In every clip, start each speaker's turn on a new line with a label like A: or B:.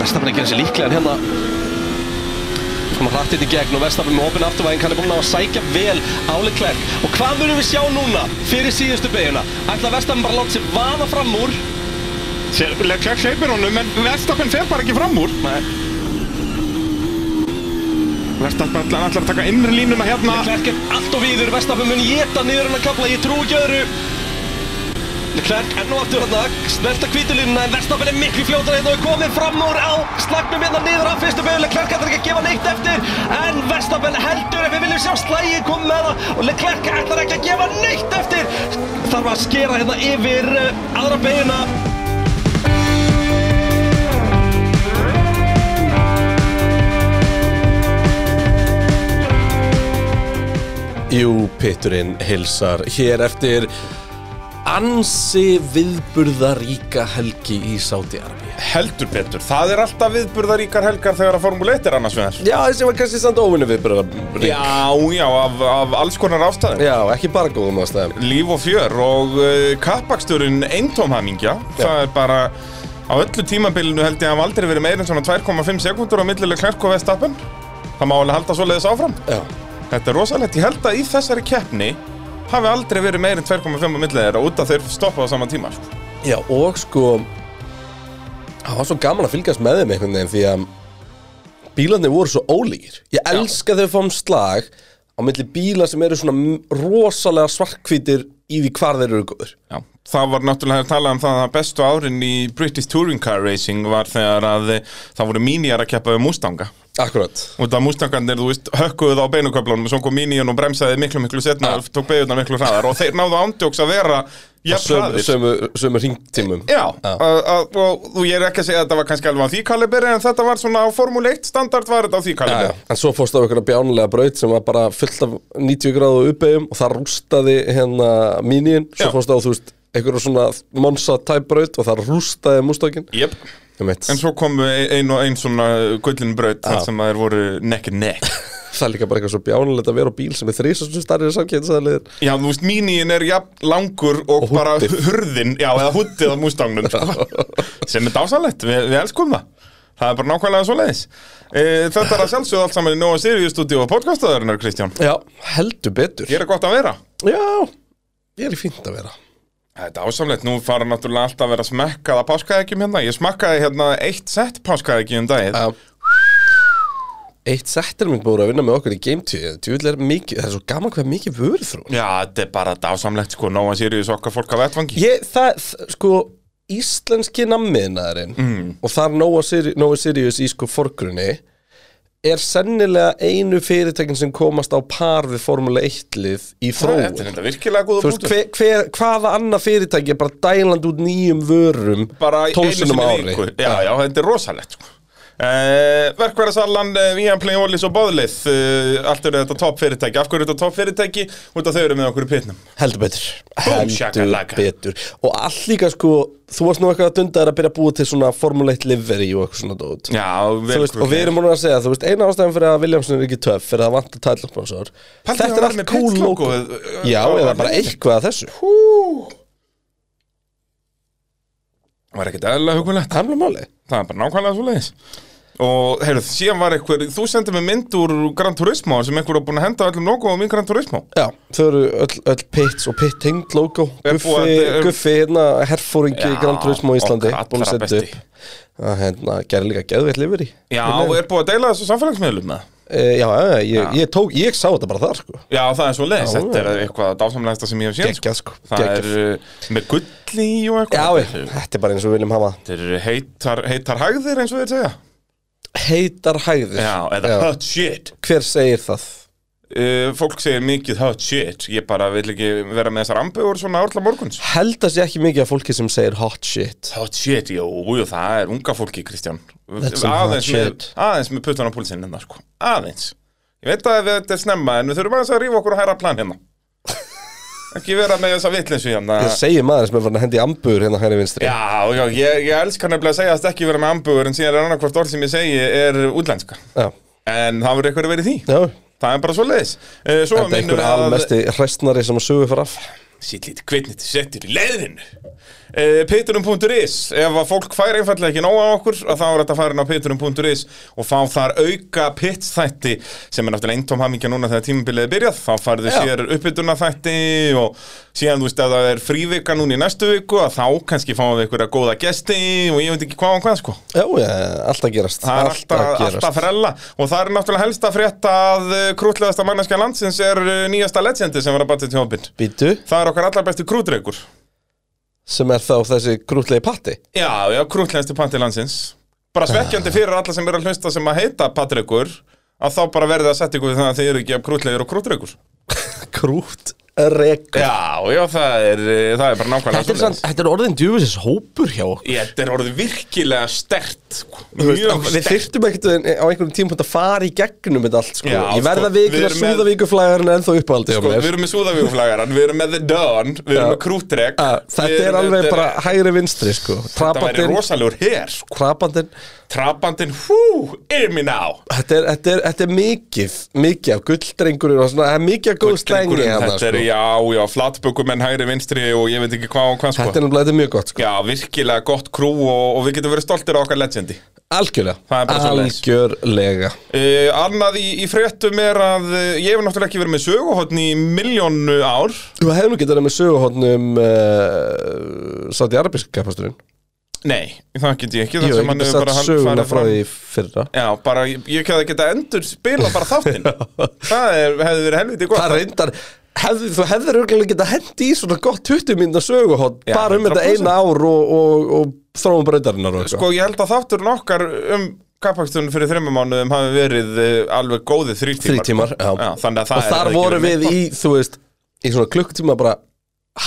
A: Vestafn ekki þessi líklegan hérna koma hratt inn í gegn og Vestafn með opinn afturvæðing hann er búinn að sækja vel áleiklerk og hvað munum við sjá núna fyrir síðustu beiguna ætla Vestafn bara að láta sér vaða fram úr
B: Leclerc hleypir honum, en Verstappen fer bara ekki fram úr.
A: Nei,
B: Verstappen ætlar ætlar að taka innri línuna hérna.
A: Leclerc er allt og víður Vestafn mun geta niður hann að kapla ég trú ekki öðru Leclerc enn og aftur hann snert að kvítulínuna en Verstappen er miklu fljótar hérna og er komin fram úr á slagnum hérna niður af fyrstu beigju Leclerc ætlar ekki að gefa neitt eftir en Verstappen heldur ef við viljum sjá slægi kom með það og Leclerc ætlar ekki að gefa neitt eftir þarf að skera hérna yfir eh, aðra beigjuna
C: Jú, pitturinn hilsar hér eftir ansi viðburðaríka helgi í Sáti-Arabi.
B: Heldur betur, það er alltaf viðburðaríkar helgar þegar að Formule 1 er annars vegar.
C: Já, þessi var kannski samt óvinni viðburðarík.
B: Já, já, af, af alls konar ástæðum.
C: Já, ekki bara góðum ástæðum.
B: Líf og fjör og uh, kappaksturinn eintóm hamingja. Það er bara, á öllu tímabilinu held ég að hafa aldrei verið meira en svona 2,5 sekundur á millileg klærk og vestappen. Það má alveg halda svoleiðis áfram.
C: Já.
B: Þetta er rosalegt, ég held að í þessari keppni hafi aldrei verið meira en 2,5 á millið þeirra út að þeir stoppa á sama tíma sko.
C: Já, og sko, það var svo gaman að fylgjast með þeim einhvern veginn því að bílarnir voru svo ólíkir. Ég elska þegar við fáum slag á milli bíla sem eru svona m- rosalega svartkvítir í því hvar þeir eru góður.
B: Já, það var náttúrulega að tala um það að bestu árin í British Touring Car Racing var þegar að eh, það voru mínjar að keppa við Mustanga
C: Akkurat.
B: og það Mustangarnir, þú veist, hökkuðu það á beinuköflunum og svo kom mínijan og bremsaði miklu miklu setna og tók beigurnar miklu hraðar og þeir náðu ándjóks að vera jafn
C: Sömu,
B: hraðir
C: sömu, sömu ringtímum.
B: Já, að- að- og og ég er ekki að segja að þetta var kannski alveg á því kaliberi en þetta var svona á Formule 1 standard var þetta á því
C: Já, já.
B: kaliberi
C: En svo fórst á einhverja bjánulega braut sem var bara fullt af 90 gráðu uppegjum og það rústaði hérna mínín, svo
B: Já.
C: fórst á þú veist einhverja svona Monza type braut og það rústaði mústakinn.
B: Jep
C: Um
B: En svo komu ein og ein svona gullin braut þar sem að þeir voru nekk nekk
C: það er líka bara eitthvað svo bjánulegt að vera á bíl sem er þrýsa sem starrið samkynnsæðilegir.
B: Já, þú veist, míníin er jafn langur og,
C: Og
B: bara
C: húddið.
B: hurðin Já, eða húttið á mústangnum Sem er dásanlegt, við, við elskum það Það er bara nákvæmlega svo leiðis e, Þetta er að sjálfsögðu allt saman í Nóa Sirius stúdíu og podcastaðurinnar, Kristján
C: Já, heldur betur.
B: Hér er gott að vera
C: Já, ég er í fínt að vera.
B: Þetta er ásamlegt, nú fara náttúrulega alltaf að vera smekkað að páskaðegjum hérna Ég smakkaði hérna eitt sett páskaðegjum um dagið
C: Já. Eitt settir minn búið að vinna með okkur í gametíð, það er mikið, það er svo gaman hvað mikið vöruð
B: Já, þetta er bara dásamlegt sko, Nóa Sirius okkar fólk af vettvangi
C: Ég, það, þ- sko, íslenski nammiðnaðurinn og þar Nóa Siri- Nói Sirius í sko forgrunni er sennilega einu fyrirtækin sem komast á par við Formule 1-lið
B: Þetta
C: í
B: er
C: þróun.
B: þetta virkilega góða
C: Þú veist, hver, hver, hvaða annað fyrirtæki er bara dæland út nýjum vörum
B: bara í einu
C: tólsunum
B: sinni í
C: ári?
B: viku. já, já, þetta er rosalegt sko. uh, Verkværasallan, uh, Viaplay, Ólís og Bóðlið uh, Allt eru þetta topp fyrirtæki Af hverju eru þetta topp fyrirtæki? Út af þau eru með okkur í pitnum
C: Heldur betur. Heldur
B: shakalaka.
C: betur. Og allt líka, sko, þú varst nú eitthvað að dunda þér að byrja að búa til svona Formule 1 livery og eitthvað svona dót.
B: Já,
C: Þú
B: vel
C: veist, og við
B: krúklega.
C: erum múin að segja, þú veist, eina ástæðan fyrir að Williamson er ekki töff, fyrir að vanta tællosponsor
B: Pældi
C: Þetta
B: að
C: er
B: vera
C: allt
B: með
C: cool
B: Pits
C: logo
B: logoið, uh,
C: Já,
B: á-
C: eða
B: á
C: bara
B: liðinu.
C: eitthvað af þessu
B: Hú. Var ekkert eðlilega hugulegt
C: Það er mjög máli
B: Það er bara nákvæmlega svo leiðis Og heyrðu, síðan var eitthvað, þú sendið mér mynd úr Gran Turismo sem einhver var búin að henda öllum logoum í Gran Turismo
C: Já, þau eru öll, öll pits og pit tengd logo
B: Er búið
C: Guffi,
B: að- er-
C: Guffi, hérna, herfóringi
B: um- Já,
C: Grand Turismo í Íslandi
B: okkar allra
C: búinn að setja
B: besti.
C: upp. Það, hérna, gerði líka geðveitt lifur í
B: Já, er búið að deila þessu samfélagsmiðlum með
C: e, Já, já, já, ég, ég tók, ég sá þetta bara þar, sko
B: Já, það er svo leiðis,
C: Já,
B: þetta er eitthvað dásamlegasta sem ég hef séð
C: Geggjað, sko,
B: Það
C: geggjað.
B: er uh, með gulli í og
C: Já,
B: eitthvað
C: ég, þetta er bara eins og við viljum hafa
B: Þetta er heitar, heitar hægðir eins og þeir segja
C: heitar hæðir
B: Já, eða hot shit
C: Hver segir það?
B: uh, Fólk segir mikið hot shit Ég bara vil ekki vera með þessar ambugur svona árla morguns
C: Held að sé ekki mikið af fólki sem segir hot shit
B: Hot shit, jú, jú, það er unga fólki, Kristján
C: That's some hot
B: Aðeins með,
C: shit.
B: aðeins með puttan á púlsinn hérna, sko Aðeins Ég veit að þetta er snemma en við þurfum aðeins að rífa okkur og hæra plan hérna Ekki vera með þessa vitleysu hérna
C: Það segir maður sem er farin að hendi ambur hérna hægri vinstri
B: Já, já, ég, ég elskar nefnilega að segja að ekki vera með ambugur en síðan er annarkvort orð sem ég segi er útlenska
C: Já,
B: en það verður eitthvað að vera í því
C: já.
B: það er bara svo leiðis Svo
C: Þetta er
B: minnum
C: einhver
B: við að
C: almesti hræstnari sem að sögu fyrir af
B: sýtlítið kvitnit settur í leiðinu uh, Petrum.is Ef að fólk fær einfallega ekki nóga á okkur að þá er þetta farin á Petrum.is og fá þar auka pitstætti sem er náttúrulega eintóm hamingja núna þegar tímabilið er byrjað þá farðu
C: Já.
B: sér uppbytuna þætti og síðan þú veist að það er frívika núna í næstu viku að þá kannski fáum við einhverja góða gesti og ég veit ekki hvað og hvað sko
C: Já, já, allt að gerast
B: Það er alltaf, alltaf frella og það er náttúrulega helst að frétta að krútlegasta manneskja landsins er uh, nýjasta legendi sem var að batið til hópin.
C: Býtu,
B: Það er okkar allar besti krútreikur.
C: sem er þá þessi grútlegi patti
B: Já, já, krútlegasti patti landsins. Bara
C: Ah.
B: svekkjandi fyrir alla sem eru að hlusta sem að heita patreikur að þá bara verðið að setja ykkur við það að þið eru ekki af krútlegir og krútreikur.
C: Grútregur
B: Já, já, það er, uh, það er bara nákvæmlega
C: Þetta eh, er, sann,
B: svoleiðis.
C: þetta er orðin djúfisins hópur hjá okkur
B: Ég, Þetta er orðið virkilega stert, sko. mjög
C: Við
B: stert.
C: þyrftum ekkert á einhverjum tímpúnt að fara í gegnum þetta allt sko.
B: Já,
C: Ég verða
B: sko, við
C: vikið að
B: erum með-
C: súðavíkuflæðarinn ennþá uppáhaldi
B: Sko, við erum með súðavíguflagaran, við erum með The Dawn, við erum
C: Já.
B: með Krútrek
C: Ah, Þetta er alveg bara hægri vinstri sko.
B: Þetta væri
C: Trabandinn
B: rosalegur hér sko.
C: Trabandinn
B: Trabandinn, hú, er mér ná
C: Þetta er, þetta, er, þetta er mikið, mikið af gulldrengurinn og svona, það er mikið af góð strengi
B: Drengurinn,
C: hérna,
B: Þetta
C: sko.
B: er, já, já, flatbökumenn hægri vinstri og ég veit ekki hvað og hvað
C: Þetta
B: sko.
C: er nefnilega þetta er mjög gott, sko.
B: Já, virkilega gott krú og, og við getum verið stoltir á okkar legendi
C: Algjörlega.
B: Það er bara svoleiðis.
C: Algjörlega.
B: uh, Annað í, í fréttum er að uh, ég hef náttúrulega ekki verið með söguhotn í miljónu ár
C: Þú hefur nú getað með söguhóttnum uh, Saudi-Arabísk kapasturinn.
B: Nei, það get ég ekki
C: Jú,
B: þar
C: ég
B: sem hann
C: geti
B: hefur
C: satt
B: bara hann
C: söguna
B: farið
C: frá
B: fram.
C: því fyrra.
B: Já, bara, ég, ég hefði getað endur spila bara þáttinn Það er, hefði verið helviti gott
C: Það reyndar, hefði, þú hefðir örgulega getað hendi í svona gott 20 minna söguhótt
B: Já,
C: bara um þetta
B: 100%.
C: eina ár og, og, og þróum breytarinnar og eitthvað.
B: Sko ég held að þátturinn okkar um kappakstunum fyrir þreymum mánuðum hafi verið uh, alveg góði þrý tímar
C: Þrý tímar, já.
B: Þannig að það
C: og
B: er
C: þar
B: ekki
C: vorum
B: verið
C: við í, þú veist, í svona klukktíma bara,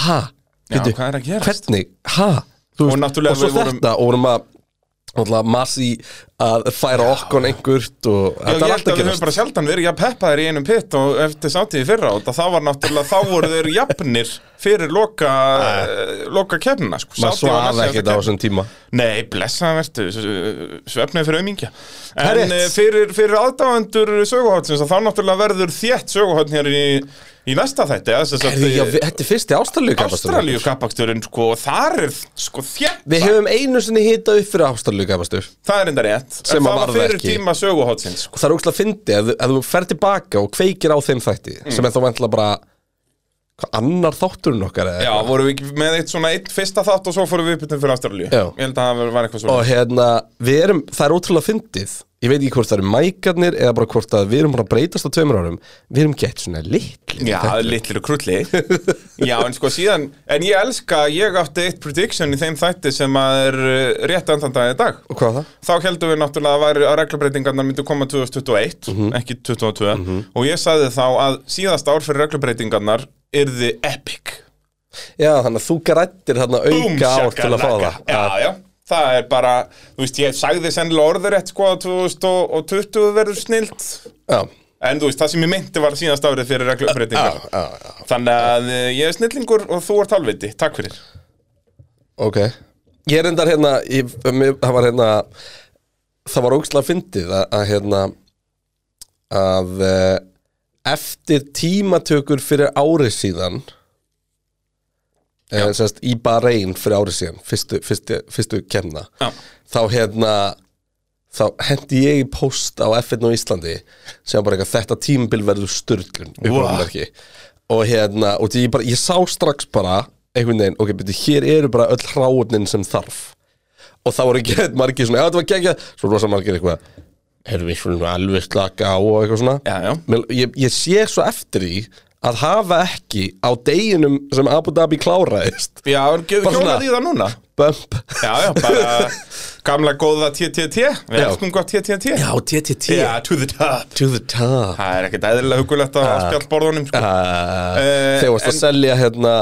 C: ha,
B: Já,
C: bíddu,
B: hvað er að gerast?
C: hvernig, ha, þú
B: Og náttúrulega
C: og svo
B: við vorum-
C: þetta, og vorum að, náttúrulega, massi að færa okkon einhvert og
B: Já, ég
C: þetta er
B: held að
C: alltaf
B: við höfum
C: gerast.
B: bara sjaldan verið jafn peppaðir í einum pitt og eftir sátíði fyrra og það var náttúrulega, þá voru þeir jafnir fyrir loka, loka kefnina sko.
C: Maður
B: Sádi var næst
C: svafa
B: síðasta
C: ekkert á
B: keppnin.
C: þessum tíma.
B: Nei, blessaðan vertu, svefnið fyrir aumingja
C: Það er
B: En
C: rétt.
B: eh, fyrir, fyrir aðdáendur söguháttsins að þá náttúrulega verður þétt söguháttin hér í, í næsta þætti eða sem sagt,
C: Herri, já,
B: eh,
C: við, þetta er fyrsti ástralíu kapastur.
B: Ástralíu kappaksturinn sko, og þar er sko þjætt
C: Við höfum einu sinni hitað upp fyrir ástralíu kapastur.
B: það er enda rétt,
C: Sem
B: en
C: að
B: það var
C: varð
B: fyrir
C: ekki.
B: tíma söguhótsins sko.
C: Og það er ógslag að fyndi að, að þú fer tilbaka og kveikir á þeim þætti,
B: Mm.
C: sem er þá vantilega bara, hvað annar þátturinn okkar eða
B: Já,
C: eitthvað.
B: vorum við ekki með eitt svona eitt fyrsta þátt og svo fórum við uppbyttum fyrir Ástralíu
C: Já.
B: Ég held að það var eitthvað svona
C: og hérna, við erum, það er ótrúlega fyndið ég veit ekki hvort það eru mækarnir eða bara hvort að við erum bara að breytast á tveimur árum við erum gett svona litli
B: Já, litlir krulli Já, en sko síðan, en ég elska ég átti eitt prediction í þeim þætti sem að er uh, rétt andan dag í dag
C: og hvað var það?
B: Þá heldum við náttúrulega að, væri- að reglubreitingarnar myndu koma 2021,
C: Mhm.
B: ekki 2022 og ég sagði þá að síðast ár fyrir reglubreitingarnar yrði epic
C: Já, þannig að þú grættir þarna
B: Búm,
C: auka ár til að fá
B: shakalaka.
C: það
B: Já, já, það er bara Þú veist, ég sagði sennilega orðurétt sko að 2020 verður snilt
C: Já,
B: En þú veist, það sem ég myndi var síðast árið fyrir
C: já,
B: reglubreitingar
C: já, já,
B: Þannig að eh, ég er snillingur og þú ert halvviti, takk fyrir
C: ok Ég er endar hérna, ég, mér, það var hérna það var ógslag fyndið að, að hérna að eh, eftir tímatökur fyrir ári síðan eh, sérst, í Bahrein fyrir ári síðan fyrstu, fyrstu, fyrstu kemna
B: Já.
C: þá hérna þá hendi ég í post á F1 á Íslandi sem var bara eitthvað þetta tímabil verður sturglun uppáðumverki og hérna, og því ég, bara, ég sá strax bara einhvern veginn, ok, beti, hér eru bara öll hráunin sem þarf og það voru gett margir svona, já þetta var gegja svo rosa margir eitthvað erum við svona alveg slaka á og eitthvað svona
B: Já, já.
C: Mér- Ég, ég sé svo eftir því að hafa ekki á deginum sem Abu Dhabi kláraðist
B: Já, en gefur
C: Bara
B: hjónað
C: svona-
B: í það núna
C: Bump
B: Já, já, bara gamla góða TTT Við
C: Já.
B: elskum gott TTT
C: Já, TTT
B: Já, to the top
C: To the top
B: Það er ekkert eðlilega hugulegt á spjallborðunum sko.
C: uh,
B: Eh,
C: Þegar varst að
B: en-
C: selja hérna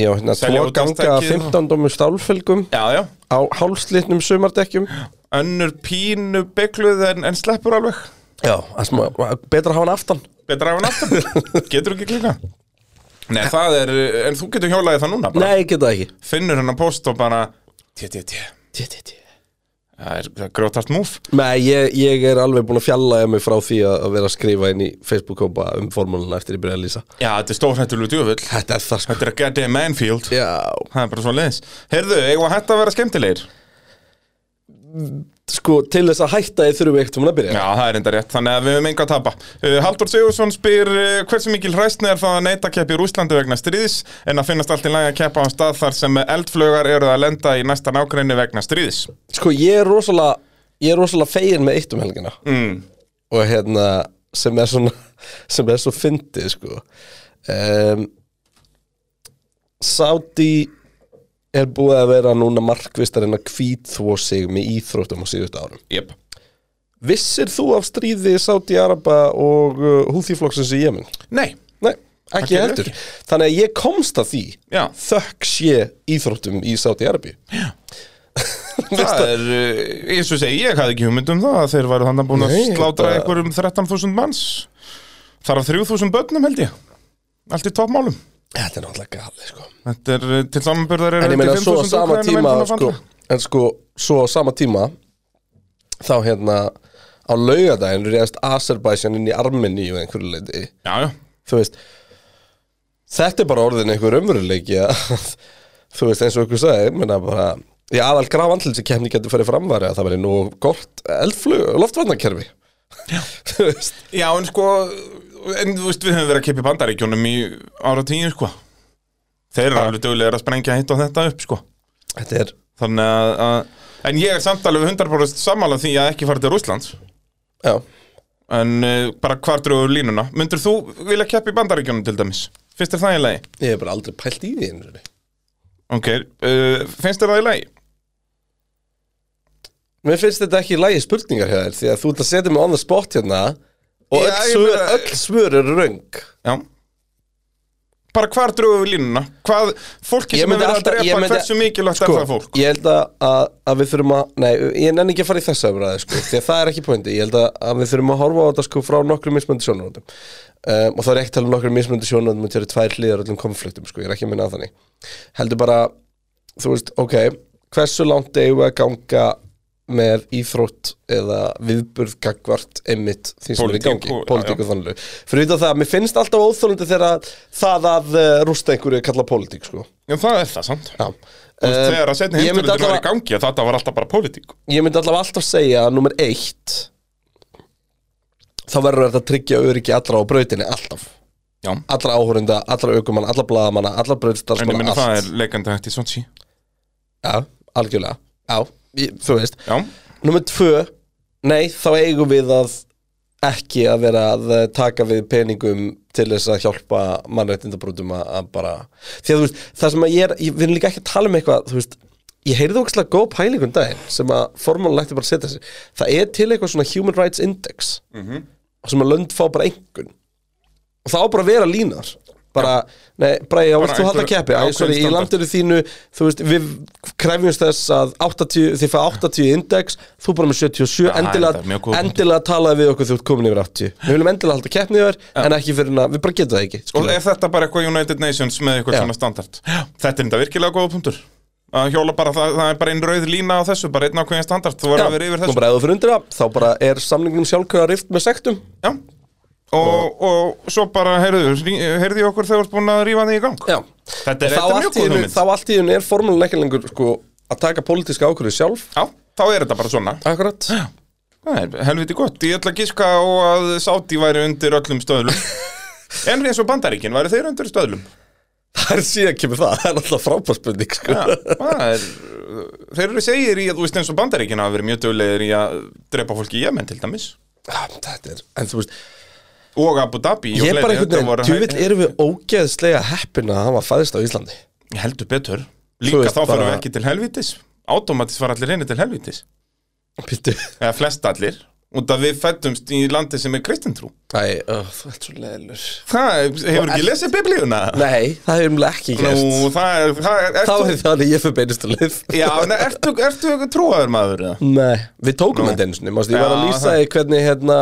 C: Já, hérna,
B: Selja
C: tvo ganga
B: útvarpstækið og-
C: 15 dómur stálfelgum
B: Já, já,
C: á hálslitnum sumardekkjum
B: önnur pínu byggluð en, en sleppur alveg
C: Já, það sem að- betra að hafa hann aftan
B: betra af hann aftur getur ekki klika Nei, það er, en þú getur hjólaðið það núna bara.
C: Nei, ég geta það ekki
B: finnur hennar post og bara tjé, tjé, tjé,
C: TTT
B: Það er- það er grjótast múf
C: Nei, ég, ég er alveg búin að fjallaða mig frá því að, að vera að skrifa inn í Facebook-kópa um formúluna eftir ég byrja að lýsa
B: Já, þetta er stórhættulegu djöfull
C: Þetta er það sko
B: Þetta er að geta Manfield
C: Já,
B: Það er bara svo leiðis Heyrðu, eigum við að hætta að vera skemmtilegir?
C: sko, til þess að hætta þið þurfum við ekkert um að byrja
B: Já, það er enda rétt, þannig að við höfum enga að tapa uh, Haldur Sigursson spyr uh, hversu mikil hræstni er það að neita að keppa í Rúslandi vegna stríðis en að finnast allt í lagi að keppa á stað þar sem eldflögar eru að lenda í næsta nákrenni vegna stríðis
C: Sko, ég er rosalega, ég er rosalega fegin með eitt um helgina mm. Og hérna, sem er svona, sem er svo fyndið, sko um, Saudi er búið að vera núna markvist að reyna að hvítþvo sig með íþróttum á síðustu árum
B: Jep
C: Vissir þú af stríði Saudi-Araba og uh, húþíflokksins í Jemen?
B: Nei
C: Nei, ekki
B: gerðu
C: heldur
B: ekki.
C: Þannig að ég komst að því
B: Já.
C: Þökk sé íþróttum í Saudi-Arabi
B: Það er, uh, eins og segi, ég hafði ekki hugmynd um það að þeir væru þannig búin að
C: Nei,
B: slátra
C: þetta-
B: einhverjum 13.000 manns Þar af 3.000 börnum held ég Allt í toppmálum
C: Þetta er náttúrulega galið sko
B: Þetta er uh, til samanbyrðar
C: En ég meina svo á sama tíma sko, En sko, svo á sama tíma Þá hérna Á laugardaginn reyðast Azerbaijan inn í Armeni og einhverju leiti
B: Já, já,
C: Þú veist Þetta er bara orðin einhver umveruleiki að Þú veist eins og ykkur sagði ég meina bara Í aðal graf andlitsi kemni getur farið framværi að það verið nú gott eldflug, loftvarnakerfi Þú veist
B: Já, en sko, en þú veist, við höfum verið að kippa í bandaríkjónum í ára tíu, sko. Þeir eru alveg dögulega að sprengja hitt og þetta upp, sko.
C: Þetta er,
B: Þannig að, að, en ég er samt alveg 100% sammála því að ekki fara til Rússlands.
C: já
B: En uh, bara hvar drögur línuna. Myndur þú vilja keppa í bandaríkjónum til dæmis? Finnst þér það í lagi?
C: Ég hef bara aldrei pælt í því einu sinni.
B: Ok, uh, finnst þér það í lagi?
C: Mér finnst þetta ekki lægi spurningar hjá þér Því að þú ert að setja mig on the spot hérna Og
B: Já,
C: öll,
B: ég
C: svör,
B: meina-
C: öll svör eru röng
B: Já. Bara hvar drögur línuna? Hvað, fólki
C: Ég
B: sem
C: myndi
B: er verið að
C: alltaf- ég
B: drepa,
C: myndi-
B: hversu mikilvægt
C: Sko,
B: er það fólk?
C: ég held að, að, að við þurfum að Nei, ég nenni ekki að fara í þessa umræði sko, Því að það er ekki pointi Ég held að, að við þurfum að horfa á þetta sko frá nokkrum mismöndi sjónarhóndum um, Og það er ekki að tala um nokkrum mismöndi sjónarhóndum Þetta eru tvær hliðar öllum konfliktum sko, Ég er ekki að minna að þannig Heldur bara, þú veist, ok Hversu langt eigum við að ganga með íþrótt eða viðburð gagvart einmitt því sem er í
B: Pólitík
C: gangi,
B: og- já,
C: pólitík
B: já.
C: og þannig fyrir utan það, mér finnst alltaf óþólandi þegar það að uh, rústa einhverju er kallað pólitík sko.
B: Já, það er það samt.
C: Já.
B: Þú veist,
C: Um,
B: þegar að setni
C: ég myndi
B: heimsturlundur var í
C: allavega-
B: gangi að þetta var alltaf bara pólitík
C: Ég myndi allavega alltaf segja að nummer eitt Þá verður þetta að tryggja öryggi allra á brautinni alltaf
B: Já.
C: Allra áhorunda, allra aukumanna, allra blaðamanna, allra
B: En ég
C: brautstalsmanna,
B: minna
C: Sko, allt
B: það er leikandi hægt í Sonsi
C: Já, algjörlega Já, ég, þú veist
B: Já,
C: Nummer tvö, nei, þá eigum við að ekki að vera að eh, taka við peningum til þess að hjálpa mannréttindabrótum að að bara því að þú veist, það sem að ég er, ég, við erum líka ekki að tala um eitthvað, þú veist, ég heyrði ógæslega góð pælingum daginn sem að formála ætti bara að setja sér, það er til eitthvað svona human rights index
B: Mhm.
C: sem að lönd fá bara einhvern og það á bara að vera línar bara, nei, bara ég ávilt þú halla
B: einhver-
C: keppi Æ,
B: ákveðin
C: sorry, í
B: standard.
C: landinu þínu, þú veist, við krefjumst þess að 80, þið fá 80 index, þú bara með 77
B: Já, þetta er mjög góð
C: endilega,
B: punktur.
C: endilega talaði við okkur þú ert komin yfir 80, við viljum endilega halda keppnið þér, en ekki fyrir að, við bara getum það ekki
B: og
C: skilurðu.
B: er þetta bara eitthvað United Nations með eitthvað
C: Já.
B: svona standard Já. Þetta er þetta virkilega góða punktur að hjóla bara, það, það er bara einn rauð lína á þessu bara einn ákveðin standard, þú verður að vera yfir
C: og
B: þessu
C: bara ef þú fyrir undir það, þá bara er samningnum sjálfkvæða rift með sektum
B: Já, og, og svo bara heyrðu, rí- heyrðu í okkur þegar þú ert búin að rífa þig í gang
C: Já.
B: Þetta er
C: Þá
B: þetta er
C: allt
B: mjög
C: í
B: góð
C: einu-
B: hugmynd
C: þá allt í hennu er formúlan ekki lengur sko, að taka pólitíska ákvörðu sjálf
B: Já, þá er þetta bara svona
C: akkurat,
B: Það er helviti gott, ég ætla að gíska á að Sáti væri undir öllum stöðlum En eins og Bandaríkin, væri þeir undir stöðlum?
C: það er síðan kemur það það er alltaf frábárspurning sko.
B: Já, það er, þeir eru segir í að þú veist eins og bandaríkina að vera mjög dögulegir í að drepa fólki í Jemen til dæmis
C: Ah, þetta er, en þú veist
B: og Abu Dhabi og
C: Ég er bara
B: fleiri,
C: einhvern
B: þetta
C: veginn,
B: voru-
C: tjúvill erum við ógeðslega heppin að hann var fæðist á Íslandi
B: heldur betur líka
C: veist,
B: þá fyrir við
C: bara-
B: ekki til helvitis automatist var allir reyni til helvitis
C: Pítu
B: eða flest allir út að við fættumst í landi sem er kristintrú
C: Æ, ó, þú ert svo leðilur
B: það hefur ekki lesið biblíuna
C: Nei, það hefur umlega ekki gerst
B: Nú, það er, það er
C: Þá
B: ertu,
C: er það að ég fyrir beinist að lið
B: já, nei, ertu, ertu eitthvað trúaður maður eða?
C: Nei, við tókum
B: Nú.
C: þetta einu sinni mástu, Ég var að
B: Já,
C: lýsa
B: það-
C: í hvernig hérna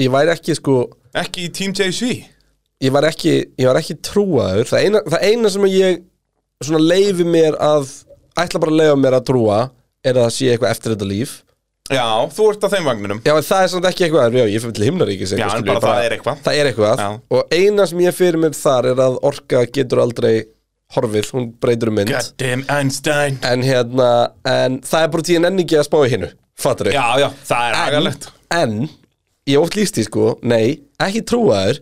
C: Ég væri ekki sko
B: ekki í Team JC
C: Ég var ekki, ég var ekki trúaður það eina, það eina sem ég svona leifi mér að Ætla bara að leifa mér að trúa er að það sé eitthvað eftir þetta líf
B: Já, þú ert á þeim vagninum
C: Já, en það er samt ekki eitthvað, já, ég fyrir til himnaríkis
B: Já, en bara það er eitthvað.
C: Það er eitthvað,
B: Já.
C: og eina sem ég fyrir mér þar er að orka getur aldrei horfið, hún breytur um mynd
B: God damn Einstein
C: En hérna, en það er bara tíðan enn ekki að spá í hinnu, fattur
B: Já, já, það er
C: en,
B: agalegt
C: en, ég hef oft líst því sko, nei, ekki trúa þér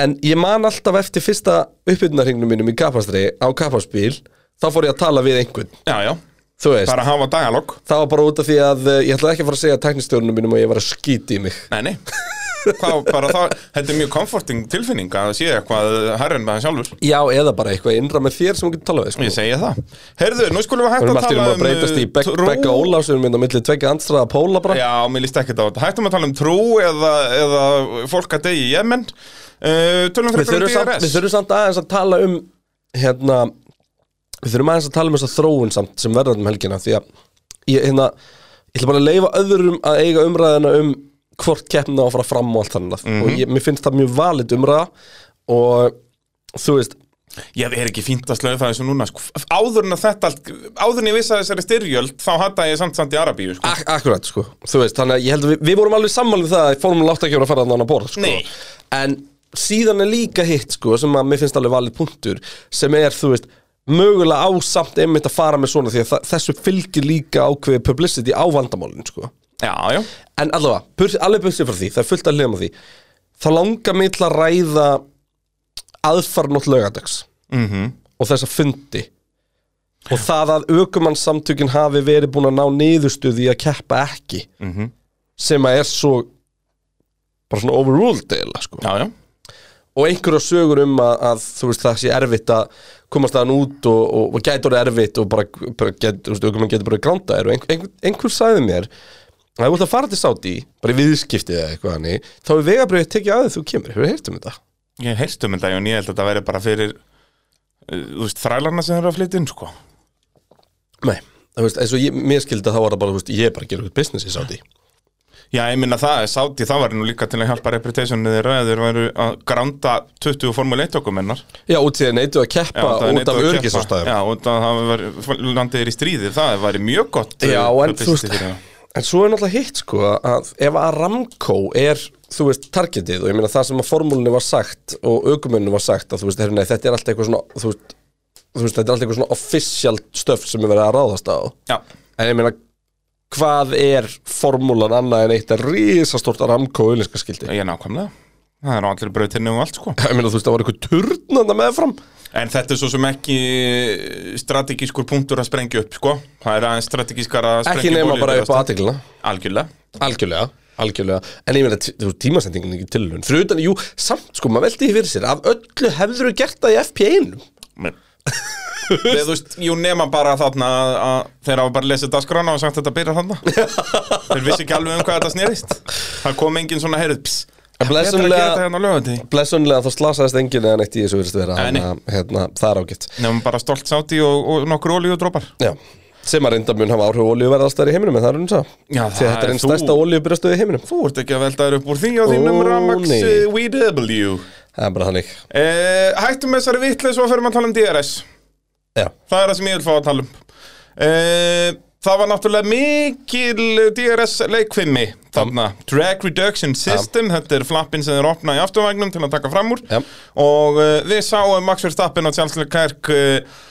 C: En ég man alltaf eftir fyrsta uppbytunarhingnum mínum í kapastri á kapasbíl Þá fór ég að tala við einhvern,
B: Já, já,
C: þú veist
B: bara hafa dagalog
C: Það var bara út af því að eh, ég ætlaði ekki að fara að segja teknistjórnum mínum að ég var að skýti í mig
B: Nei, nei Hvað, bara það, þetta er mjög comforting tilfinning að sé eitthvað herrin með hann sjálfur
C: Já, eða bara eitthvað innra með þér sem þú getur talað við sko.
B: Ég segi það Heyrðu, nú skulum við
C: Við
B: hægt
C: erum
B: að
C: allt í
B: tala
C: einu
B: um
C: að breytast í
B: uh,
C: Beck-
B: trú.
C: Becca Ólafs Við erum mynd á milli tvekja andstraða póla bara
B: Já, mér líst ekkert á þetta Hættum að tala um trú eða, eða fólk að degi í Jemen uh, Tölum
C: Við
B: frekar um
C: þurfum, samt, við
B: DRS
C: þurfum samt aðeins að tala um Hérna Við þurfum aðeins að tala um þessa þróun samt sem verður um helgina Því að ég, hérna, ég ætla bara að leifa öðrum að eiga umræðina um Hvort keppna á að fara fram og allt þannig
B: Mhm.
C: Og ég, mér finnst það mjög valid umræða Og þú veist
B: Ég er ekki fínt að slöðu það eins og núna sko. Áður en að þetta allt Áður en ég vissi að þessari styrjöld Þá hatta ég samt samt í Arabíu sko.
C: Ak akkurat, sko, þú veist, þannig að ég held að við, við vorum alveg sammálið það að Formule 8 ekki voru að fara þannig að borð, sko
B: Nei.
C: En síðan er líka hitt, sko, sem að mér finnst alveg valið punktur sem er, þú veist, mögulega ásamt einmitt að fara með svona því að þa- þessu fylgir líka ákveðið publicity á vandamálin, sko
B: Já, já
C: En allavega, burs, alveg bursið frá því, það er fullt að hliðum á því Þá langar mig til að ræða aðfarnótt lögadags -hmm. og þessa fundi og það að aukumannsamtökin hafi verið búin að ná niðurstuði að keppa ekki -hmm. sem að er svo bara svona overruled eða sko
B: Já, já
C: og einhverja sögur um að, að þú veist það sé erfitt að komast þaðan út og, og, og gæti orðið erfitt og bara, bara get, þú veist, okkur mann getur bara gránda þér og einhver, einhver, einhver sagði mér að ef þú ætla að fara til Saudi, bara í viðskiptið eða eitthvað hann þá er vegabröðið tekið að þér þú kemur, hefur heyrt um þetta?
B: Ég heyrst um þetta Jón, ég held að þetta væri bara fyrir uh, Þú veist, þrælarna sem eru að flytja inn sko.
C: Nei, þú veist, eins og ég, mér skildi að þá var það bara, þú veist, ég er bara að gera eitthvað business í Saudi
B: Já, ég minna það, Sáti það var nú líka til að hjálpa reputationu þeirra eða þeir væru að gránda 20 Formule 1 dokumennar
C: Já, út því að neitu að keppa út af örgisastæðum
B: Já, út af það var, landið er í stríði það væri mjög gott uh,
C: Já, en
B: publicity
C: þú veist
B: fyrir það.
C: En svo er náttúrulega hitt sko að ef Aramco er, þú veist, targetið og ég meina það sem að formúlunni var sagt og aukumönnu var sagt að þú veist, herrna, þetta er allt eitthvað svona þú veist, þú veist, þetta er allt eitthvað svona official stöf sem er verið að ráðast á
B: Já,
C: En ég meina, hvað er formúlan annað en eitt að risastort Aramco auðlinskaskildi?
B: ég nákvæmlega Það er á allir brautinni um allt sko
C: Ég meina, þú veist, það var eitthvað turnanda meðfram
B: En þetta er svo sem ekki eh, strategískur punktur að sprengja upp sko Það er aðeins strategískar að sprengja
C: Ekki nema
B: upp
C: bara upp á
B: olíubílastæð.
C: aðteglina
B: Algjörlega
C: Algjörlega, algjörlega En ég meina, t- þú veist, tímasendingin er ekki tilhörun Fyrir utan, jú, samt sko, maður veldi því fyrir sér Af öllu hefður þú gert það í FP1
B: Men. Þegar þú veist, jú nema bara þarna að, að þeir hafa bara lesið dagskrána og sagt þetta byrjar þarna Þeir vissi ekki alveg um hvað þetta snerist Það kom engin svona heyrið pss,
C: En
B: Þetta er að gera
C: blessunlega-
B: þetta hérna á lögandi
C: Blessunlega þá slasaðist enginn eða neitt í þessu virðist vera
B: Nei, nei.
C: Þannig að, hérna, það er ágætt
B: Nefnum bara stolt sáti og, og nokkur olíudrópar
C: Já sem að reynda mun hafa áhrif olíuverðastæri í heiminum en það er hún sá því
B: Já,
C: að
B: það
C: þetta er
B: er
C: einn
B: þú.
C: stærsta olíubyrjastöð í heiminum
B: Þú ert ekki að velta þér upp úr því á þínum
C: Ó,
B: Ramax
C: nei.
B: eh, VW
C: það er bara þannig
B: eh, Hættum með þessari vitleis og fyrir að tala um DRS
C: já,
B: Það er það sem ég vil fá að tala um uh, Það var náttúrulega mikil DRS leikfimmi þarna, Drag Reduction System þetta er flappin sem er opnað í afturvagnum til að taka fram úr
C: Já.
B: og uh, við sáum Max Verstappen og Charles Leclerc uh,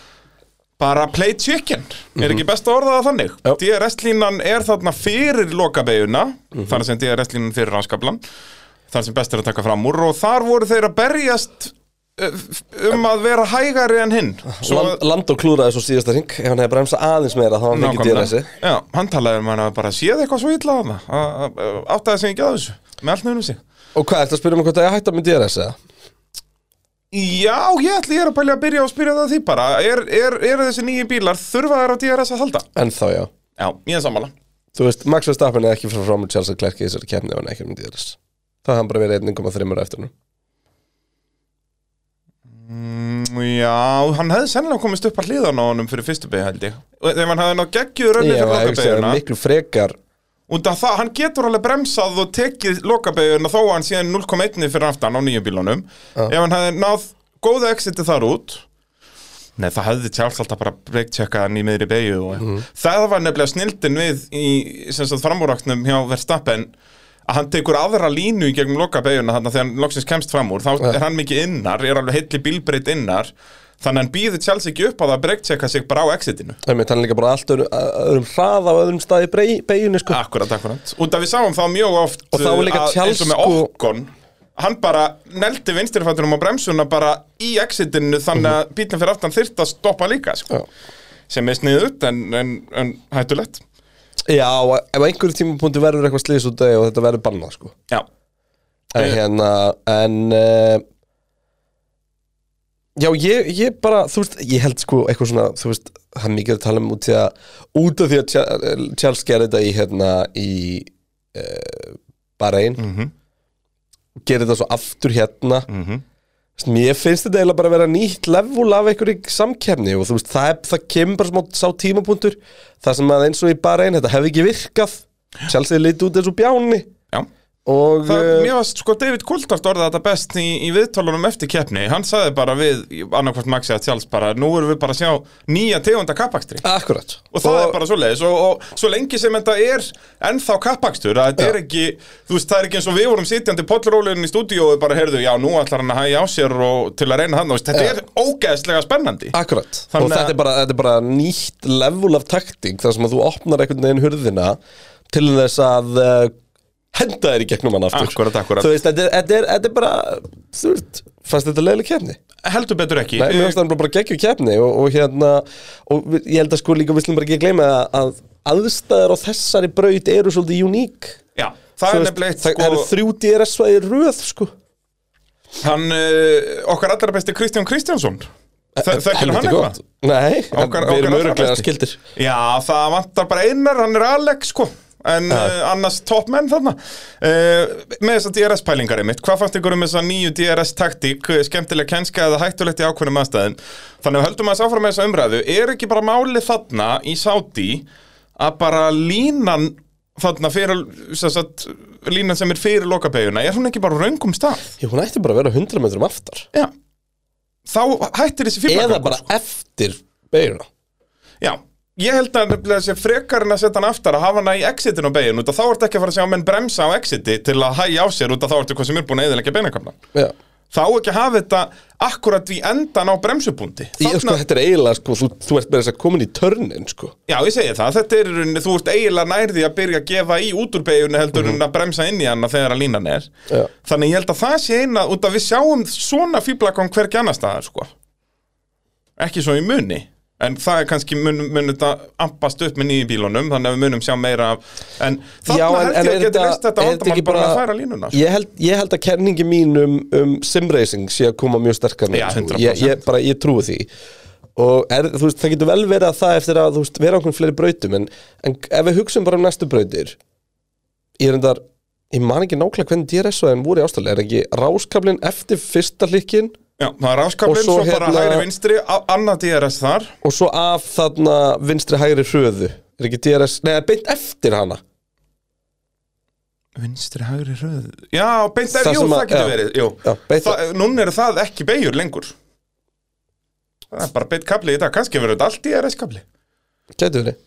B: bara play chicken er ekki best að orða það þannig
C: Mhm. Já.
B: DRS-línan er þarna fyrir lokabeyjuna
C: Mhm.
B: þar sem DRS-línan fyrir ráskablan þar sem best er að taka fram úr og þar voru þeir að berjast uh, um að vera hægari en hinn Svo að-
C: Land, land og klúraði svo síðasta ring ef hann hefði bremsa aðeins meira þá var hann fengið
B: Nákvæmlega.
C: DRS-i
B: Já, hann talaði um hann að bara séð eitthvað svo illa af það Áttaði sig ekki að þessu Með allt nefnum sig
C: og hvað, þetta spyrir mig hvort það er að hætta með DRS eða?
B: Já, ég ætli ég er að bælja að byrja og spyrja það því bara Er, er, er þessi nýju bílar þurfa þær á DRS að halda?
C: ennþá já
B: Já, ég er sammála
C: þú veist, Max Verstappen er ekki frá fram með Charles Leclerc í þessari kemni og hann er ekki með DRS það hafði hann bara verið 1,3 á eftir hann
B: Mm, Já, hann hefði sennilega komist upp að hliðan á honum fyrir fyrstu beigja held ég Og Þegar hann hefði nátt geggjur önni
C: ég
B: fyrir
C: var ekki að segja
B: lokabeiguna
C: miklu frekar
B: Út af það, hann getur alveg bremsað og tekið lokabeiguna þó að hann sé 0,1 fyrir aftan á nýju bílunum Ef hann hefði náð góða exiti þar út Nei, það hafði Charles alltaf bara breyktjökkað hann í miðri beigju og það var nefnilega snildin við í sem sagt framúraksnum hjá Verstappen að hann tekur aðra línu í gegnum loka beigjuna þarna þegar hann loksins kemst fram úr þá er hann mikið innar, er alveg heilli bílbreyt innar þannig að hann býður Charles ekki upp á það að breyktjökka sig bara á exitinu
C: Það með tannleika bara allt öðrum, öðrum hrað á öðrum staði beiginu sko
B: Akkurat, akkurat Út af við sáum þá mjög oft
C: Og þá er líka
B: að-
C: Charles
B: eins og með
C: sko-
B: Okkon Hann bara neldi vinstirfættunum á bremsuna bara í exitinu þannig að bílinn fyrir aftan þyrft að stoppa líka sko. sem er sniðut en, en, en hættulegt
C: Já, ef á einhverjum tímapunkti verður eitthvað slýs út af því og þetta verður bannað sko
B: Já,
C: En
B: Eh.
C: hérna, en uh, Já, ég, ég bara, þú veist, ég held sko eitthvað svona, þú veist, það er mikið að tala um út, því að út af því að Tja- Charles gerði þetta í hérna í uh, Bahrein mm -hmm. Gerði þetta svo aftur hérna mm -hmm. Mér finnst þetta eiginlega bara að vera nýtt level af einhverju samkefni og þú veist, það, er, það kemur bara smá sá tímapunktur Það sem að eins og í Bahrein, þetta hefði ekki virkað Charles er litið út eins og bjáni
B: já
C: og
B: Það,
C: eh,
B: Mér varst sko David Kultart orðið þetta best í, í viðtölunum eftir keppni Hann sagði bara við, annarkvort Maxi að Charles bara Nú erum við bara að sjá nýja tegunda kappakstri
C: Akkurat
B: og það er bara svo leiðis og, og svo lengi sem þetta er ennþá kappakstur að þetta
C: Já.
B: er ekki, þú veist, það er ekki eins og við vorum sitjandi pollrólinn í stúdíu og bara heyrðu, já, nú ætlar hann að hægja á sér og til að reyna hann, þú veist, þetta
C: Já.
B: er ógeðslega spennandi
C: Akkurat
B: Þannig
C: Og
B: að-
C: þetta er, bara, þetta er bara nýtt level af taktík þar sem að þú opnar einhvern veginn hurðina til þess að uh, henda þér í gegnum hann aftur
B: Akkurat, akkurat.
C: Þú veist, þetta er, þetta er, þetta er bara þú veist, fannst þetta leiðileg kefni
B: heldur betur ekki
C: Nei, mér
B: Eh,
C: finnst það bara geggjum kefni og, og hérna, og við- ég held að sko líka við slum bara ekki að gleyma að aðstæður á þessari braut eru svolítið uník
B: já, það
C: Þú
B: er
C: veist,
B: nefnilegt
C: Það
B: sko,
C: eru þrjú DRS-svæði röð, sko
B: hann, uh, okkar allra besti Kristján Kristjánsson Þe- þekkir hann
C: Helviti
B: eitthvað?
C: Eh, gott. Nei,
B: Okkar-
C: við
B: okkar
C: erum
B: allra
C: öruglega
B: besti.
C: skildir
B: Já, það vantar bara einar, hann er Alex sko En uh, annars topp menn þarna uh, Með þessa DRS-pælingar einmitt Hvað fannst ykkur um þessa nýju DRS-taktík eh, Skemmtileg kenska eða hættulegt í ákveðnum aðstæðin Þannig að höldum að sáfram með þessa umræðu Er ekki bara málið þarna í Saudi Að bara línan Þarna fyrir sem sagt, Línan sem er fyrir lokabegjuna Er hún ekki bara á röngum stað?
C: Jú, hún ætti bara að vera 100 metrum aftar
B: Já Þá hættir þessi fíflagangur
C: Eða bara eftir beiguna
B: Já, ég held að nefnilega sé frekar en að setja hann aftar að hafa hann í exitin á beginn út að þá ertu ekki að fara að sjá menn bremsa á exiti til að hægja á sér út að þá ertu hvað sem er búin að eðilegja beinakamlan
C: Já
B: Þá ekki að hafa þetta akkurat í endan á bremsupunkti
C: Ég, sko,
B: Þarna,
C: þetta er eiginlega, sko, þú, þú ert með þess að komin í törnin, sko
B: Já, ég segi það, þetta er í rauninni, þú ert eiginlega nærði að byrja að gefa í út úr beginni heldur en að bremsa inn í hana þegar að línan er
C: Já.
B: Þannig ég held að það sé eina, út að við sjáum svona fíblakon hvergi annars staðar, sko Ekki svo í muni En það er kannski mun, mun þetta ampast upp með nýju bílunum, þannig að við munum sjá meira af En þarna held ég að geti leist þetta vandamál bara með að færa línuna sko.
C: ég held, ég held að kenningi mín um, um simracing sé að koma mjög sterkar núna,
B: Já,
C: sko.
B: 100%.
C: ég, ég, bara, ég trúi því Og er, þú veist, það getur vel verið að það eftir að þú veist, vera okkur fleiri brautum en, en ef við hugsaum bara um næstu brautir Ég er endar, ég man ekki nákvæmlega hvernig DRS-svæðin voru í ástæðlega Er ekki ráskablin eftir fyrsta hlikkin
B: Já, það er
C: Og
B: áskapin,
C: svo
B: svo, bara
C: hérna-
B: hægri vinstri, a- annað DRS þar
C: og svo af þarna vinstri hægri hröðu er ekki DRS, nei beint eftir hana
B: Vinstri, hægri, röð Já, beint er,
C: Það
B: jú,
C: sem
B: það
C: að-
B: getur
C: já.
B: verið jú.
C: Já, beint-
B: Þa, Núna eru það ekki beigur lengur Það er bara beitt kabli í dag kannski verður þetta allt í RS kabli
C: gæti verið,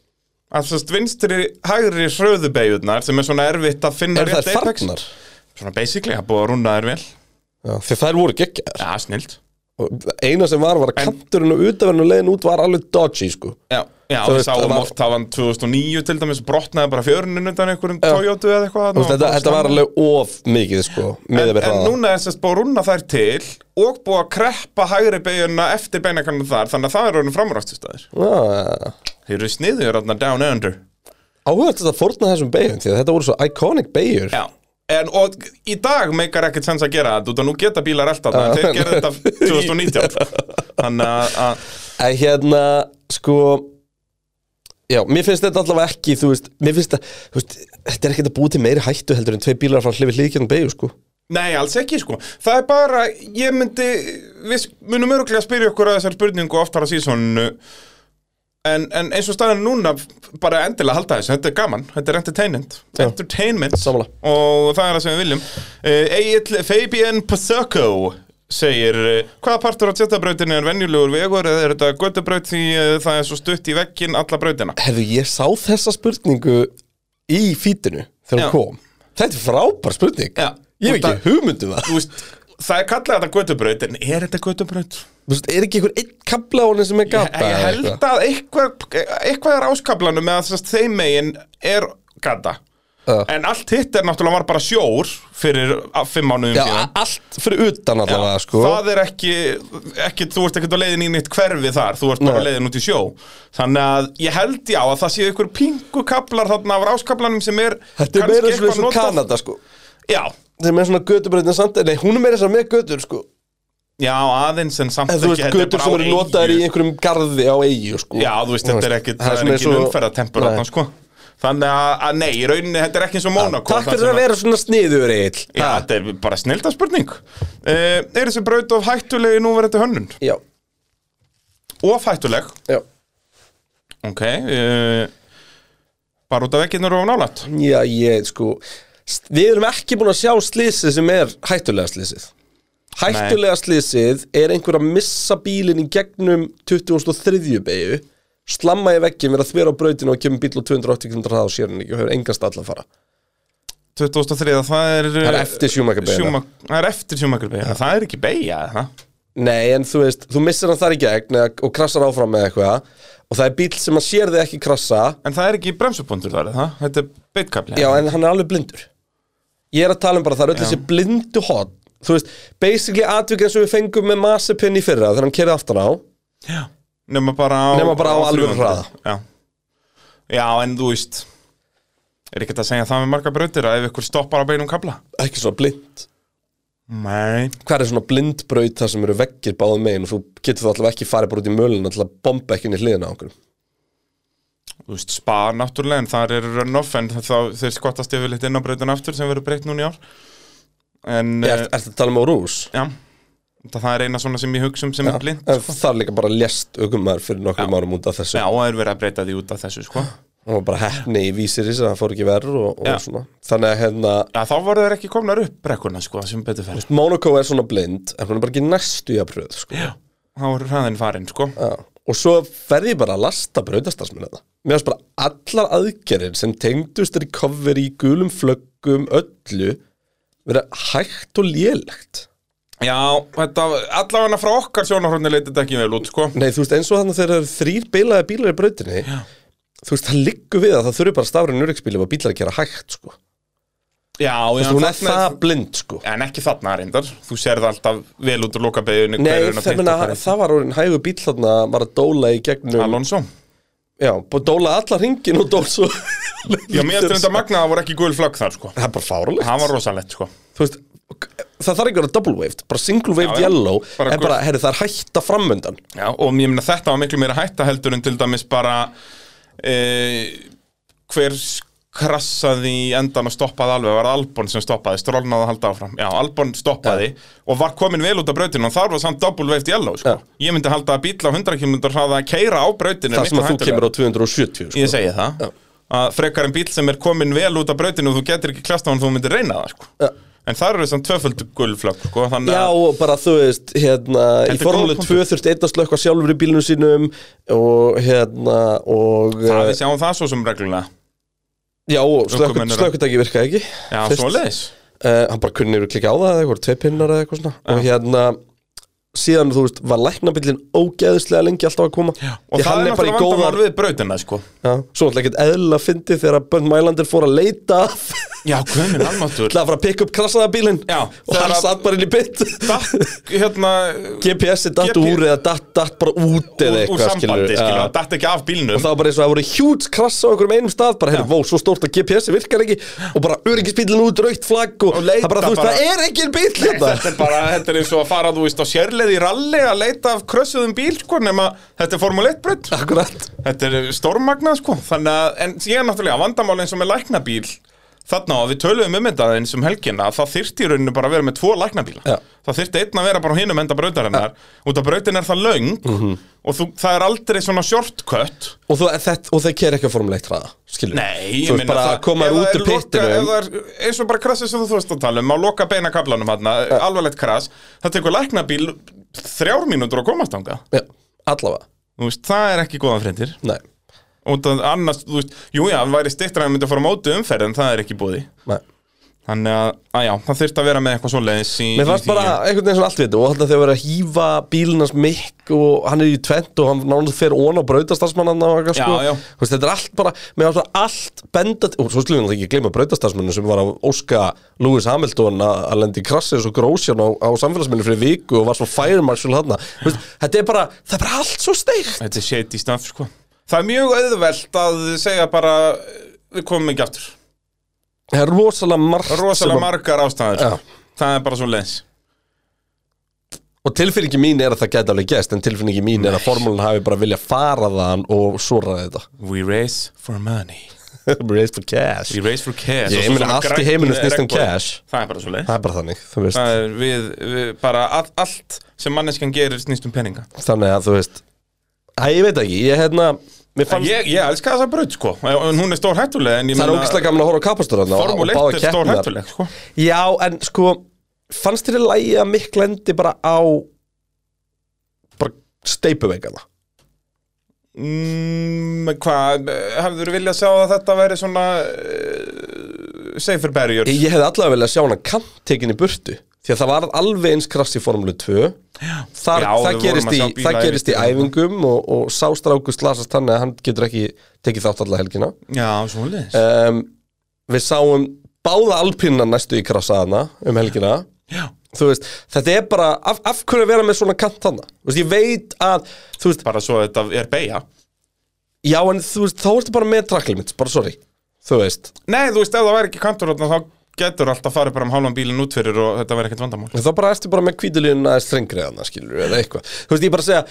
B: Að sérst vinstri, hægri, hröðu beigurnar sem er svona erfitt að finna
C: er það
B: rétt apex.
C: farnar
B: Svona basically, það er búið að rúna þér vel
C: Já, því þær voru geggjaðar
B: Já, snilt
C: og það eina sem var var að
B: En-
C: kanturinn og utaverinn og leiðin út var alveg dodgy sko
B: Já, já
C: Þú
B: við
C: veist, það
B: sáum
C: var-
B: oft það var 2009 til dæmis brotnaði bara fjöruninn undan einhverjum
C: Já.
B: Toyota eða eitthvað þarna
C: Þú veist,
B: og
C: þetta,
B: bara
C: þetta var
B: snemma.
C: alveg of mikið sko
B: En,
C: miðað
B: en
C: við hraða.
B: núna er sérst búið að rúna þær til og búið að kreppa hægri beiguna eftir beinakanum þar þannig að það er orðin framræstustæðir
C: Já,
B: Þeir eru sniður þarna down under
C: áhugast að forna þessum beigjum því að þetta voru svo iconic beigjur
B: Já En og í dag meikar ekkert sens að gera þetta út að nú geta bílar alltaf
C: Já.
B: þetta Þeir gerðu þetta 2019 sko. Þannig að- að
C: En hérna, sko Já, mér finnst þetta allavega ekki, þú veist Mér finnst það, þú veist, þetta er ekkert að búi til meiri hættu heldur en tvei bílar frá hlifi hlíkjarn beigju, sko
B: Nei, alls ekki sko Það er bara, ég myndi Við munum öruglega að spyrja okkur að þessar spurningu oftar að síðan En, en eins og staðan er núna bara endilega halda þessu, þetta er gaman, þetta er entertainment entertainment
C: Sammála.
B: Eh, og það er það sem við viljum uh, Egil Fabian Pasoko segir eh, Hvaða partur á tjettabrautinu er venjulegur vegur eða er þetta göttubraut því eh, það er svo stutt í veggin alla brautina?
C: Herðu, ég sá þessa spurningu í fítinu þegar
B: Já.
C: hún kom. Þetta er frábær spurning.
B: Já.
C: Ég hef
B: Og
C: ekki hugmynd um það.
B: Þú veist, það er kallað þetta göttubraut en er þetta göttubraut?
C: Þú veist, er ekki einhver einn kabla á henni sem er
B: Ég,
C: gata?
B: ég held að eitthvað, eitthvað er áskablanum eða þess að þeim megin er gata
C: Já.
B: En allt hitt er náttúrulega var bara sjór fyrir ah, fimm mánuðum
C: Já,
B: síðan
C: allt fyrir utan allavega, sko.
B: Það er ekki, ekki, þú ert ekkert á leiðin í nýtt hverfi þar, þú ert bara
C: Nei.
B: á leiðin út í sjó Þannig að ég held já að það séu ykkur pingu kaplar þarna af ráskaplanum sem er
C: Þetta er
B: kannski
C: meira svona
B: eitthvað
C: eins og
B: notað-
C: Kanada, sko.
B: Já,
C: Þetta er meira svona götubreytin samt, nei, hún er meira svona með götur, sko.
B: já aðeins en samt
C: En þú veist,
B: þetta er
C: götur
B: bara
C: sem
B: á
C: eru
B: eyju. sko.
C: notaðir í einhverjum garði á eigu, sko.
B: Já, þú veist, þetta er ekki,
C: Það
B: það
C: er
B: er ekki
C: svona eins og-
B: umferðatempur
C: Nei.
B: þarna sko Þannig að, að nei, í rauninni, þetta er ekki eins og Mónakó
C: Takk fyrir að vera svona sniður, Egil.
B: Já, þetta er bara snilda spurning uh, Er þessi braut of hættulegi núverandi hönnun?
C: Já,
B: Of hættuleg,
C: já.
B: ok uh, Bara út af vekkinu og nálætt
C: Já, ég, sko st- Við erum ekki búin að sjá slísið sem er hættulega slísið Hættulega slísið er einhver að missa bílinn í gegnum 2003 beigju Slamma í veggin, vera þver á brautinu og kemur bíl á 280 km hraða á sérunni og hefur engast alla að fara
B: 2003, það er eh,
C: Það er eftir Schumacher beygju.
B: Schumacher- Það er eftir Schumacher beigja, það er ekki beigja það
C: Nei, en þú veist, þú missir hann þar í gegn eða, og krassar áfram með eitthvað og það er bíl sem að sér þig ekki krassa
B: En það er ekki bremsupundur þar, er það? Þetta er beitkafli
C: Já, en hann er alveg blindur Ég er að tala um bara það er öll þessi blindu hot Þú veist, basically atvik eins og við fengum með Masipin í fyrra þegar hann kerði aftan á
B: Já. Nefna bara á
C: Nema bara á alvöru
B: 300.
C: hraða.
B: Já. Já, en þú veist Er ekkert að segja það með marga brautir að ef ykkur stoppar á beinum kabla
C: ekki svona blind
B: Nei
C: Hvað er svona blindbraut þar sem eru veggir báðum megin og þú getur þá allavega ekki farið bara út í mölun til að bomba ekki inn í hliðina á okkur
B: Þú veist, spa náttúrulega en þar er runoff en þá, þeir skottast yfir litt inn á brautin aftur sem verður breytt núna í ár En eh,
C: Er þetta að tala um á rús?
B: Já Það það er eina svona sem ég hugsa um sem er blind
C: En það er líka bara lest aukumar fyrir nokkrum árum út af þessu
B: Já, það er verið að breyta því út af þessu sko
C: og var bara hefni í vísiris að það fór ekki verður og,
B: Já.
C: og svona Þannig að hérna
B: Já, þá voru þeir ekki komnar upp brekkuna sko sem betur fer
C: Monaco er svona blind en hún er bara ekki næstu í að pröð sko. Já.
B: Þá voru hraðin farin sko
C: Og svo ferði ég bara að lasta brautastarsminu það Mér finnst bara allar aðgerðir sem tengdust er í cover í gulum flöggum öllu vera hægt og lélegt
B: Já, þetta, allavega frá okkar sjónarhorni leit þetta ekki vel út sko
C: Nei, þú veist, eins og þannig þegar það eru þrýr bilaði bílar í brautinni Þú veist, það liggur við að það þurfi bara stafrið nörgsbílum og bílar að gera hægt, sko
B: Já, já,
C: Þú veist, hún er
B: þarna
C: það blind, sko
B: En ekki þarna reyndar, þú serð alltaf vel út úr lokabeginni
C: Nei, það, menna, það var orðin hægur bíl þarna var að dóla í gegnum
B: Alonso
C: Já, bara dóla allar hringin og dól svo
B: Já, mér finnst þetta magna að það voru ekki gul flögg þar sko
C: Það er bara fárulegt
B: Það var rosalegt sko
C: Þú veist, það þarf ekki að vera double waved Bara single waved
B: Já, já.
C: yellow
B: Bara
C: En bara, herri, það er hætta framöndan
B: Já, og ég meina þetta var miklu meira hætta heldur en til dæmis bara e, hver krassaði í endan og stoppaði alveg var Albon sem stoppaði, strólnaði að halda áfram Já, Albon stoppaði og var komin vel út af brautinu og þar var samt double waved yellow sko.
C: Já.
B: Ég myndi halda að bíla á 100 km hraða að keira á brautinu er
C: Það sem
B: miklu
C: að þú
B: hættulegra.
C: kemur á 270, sko
B: Ég segi það að frekar en bíl sem er komin vel út af brautinu og þú getur ekki klast á hann þú myndir reyna það sko.
C: Já.
B: En þar eru samt tvöföld gulflögg sko, þannig
C: Já,
B: að
C: og bara þú veist, hérna, í
B: Heldur
C: formule
B: góð
C: 2 þurfti einn að slökka sjálfur í bílunum sínum og hérna, og
B: það
C: eh,
B: við sjáum það svo sem reglulega
C: já, og slökk,
B: ökumennina.
C: slökkutæki virkaði ekki
B: Já,
C: Fyrst.
B: svoleiðis
C: Eh, Hann bara kunni yfir klikka á það eða eitthvað, tvei pinnar eða eitthvað svona Og hérna, síðan, þú veist, var læknabillin ógeðslega lengi alltaf að koma Já,
B: Og það er náttúrulega vandamál við brautina sko.
C: Já, svo alltaf ekkert eðla fyndi þegar að Bönn Mælandir fór að leita
B: Já, guðminn almáttur
C: Það var að pikka upp krassaða bílinn
B: Já,
C: Og
B: þegar
C: hann
B: að-
C: satt bara inn í bytt
B: Datt, hérna
C: GPS-i datt
B: GP-
C: úr eða datt, datt bara út
B: úr,
C: eða
B: úr
C: eitthvað
B: sambandi,
C: skilurðu.
B: skilur
C: Já.
B: Það datt ekki af bílnum
C: og það var bara eins og það voru hjúts krass á einhverjum einum stað bara, heyrðu, vó, svo stórt að GPS virkar ekki og bara öryggisbílinn út, raukt flagg og,
B: Og leita
C: það bara, þú veist,
B: bara-
C: það er ekki bíl hérna
B: Þetta er bara, þetta er eins og að fara, þú veist, á sérleið í ralli að leita af krössuðum bíl, sko, nema þetta er Formule 1 breytt
C: Akkurat,
B: Þetta er stórmagnað, sko, þannig að, en ég er náttúrulega vandamál eins og með læknabíl þarna og við töluðum um þetta eins um helgina að það þyrfti í rauninu bara að vera með tvo læknabíla
C: Já.
B: það þyrfti einn að vera bara á hinum enda brautarinnar út af brautin er það löng
C: Mhm.
B: og þú, það er aldrei svona shortcut
C: Og, þú, þetta, og þeir kera ekki að formulegt hraða, skilur
B: Nei, ég
C: Þú veist
B: meina
C: bara að koma
B: ef
C: þér
B: er
C: út úr
B: loka- ef
C: pittinu
B: það er- Eins og bara krassið sem þú þurft að tala um að loka beina kablanum hann, alvarlegt krass það tekur læknabíl þrjár mínútur að komast þangað
C: Já, allavega,
B: Þú veist, það er ekki góðan fréttir
C: nei,
B: og það annars, þú veist, jú já, hann væri stittra að myndi að fara á móti umferð en það er ekki búði
C: nei
B: þannig að, að já, það þurft að vera með eitthvað svoleiðis í,
C: Mér
B: í
C: fannst
B: því.
C: bara einhvern veginn svona allt við þetta og alltaf þegar verið að hífa bílinas mikk og hann er í tvent og hann nánast fer ón á brautastarsmannan og eitthvað
B: Já,
C: sko
B: já.
C: Þú veist, Þetta er allt bara, mér fannst bara allt benda og svo slúðum við náttúrulega ekki gleyma brautastarsmannu sem var að óska Lewis Hamilton að að lenda í krassi eins og grósjan á, á samfélagsminni fyrir viku og var svo fire marshal hann Þetta er bara, það er bara allt svo steikt
B: Þetta er shady stuff, sko Það er mjög auðvelt að segja bara við komum ekki aftur
C: Það er rosalega margt sem
B: Rosalega
C: að-
B: margar ástæður sko.
C: Já.
B: Það er bara svoleiðis
C: Og tilfinningi mín er að það gæti alveg gæst en tilfinningi mín er að formúlan hafi bara vilja fara þaðan og svo ræða
B: We race for money
C: þetta Race for cash
B: We race for cash
C: Ég
B: Og svo
C: meina,
B: svona
C: allt í
B: grænn
C: heiminum snýst um
B: regnboginn.
C: cash.
B: Það er bara svoleiðis
C: Það er bara þannig, þú veist
B: Það er við, við bara all, allt sem manneskan gerir snýst um peninga
C: Þannig að þú veist Æ, ég veit ekki, ég hérna Mér fannst
B: Ég, ég elska þessa braut, sko En Hún er stór hættuleg en ég
C: Það er
B: meina-
C: ógislega gaman að horfa á kapastur hérna og- og
B: Formule
C: báða
B: 1 er stór
C: keppnirnar.
B: hættuleg, sko
C: Já, en sko Fannst þér í lagi að mikk lendi bara á Bara steipuveikana
B: Mm, hvað, hafður viljað sjá að þetta væri svona uh, safer barrier
C: Ég hefði allavega viljað sjá hana kant tekin í burtu Því að það var alveg eins krass í Formule 2 Þar,
B: Já,
C: það,
B: við vorum
C: gerist
B: að
C: í,
B: sjá bíla
C: það gerist í
B: yfir-
C: æfingum og, og sástráku slasast þannig að hann getur ekki tekið þátt alla helgina
B: Já, svoleiðis
C: um, Við sáum báða alpinna næstu í krassaðana um helgina
B: Já.
C: Þú veist, þetta er bara af, af hverju að vera með svona kant þarna Þú veist, ég veit að Þú veist,
B: Bara svo þetta er beigja
C: já en þú veist, þá ertu bara með tracklimits Bara sorry, þú veist
B: Nei, þú veist, ef það væri ekki kantur þarna, þá getur alltaf farið bara um hálfan bílinn út fyrir og þetta væri ekkert vandamál
C: Þá bara ertu bara með kvítulíðuna strengri þarna, skilur eða eitthvað Þú veist, ég bara að segja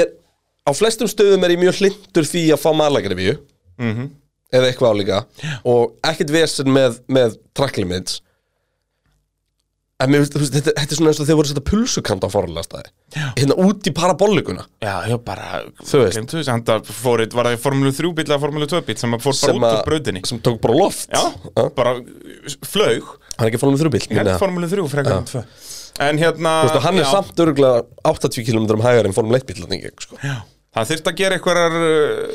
C: ég, Á flestum stöðum er ég mjög hlindur því að fá malagrefju
B: Mhm.
C: Eða eitthvað álíka yeah. Og ekkert vesinn með, með tracklimits En mér veist, þú veist, þetta, þetta er svona eins og þeir voru að setja pulsukant á forlega staði
B: Já.
C: Hérna út í parabollikuna
B: Já, já, bara
C: Þú veist.
B: Gleymdu þessu, handa fórið, var það formule 3 bíl eða formule 2 bíl sem að fór bara
C: Sem
B: út úr
C: að-
B: brautinni
C: Sem tók bara loft
B: Já,
C: Ha?
B: bara eh, flaug
C: Hann er ekki fórnum þrjúbíl
B: Held
C: Þú
B: formule 3 frekar en 2 En hérna
C: veist, og hann er
B: já.
C: samt örgulega 80 km hægar en fórnum leittbíl Þannig ekki, sko
B: Já. Það þurft að gera einhverjar uh,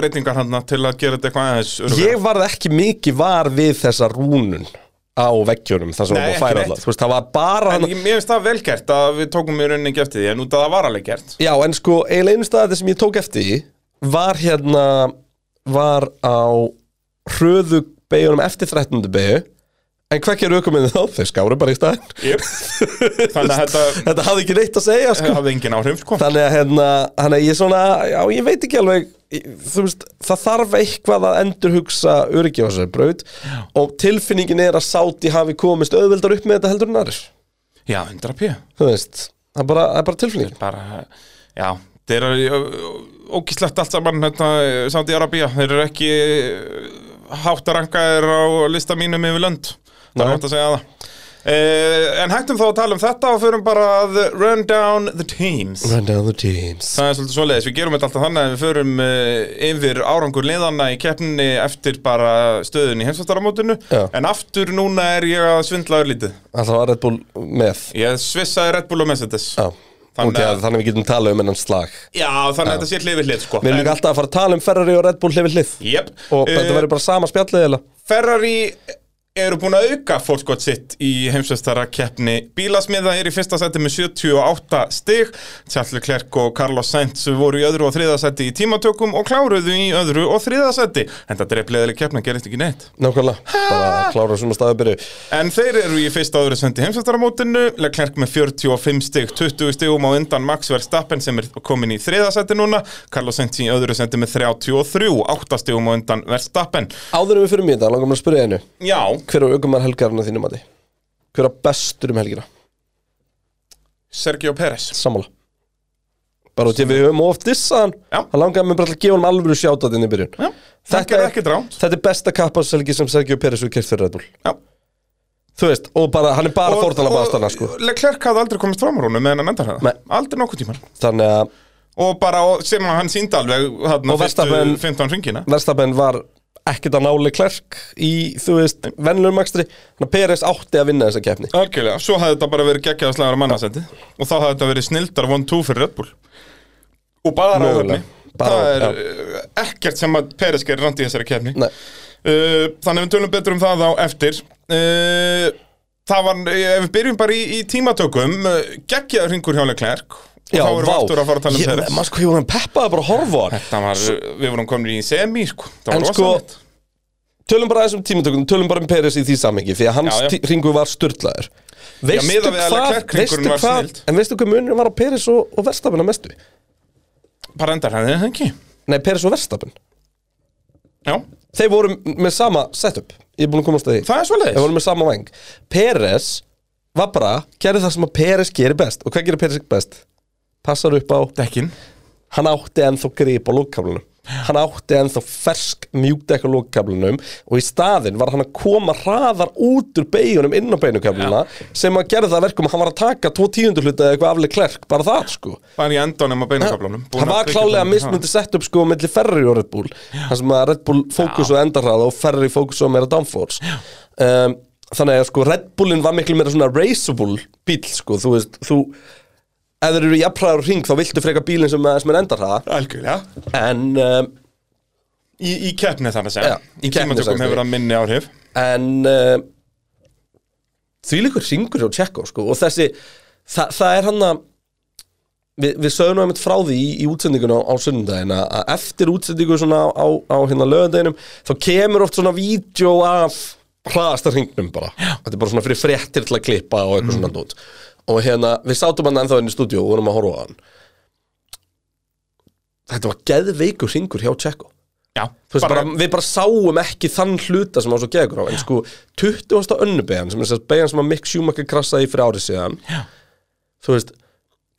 B: breytingar hann til að gera þetta eitthvað aðeins öruggara.
C: Ég varð ekki mikið var við þessa rúnun á veggjunum þar sem
B: Nei,
C: var búið að
B: ekki
C: færa
B: neitt.
C: alltaf Þú veist, það var bara
B: En
C: hann
B: ég, mér finnst það vel gert að við tókum í rauninni ekki eftir því en út að það var alveg gert
C: Já, en sko, eiginlega einu staðið sem ég tók eftir í var hérna var á hröðu beigunum eftir 13. beigu en hvað gerðu aukum með þá? Þeir skáru bara í staðin
B: yep. Þannig að þetta
C: Þetta hafði ekki neitt að segja, sko
B: hafði engin áhrif sko.
C: Þannig að hérna, hann er ég svona já, ég veit ekki alveg ég- þú veist, það þarf eitthvað að endurhugsa öryggi á þessari braut og tilfinningin er að sáti hafi komist auðveldar upp með þetta heldur en aðrir
B: Já, 100 p
C: þú veist, það er bara, það er bara tilfinning
B: bara, Já, þeir eru ógíslegt allt saman hérna, Saudi Arabia, þeir eru ekki hátt að ranka þeir á lista mínum yfir lönd Það er
C: Nei.
B: hægt að segja það Uh, en hættum þá að tala um þetta og förum bara að run down the teams
C: Run down the teams
B: Það er svolítið svoleiðis, við gerum þetta alltaf þannig að við förum uh, yfir árangur liðanna í keppninni eftir bara stöðun í heimsvastaramótinu
C: Já.
B: En aftur núna er ég að svindla örlítið
C: Alltaf var Red Bull með
B: Ég svissaði Red Bull og Mercedes
C: Já,
B: Þannig
C: þannig, okay,
B: að-
C: að, þannig að við getum talað um ennan slag
B: Já, þannig að þetta sé hlið við hlið sko
C: Við erum líka alltaf að fara að tala um Ferrari og Red Bull hlifið hlið
B: Jep, Eh,
C: Og þetta verður bara sama spjallið eða
B: Ferrari eru búin að auka fórskot sitt í heimsveistara keppni bílasmiða er í fyrsta seti með 78 stig Charles Leclerc og Carlos Sainz voru í öðru og þriða seti í tímatökum og kláruðu í öðru og þriða seti en þetta er bleðileg keppna, gerist ekki neitt
C: Nákvæmlega, bara að klára svona staðið byrju
B: En þeir eru í fyrsta og öðru sendi heimsvæstaramótinu, Leclerc með 45 stig, 20 stigum á undan Max Verstappen sem er komin í þriðasetti núna, Carlos Sainz í öðru sendi með 33, 8 stigum á undan Verstappen.
C: Áður en við fyrir mér þetta, langar mér að spyrja einu
B: Já,
C: Hver er aukumar helgarinn að þínum mati? Hver er bestur um helgina?
B: Sergio Pérez.
C: Sammála bara út í að við höfum oft dissaðan
B: Já.
C: hann langaði mig bara til að gefa hann alveg sjátat inn í byrjun
B: Já, það gerði ekkert rámt.
C: þetta er besta kappaselgi sem Sergio Pérez hefur kert fyrir Red Bull
B: Já.
C: þú veist, og bara, hann er bara
B: Og-
C: fórtala
B: og-
C: bastanna sko
B: Leclerc hafði aldrei komist fram úr honum með hennan endar
C: Nei.
B: það Aldrei nokkuð tíman
C: þannig að
B: Og bara og sem að hann síndi alveg hann,
C: Og Verstappen-
B: 15 ringina
C: Verstapen var ekkert að náli klerk í, þú veist, vennlum makstri þannig að Pérez átti að vinna þessa keppni
B: Algjörlega, svo hafði þetta bara verið geggjaða slagur að mannasendi Og þá hafði þetta verið snildar 1-2 fyrir Red Bull Og bara
C: Mögulega.
B: ráðurni
C: Bara-
B: Það er uh, ekkert sem að Peres gerir randi í þessari kefni
C: Nei,
B: uh, Þannig við tölum betur um það á eftir uh, Það var, ef við byrjum bara í, í tímatökum uh, Geggjaður hringur hjá Leclerc Og
C: já,
B: þá erum
C: vá
B: við aftur að fara að tala um
C: Ég-
B: Peres
C: maður sko, ég var hann peppaði bara að horfa á hann
B: Þetta var, við vorum komin í semi, sko Það
C: En
B: var
C: sko,
B: rosalegt
C: Tölum bara aðeins um tímatökum, tölum bara um Peres í því samengi Því að hans
B: Já, já.
C: já, ringu var sturlaður
B: miðað við að Leclerc hringurinn var snilld.
C: En veistu hvað munurinn var á Peres og, og verstafin að mestu?
B: Bara endar hann, eða ekki?
C: Nei, Peres og verstafin
B: Já,
C: Þeir voru m- með sama setup Ég er búin að komast að því
B: það er
C: Þeir
B: svoleiðis
C: voru með sama vang Peres var bara, gerði það sem að Peres gerir best Og hvað gerir Peres best? Passar upp á
B: Dekkin
C: hann átti ennþá grip á lókkablanum hann átti ennþá fersk mjúkdekk á lókkablanum og í staðinn var hann að koma hraðar út úr beigunum inn á beinukablana sem að gerði það að verkum að hann var að taka tvo tíundurhluta eða eitthvað afleg klerk, bara það sko
B: Bara í endanum á beinakaflanum Búin
C: hann
B: að
C: var
B: tryggja
C: klálega
B: það.
C: mismundi sett upp sko millir Ferrari og Red Bull þar sem að Red Bull fókus á endarhraða og Ferrari fókus á meira downforce um, þannig að sko Red Bullin var miklu meira svona raceable bíl sko þú veist, þú ef þeir eru jafnræður hring þá viltu freka bílinn sem, sem er endarhraða
B: Algjörlega
C: En, um,
B: Í, í keppni þar að segja
C: Já, í
B: Í
C: keppni,
B: tímatökum
C: sagði
B: hefur
C: ég.
B: það minni áhrif
C: en um, því líkur syngur hjá Tjekko sko, og þessi, þa það er hann að við, við sögum einmitt frá því í, í útsendingun á, á sunnudaginn að að eftir útsendingu svona á, á, á hérna lögadeginum þá kemur oft svona vídeo af hraðasta hringnum bara þetta er bara svona fyrir fréttir til að klippa og eitthvað svona dót og hérna, við sátum hann ennþá inn í stúdíu og vorum að horfa á hann þetta var geðveikur hringur hjá Tjekko
B: Já,
C: Þú veist, bara, við bara sáum ekki þann hluta sem á svo gegur á, en sko 20. önnubegan sem er þess að began sem að Mick Schumacher krassaði í fyrir árið síðan Já. þú veist,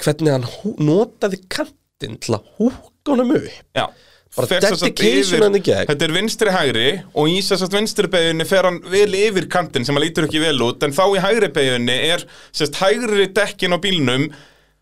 C: hvernig hann hú- notaði kantinn til að húka honum upp
B: Já
C: Bara
B: Fer sem sagt
C: dedication
B: yfir- hérna
C: hann í gegn.
B: Þetta er vinstri hægri og í þess að vinstri beginni fer hann vel yfir kantinn sem hann lítur ekki vel út en þá í hægri beginni er sérst hægri dekkin á bílnum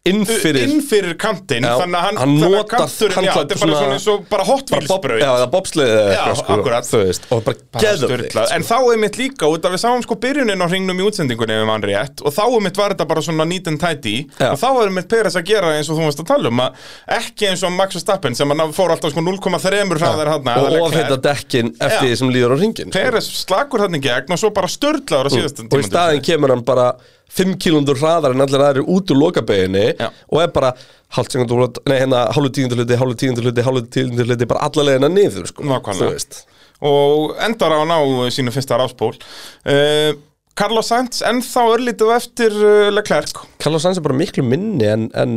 C: inn fyrir
B: inn fyrir kantinn
C: Já,
B: þannig að hann,
C: hann
B: þannig að
C: notar-
B: kanturinn-
C: hann
B: já,
C: tar
B: þetta er bara
C: svona-
B: svona eins og bara
C: bara bob,
B: hotbílsbraut
C: já, eða bobsleið eða
B: Já,
C: eitthvað sko,
B: akkurat.
C: þú veist, og bara
B: Bara
C: geður
B: sturlað. En þá er mitt líka út að við sáum sko byrjunin á hringnum í útsendingunni ef mann rétt og þá er mitt var þetta bara svona neat and tidy
C: Já.
B: og þá er mitt Peres að gera eins og þú varst að tala um að ekki eins og Max Verstappen sem hann fór alltaf sko 0,3 hraðar hann
C: og ofheita dekkin
B: Já.
C: eftir því sem líður á ringin
B: Peres slakur hann í gegn og svo bara störðlaður á síðasta
C: og í staðin kemur hann bara 5 kilóndur hraðar en allir aðrir út úr lokabeginni
B: Já.
C: og er bara hálf sekundur hlut, nei hérna hálfu tíundur hluti, hálfu tíundur hluti, hálfu tíundur hluti bara alla leiðina niður sko
B: Nákvæmlega.
C: Þú veist.
B: og endar á að ná eh, sínu fyrsta ráspól uh, Carlos Sainz ennþá örlítið á eftir uh, Leclerc
C: Carlos Sainz er bara miklu minni en, en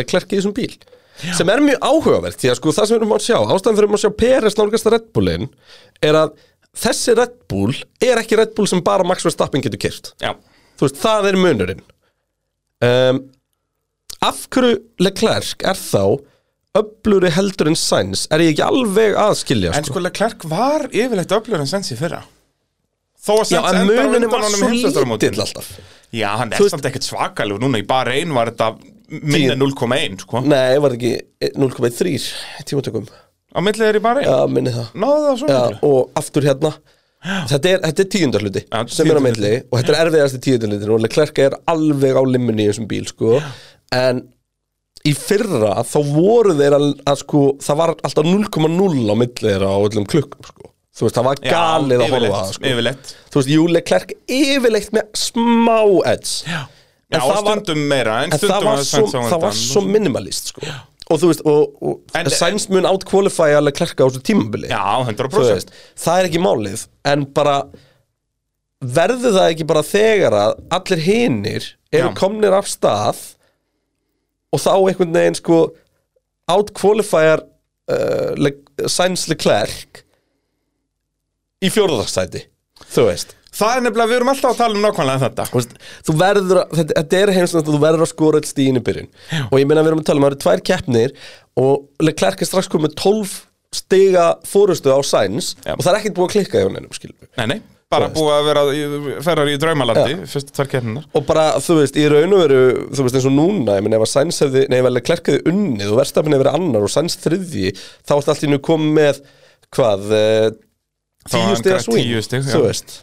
C: Leclerc í þessum bíl sem er mjög áhugavert því að sko það sem við erum að sjá ástæðan fyrir við erum að sjá Peres nálgasta Red Bullin er að þessi Red Bull er ekki Red Bull sem bara Max Verstappen getur kyrt
B: Já
C: þú veist, það er munurinn um, af hverju Leclerc er þá öblúri heldur en Sainz er ég ekki alveg að skilja
B: En
C: sko.
B: sko Leclerc var yfirleitt öflur en Sainz í fyrra Þó að
C: Já,
B: Sainz
C: en
B: endar á
C: munurinn
B: undan
C: var
B: honum í
C: svo
B: heimsmeistaramótinu.
C: lítill alltaf
B: Já, hann
C: Þú
B: er
C: veist-
B: samt ekkert svakalega núna í bara einn var þetta minni
C: Tíu.
B: 0,1 sko
C: Nei, var það ekki 0,3 í tímatökum
B: Á millið er í bara einn
C: Já, minni það
B: Náðu það svo
C: Já,
B: miklu
C: og aftur hérna Þetta er, þetta er tíundarhluti
B: Já,
C: sem er á
B: tíundarhluti.
C: milli og þetta er erfiðasti tíundarhlutin og Leclerc er alveg á limmunni í þessum bíl sko. en í fyrra þá voru þeir að, að sko, það var alltaf 0,0 á milli þeirra á öllum klukkum sko. þú veist, það var
B: Já,
C: galið að horfa á það
B: yfirleitt,
C: sko.
B: Yfirleitt
C: þú veist, jú, Leclerc yfirleitt með smá edds
B: Já,
C: En
B: og
C: það var-
B: stundum meira En
C: en það
B: stundum
C: var
B: hafði
C: svo,
B: Sainz á
C: það var
B: undan.
C: svo minimalist sko. og þú veist, og, og
B: En-
C: en, Sainz mun outqualifya Leclerc á þessu tímabili
B: Já,
C: þú
B: 100%
C: veist, það er ekki málið en bara verður það ekki bara þegar að allir hinir eru
B: Já.
C: komnir af stað og þá einhvern veginn sko outqualifier uh, Le Sainz Leclerc í fjórðarsæti þú veist
B: Það er nefnilega, við erum alltaf að tala um nákvæmlega þetta
C: Þú veist, Þú verður að, þetta, þetta er heimsnætt að þú verður að skora alls stíðin í byrjun Og ég meina við erum að tala um að það eru tvær keppnir Og Leclerc er strax komið með 12 stiga fórustu á Sainz
B: Já.
C: Og það er ekkert búið að klikka hjá hennum, skilur
B: Nei, nei, bara
C: Þú veist.
B: búið að vera í- ferrar í draumalandi Fyrstu tvær keppninar
C: Og bara, þú veist, í raun og veru, þú veist, eins og núna, ég meina, ef að Sainz hefði, nei, ef að Leclerc hefði unnið og verðstafin hefði verið annar og Sainz þriðji, þá ertu allt í nú komið með, hvað, eh,
B: Þá var
C: tíu
B: hann
C: stiga
B: grað-
C: swing,
B: tíu stig, já.
C: þú veist.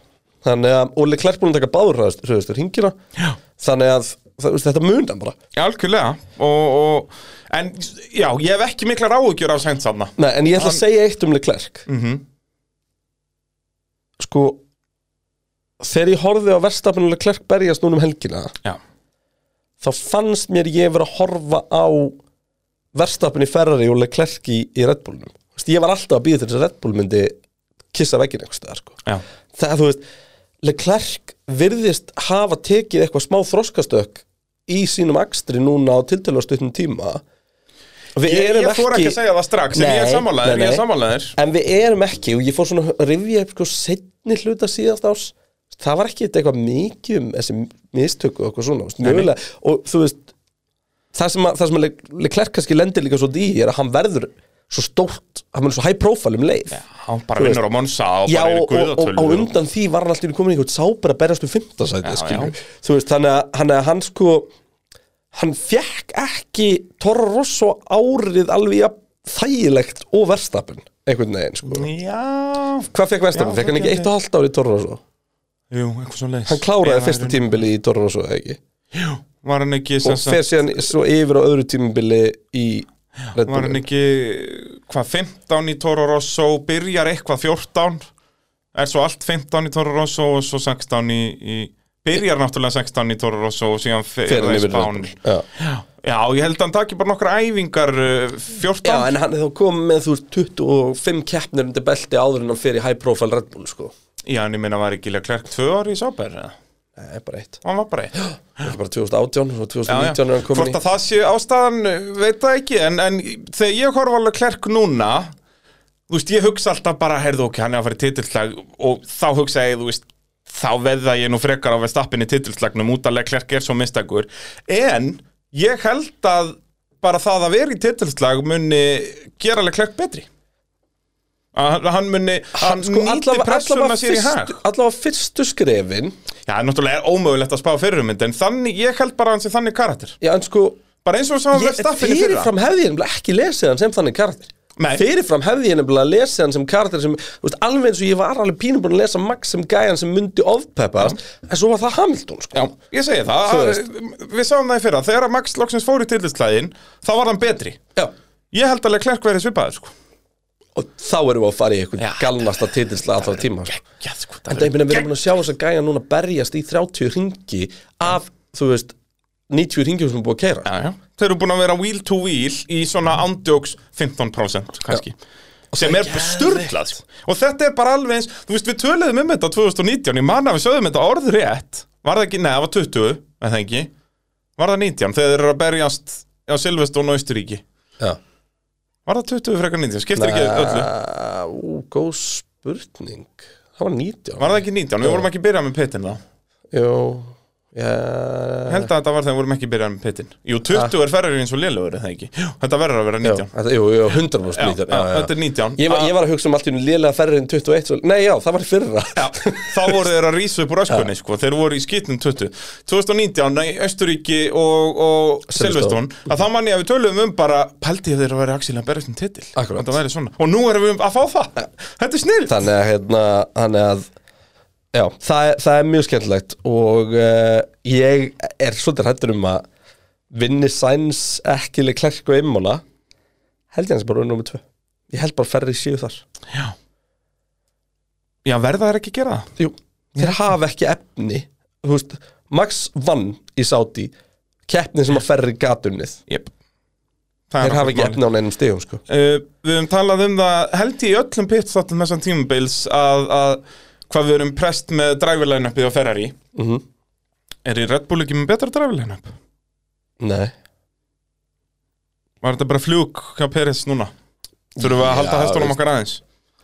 C: Þannig að, og Leclerc búin að taka báður, þú veist, hringina. Já. Þannig að, það, þú veist, þetta munan bara.
B: Algjörlega og, og, En já, ég hef ekki mikla ráðugjur af sænt sanna
C: Nei, en ég ætla að segja eitt um Leclerc.
B: Mhm.
C: Sko, þegar ég horfði á verðstafin og Leclerc berjast núna um helgina,
B: Já,
C: þá fannst mér ég vera að horfa á verstapin í Ferrari og Leclerc í, í Red Bullnum Þú veist, ég var alltaf að býða þess að Red Bull myndi kissa veggin einhvers staðar sko.
B: já,
C: það þú veist, Leclerc virðist hafa tekið eitthvað smá þroskastök í sínum akstri núna á tiltöluastutnum tíma Við
B: Ég,
C: erum
B: ég fór ekki að segja það strax En ég er
C: Nei,
B: sammálaðir,
C: nei,
B: ég er
C: nei.
B: sammálaðir
C: En við erum ekki, og ég fór svona að rifja upp sko setni hluta síðast ás það var ekki eitthvað mikið um þessi mistöku og eitthvað svona veist, mögulega, og þú veist það sem, að, það sem að Le- Leclerc kannski lendir líka svo dýr er að hann verður svo stórt hann verður svo high profile um leið Já,
B: Hann bara
C: Þú veist.
B: vinnur á Monsa og bara er
C: og, og, og,
B: guðatölu
C: á undan því var hann alltaf komin í einhvern sáber að berjast um
B: Já,
C: fimmtasæti skilur.
B: já.
C: þú veist, þannig að, þannig að hann sko hann fekk ekki Toro Rosso árið alveg jafn þægilegt og verstapin einhvern veginn sko
B: Já,
C: Hvað fekk Verstappen?
B: Já,
C: Fekk hann
B: það
C: ekki
B: gæti-
C: eitt og halvt ár í Toro Rosso?
B: jú, eitthvað svo leis
C: Hann kláraði fyrsta tímabili í Toro Rosso, eða ekki?
B: Var hann ekki, sem
C: Og
B: sagt-
C: fer síðan svo yfir á öðru tímabili í Red
B: var hann
C: Bull
B: ekki hvað 15 í Toro Rosso byrjar eitthvað 14 er svo allt 15 í Toro Rosso og svo 16 í, í byrjar náttúrulega 16 í Toro Rosso og síðan fer
C: Fer hann
B: það í
C: yfir í Red
B: Spán
C: Já.
B: Já, ég held að hann taki bara nokkra æfingar uh, 14
C: Já, en hann er þá komið með þú veist 25 keppnir undir belti áður en hann fer í high profile Red Bull sko
B: Já, en ég meina var ekki Leclerc 2 ári í Sáber hann
C: Nei, bara eitt
B: var bara eitt
C: Það er bara 2018 og
B: Já, já.
C: 2019 er hann komin
B: Hvort
C: í
B: að það sé ástæðan, uh, veit það ekki en, en þegar ég horfa alveg klerk núna þú veist, ég hugsa alltaf bara heyrðu ok, hann er að fara í titilslag og þá hugsa ég, þú veist, þá veða ég nú frekar á vestappin í titilslagnum út að klerk er svo mistakur en ég held að bara það að vera í titilslag muni gera alveg klerk betri að að hann muni að hann
C: Sko,
B: nýti
C: allavega-
B: pressuna
C: allavega
B: sér í hag
C: fyrstu- allavega fyrstu skrefin
B: Já, náttúrulega er ómögulegt að spá fyrirmynd en þannig, ég held bara að hann sé þannig karakter
C: Já, en sko
B: bara eins og sá
C: ég-
B: verðstappin í fyrra
C: Fyrirfram hefði ég nefnilega ekki lesið hann sem þannig karakter
B: Nei.
C: Fyrirfram hefði ég nefnilega lesið hann sem karakter sem, þú veist, alveg eins og ég var alveg pínum búin að lesa Max sem gæjan sem myndi ofpeppast En svo var það Hamilton, sko Já,
B: Ég segi það,
C: Þú
B: að, við sáum það í fyrra Þegar að Max Loksins fór í tillisklæðin Þá var hann betri Ég held alveg Klerk verið svipaður sko.
C: Og þá erum við að fara í eitthvað
B: Já.
C: galnasta titilsla alltaf tíma sko.
B: Já, sko,
C: En það er meina, við erum búin að sjá þess að gæja núna berjast í 30 ringi Af, þú veist, 90 ringi sem er búið að keira
B: já, já. Þau eru búin að vera wheel to wheel Í svona ándjóks 15% kannski sem er sturglað sko. og þetta er bara alveg eins, þú veist við töluðum um þetta 2019, ég manna við sögðum þetta orðrétt var það ekki, neða það var 20 en það ekki, var það 19 þegar þeir eru að berjast á Silveston og Austuríki
C: Já
B: var það 20 frekar 19, skiptir ekki öllu
C: Uh, Ú, góð spurning Það var 19
B: var það ekki 19, við vorum ekki byrjað með pittin þá
C: Jó, já
B: held að þetta var þegar við vorum ekki byrjað með pittin Jú, 20 er ferrari eins og lélugur, er það ekki? Jú, Þetta verður að vera
C: Ah. Já,
B: 19
C: þetta- Jú, jú, 100%
B: Já,
C: 19
B: já, þetta er 19.
C: Ég var, ég var að hugsa um allt í unni lélega færri en 21 svo, Nei, já, það var í fyrra
B: Já, þá voru þeir að rísa upp úr öskunni sko. þeir voru í skýtnum 20 2019, í Östuríki og, og Silveston,
C: Silverstone.
B: að þá manni að við töluðum um bara pældi ef þeir eru að vera axil að berjast um titil
C: Akkurat.
B: Þetta væri svona. og nú erum við um að fá það þetta er snill
C: Þannig að, hérna, þannig að Já, það, er- það er mjög skemmtilegt Og uh, ég er svolítið hættur um að Vinni Sainz ekki leik klerk og einmála Held ég hans bara unnum með tvö Ég held bara færri séu þar
B: Já, Já verða þeir ekki að gera það
C: Jú, þeir hafa ekki efni Þú veist, Max vann í Saudi Keppni sem að færri gatunnið
B: yep. það er
C: Þeir hafa
B: nokkuð mál.
C: ekki efni á neinum stigum, sko
B: Uh, við höfum talað um það held ég í öllum pitstáttum þessan tímabils að, að hvað við erum prest með dræfilænappið á Ferrari
C: Mhm.
B: er í Red Bull ekki með betra dræfilænapp?
C: Nei
B: Var þetta bara flug hjá Peres núna? Þurfum við að halda
C: Já,
B: hestunum
C: veist.
B: okkar aðeins?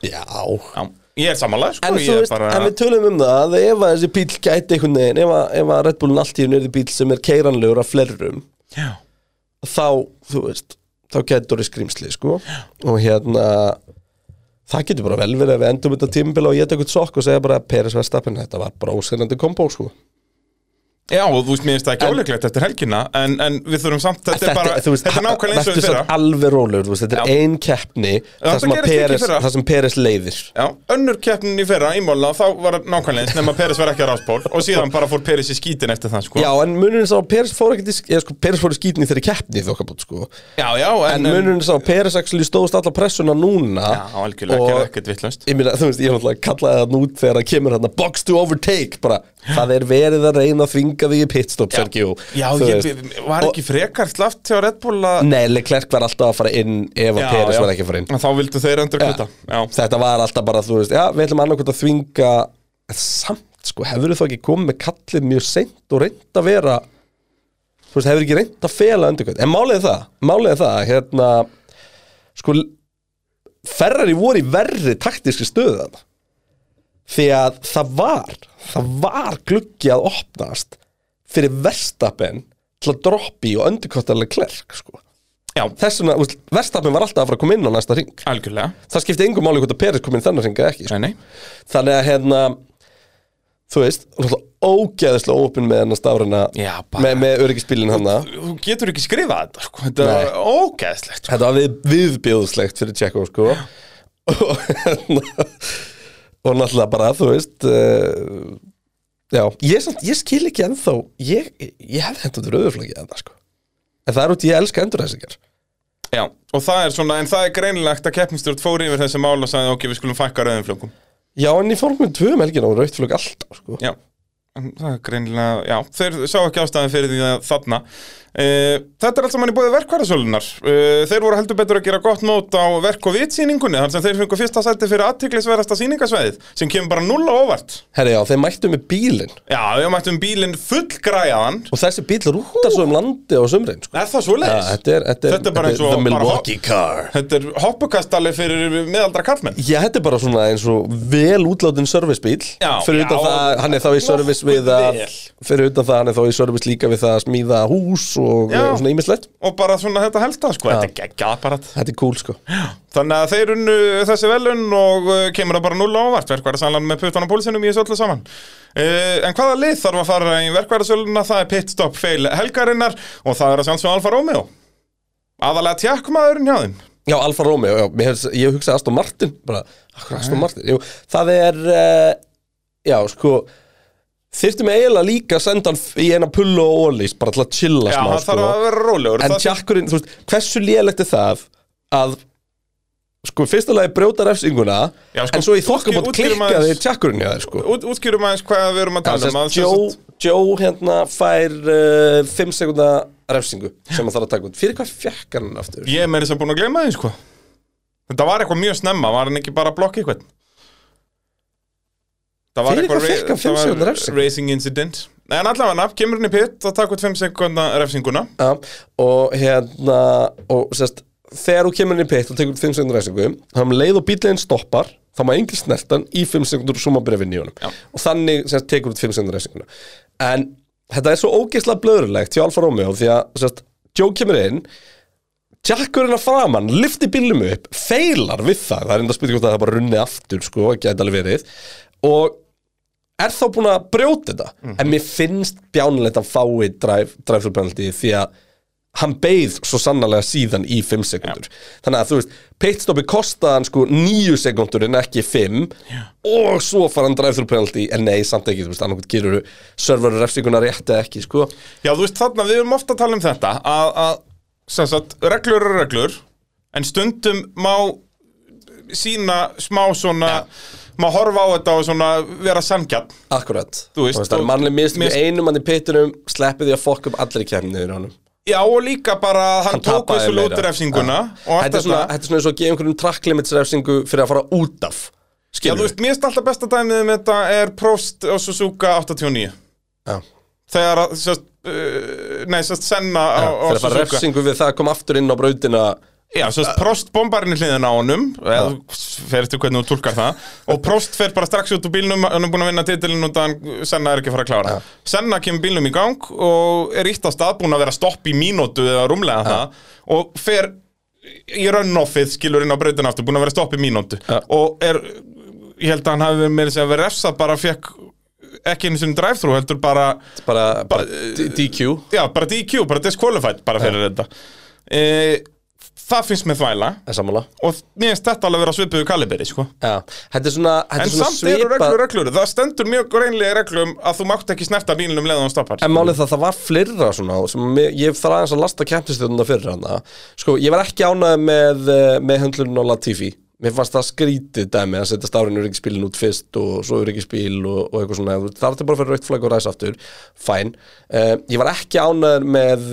C: Já,
B: Já, Ég er samanlega, sko,
C: En, þú
B: ég er
C: veist, en við tölum um það að ef að þessi bíl gæti einhvern veginn, ef að, ef að Red Bullin allt í hún er bíl sem er keiranlegur af flerrum
B: Já,
C: þá, þú veist, þá getur það skrýmsli, sko og hérna það getur bara vel verið að við endum þetta tímabila og ég tek eitthvað sokk og segja bara Peris Verstappen, þetta var bara ósennandi kombo, sko
B: já, og þú veist, mér finnst það ekki óleiklegt eftir helgina en, en við þurfum samt, þetta, er bara
C: þú veist,
B: Þetta er nákvæmlega eins og
C: vertu
B: við
C: samt
B: fyrra
C: alveg rólegur, þú veist, þetta
B: Já.
C: er ein keppni
B: þetta
C: þar sem, að
B: gerðist ekki í
C: Peres,
B: fyrra.
C: þar sem Peres leiðir sko.
B: Já, önnur keppnin í fyrra, ímóla, þá var það nákvæmlega eins nema Peris var ekki að ráspól og síðan bara fór Peris í skítin eftir það, sko
C: Já, en munurinn sá, Peres fór ekki eða sko, Peres fór í skýtni þegar keppni þokkabótt, sko
B: já, já
C: En munurinn sá, Peres actually stóðst alla pressuna núna
B: Já, algjörlega,
C: og-
B: gerði ekkert vittlust
C: Ég meina, þú veist, ég er náttúrulega að kallaði það nút þegar það kemur hann box to overtake, bara, það er verið að reyna að þvinga þig í pitstop, Sergio
B: Já,
C: Þú
B: ég
C: veist.
B: var ekki frekar slaft hjá Red Bull að
C: Nei, Leclerc var alltaf að fara inn ef að
B: Já,
C: Peres
B: já.
C: var ekki að fara inn
B: En Þá vildu þeir endur kvita Já,
C: Þetta var alltaf bara, þú veist, já, við ætlum annarkvæmt að þvinga En Samt, sko, hefur þú ekki komið með kallið mjög seint og reynd að vera Þú veist, hefur ekki reynd að fela undirkvæmt En málið er það, málið er það, hérna Sko, Ferrari voru í verri taktíski stöðu þarna Því að það var, það var gluggi að opnast Fyrir Verstapen til að droppi og undirkvættalega klerk, sko
B: já
C: Þessuna, Verstapen var alltaf að fara að koma inn á næsta ring
B: algjörlega
C: það skipti engum máli hvort að Peres kom inn þannig hringa ekki sko.
B: Nei, nei
C: þannig að hérna þú veist, náttúrulega ógeðislega ópin með hennar stafruna
B: Já, bara-
C: með, með öryggisbílinn hann
B: Þú getur ekki skrifað þetta, sko Þetta
C: Nei.
B: er ógeðslegt
C: þetta var við, viðbjóðslegt fyrir Tjekko sko. og hérna og náttúrulega bara, þú veist uh, já, ég, samt, ég skil ekki ennþá ég, ég hef hendur rauðurflöki ennþá sko. en það er út í að elska endurræsingar
B: Já, og það er svona, en það er greinilegt að keppnistjórn fór yfir þessi mál og sagði ok, við skulum fækka rauðum flökum
C: já, en í formum tvö um melgin á rauðflöki alltaf sko.
B: Já, en það er greinilega, já, þeir sá ekki ástæðan fyrir því að þarna uh, Þetta er allt saman í bóði verkvarðasölunar uh, Þeir voru heldur betur að gera gott mót á verk- og vitsýningunni Þannig sem þeir fengu fyrsta sæti fyrir aðtiklisverasta sýningasveðið sem kemur bara null á óvart
C: herri já, þeir mættu með bílinn
B: Já, við mættum bílinn fullgræjaðan
C: og þessi bíl rúttar svo um landi á sumrin sko.
B: Er það svo
C: Ja,
B: leiðis?
C: þetta er, þetta er,
B: Þetta er bara eins og
C: The
B: bara
C: Milwaukee Car
B: Þetta er hoppukastali fyrir miðaldra kallmenn
C: Já, þetta er bara svona eins og vel útlátin servicebíl
B: Já,
C: Fyrir
B: já,
C: utan það, hann er þá í service við að
B: nokkuð vel.
C: Fyrir utan það, hann er þá í service líka við það að smíða hús og,
B: Já.
C: og svona ímislegt
B: Og bara svona þetta helsta sko, þetta er geggjað apparat
C: Þetta er cool sko
B: Þannig að þeir unnu þessi velun og uh, kemur það bara null ávart verkvæðarsælan með puttan á pólsinum í þessu öllu saman uh, En hvaða lið þarf að fara í verkvæðarsöluna það er pitstop fail helgarinnar og það er að sjálfsög Alfa Romeo Aðalega tjakkmaðurinn hjá þeim
C: Já, Alfa Romeo, já, mér hef, ég hugsaði Aston Martin bara, akkur Aston Martin Jú, það er, uh, já, sko Þyrftum eiginlega líka að senda hann f- í eina pullu og ólís bara til að chilla
B: Já,
C: smá sko.
B: það þarf að vera rólegur
C: En
B: Það-
C: tjakkurinn, þú veist, hversu lélegt er það að sko, fyrsta lagi brjóta refsinguna
B: Já, sko,
C: en svo í
B: útskýr-
C: þokkabót
B: útskýrum
C: klikkaði
B: aðeins.
C: tjakkurinn hjá þér, sko
B: Út, Útskýrum aðeins hvað við erum um að tala um
C: Þannig
B: að
C: að Joe, Joe hérna fær 5 uh, sekunda refsingu sem hann þarf að taka út. Fyrir hvað fekk hann aftur?
B: Ég er meira sem búin að gleyma því sko Þetta var eitthvað mjög snemma, var hann ekki bara að blokka eitthvað Það var
C: Fyrir
B: eitthvað
C: hvað fékk hann fimm
B: það
C: sekúndna
B: var
C: refsingu?
B: Racing incident Nei, en allavega, kemur hann í pitt og takk út 5 sekundna refsinguna
C: Já, og hérna og sérst, þegar þú kemur inn í pitt og tekur 5 sekundar refsingu, þá um leið og bíllegin stoppar, þá maður engin snertan í 5 sekundur og svo maður byrja að vinna í honum
B: Já.
C: og þannig sérst, tekur út 5 sekundar refsinguna en þetta er svo ógeðslega blöðurlegt hjá Alfa Romeo því að sérst, Joe kemur inn Jackurinn að framann, lifti bílum upp feilar við það, það er enda að spyrja hvort að það bara runni aftur sko, gæti alveg verið og er þá búin að brjóta þetta en mér finnst bjánulegt að fái dræflurpenaldi því að hann beigð svo sannarlega síðan í 5 sekundur þannig að þú veist, pitstopi kostaði hann sko 9 sekundur en ekki 5 og svo fara hann dræflurpenaldi en nei, samt ekki, þú veist, annarkvæmt gerur serveru refsinguna rétt eða ekki, sko
B: Já, þú veist þarna, við erum ofta að tala um þetta að, að sem sagt, reglur eru reglur en stundum má sína smá svona má horfa á þetta og svona vera sangjarn
C: Akkurat,
B: Þú veist,
C: það er
B: og-
C: mannleg mist
B: mist-
C: með einum mann í pittunum, sleppið því að fokka upp allri kemniður honum
B: Já, og líka bara að hann, tók
C: tapaði
B: þessu
C: meira.
B: lóturefsinguna
C: Já. Þetta er svona þetta er svona eins og að gefa einhverjum track limits refsingu fyrir að fara út af
B: Já, þú veist, mér finnst alltaf besta dæmið um þetta er Prost og Suzuka 89
C: Já.
B: þegar að, sérst, uh, nei, sérst, Senna á, á
C: Fyrir að fara
B: Suzuka
C: refsingu við það að koma aftur inn á brautina
B: Já, svo veist, Prost bombar inn í hliðina á honum eða fer eftir hvernig þú túlkar það og Prost fer bara strax út úr bílnum hann er búin að vinna titilin og þann Senna er ekki að fara að klára Senna kemur bílnum í gang og er ítt á stað búin að vera stopp í mínútu eða rúmlega það og fer í run-offið skilur inn á brautin aftur búin að vera stopp í mínútu og er, ég held að hann hafi með þess að vera refsa bara fekk ekki einu sinni drive-thru heldur bara
C: bara, bara
B: Bara- eh,
C: D- DQ
B: já, bara DQ, bara disqualified bara fyrir þetta e, það finnst mér þvæla
C: er sammála
B: og mér finnst þetta alveg að vera svipuðu kaliberi sko.
C: Já, þetta er svona, þetta
B: en
C: er svona
B: samt eru reglur reglur það stendur mjög greinlega í reglum að þú mátt ekki snerta bílnum leðan og stoppar
C: En málið það, það var flirra svona sem mér, ég þarf aðeins að lasta keppnistöðuna fyrir hana Sko, ég var ekki ánægð með, eh, með höndlunum á Latifi Mér fannst það skrítið dæmi að setja stárinu ríkispílin út fyrst og svo ríkispíl og, og eitthvað svona Það er þetta bara fyrir raukt flagg og ræs aftur, fæn uh, Ég var ekki ánægð með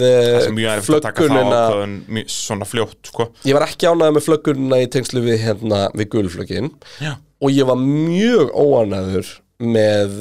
B: sem mjög
C: uh,
B: erfitt að taka það
C: flöggunina
B: ákvöðun mjög- svona fljótt sko.
C: Ég var ekki ánægð með flöggunina í tengslu við, hérna, við gulflöggin
B: já.
C: og ég var mjög óanæður með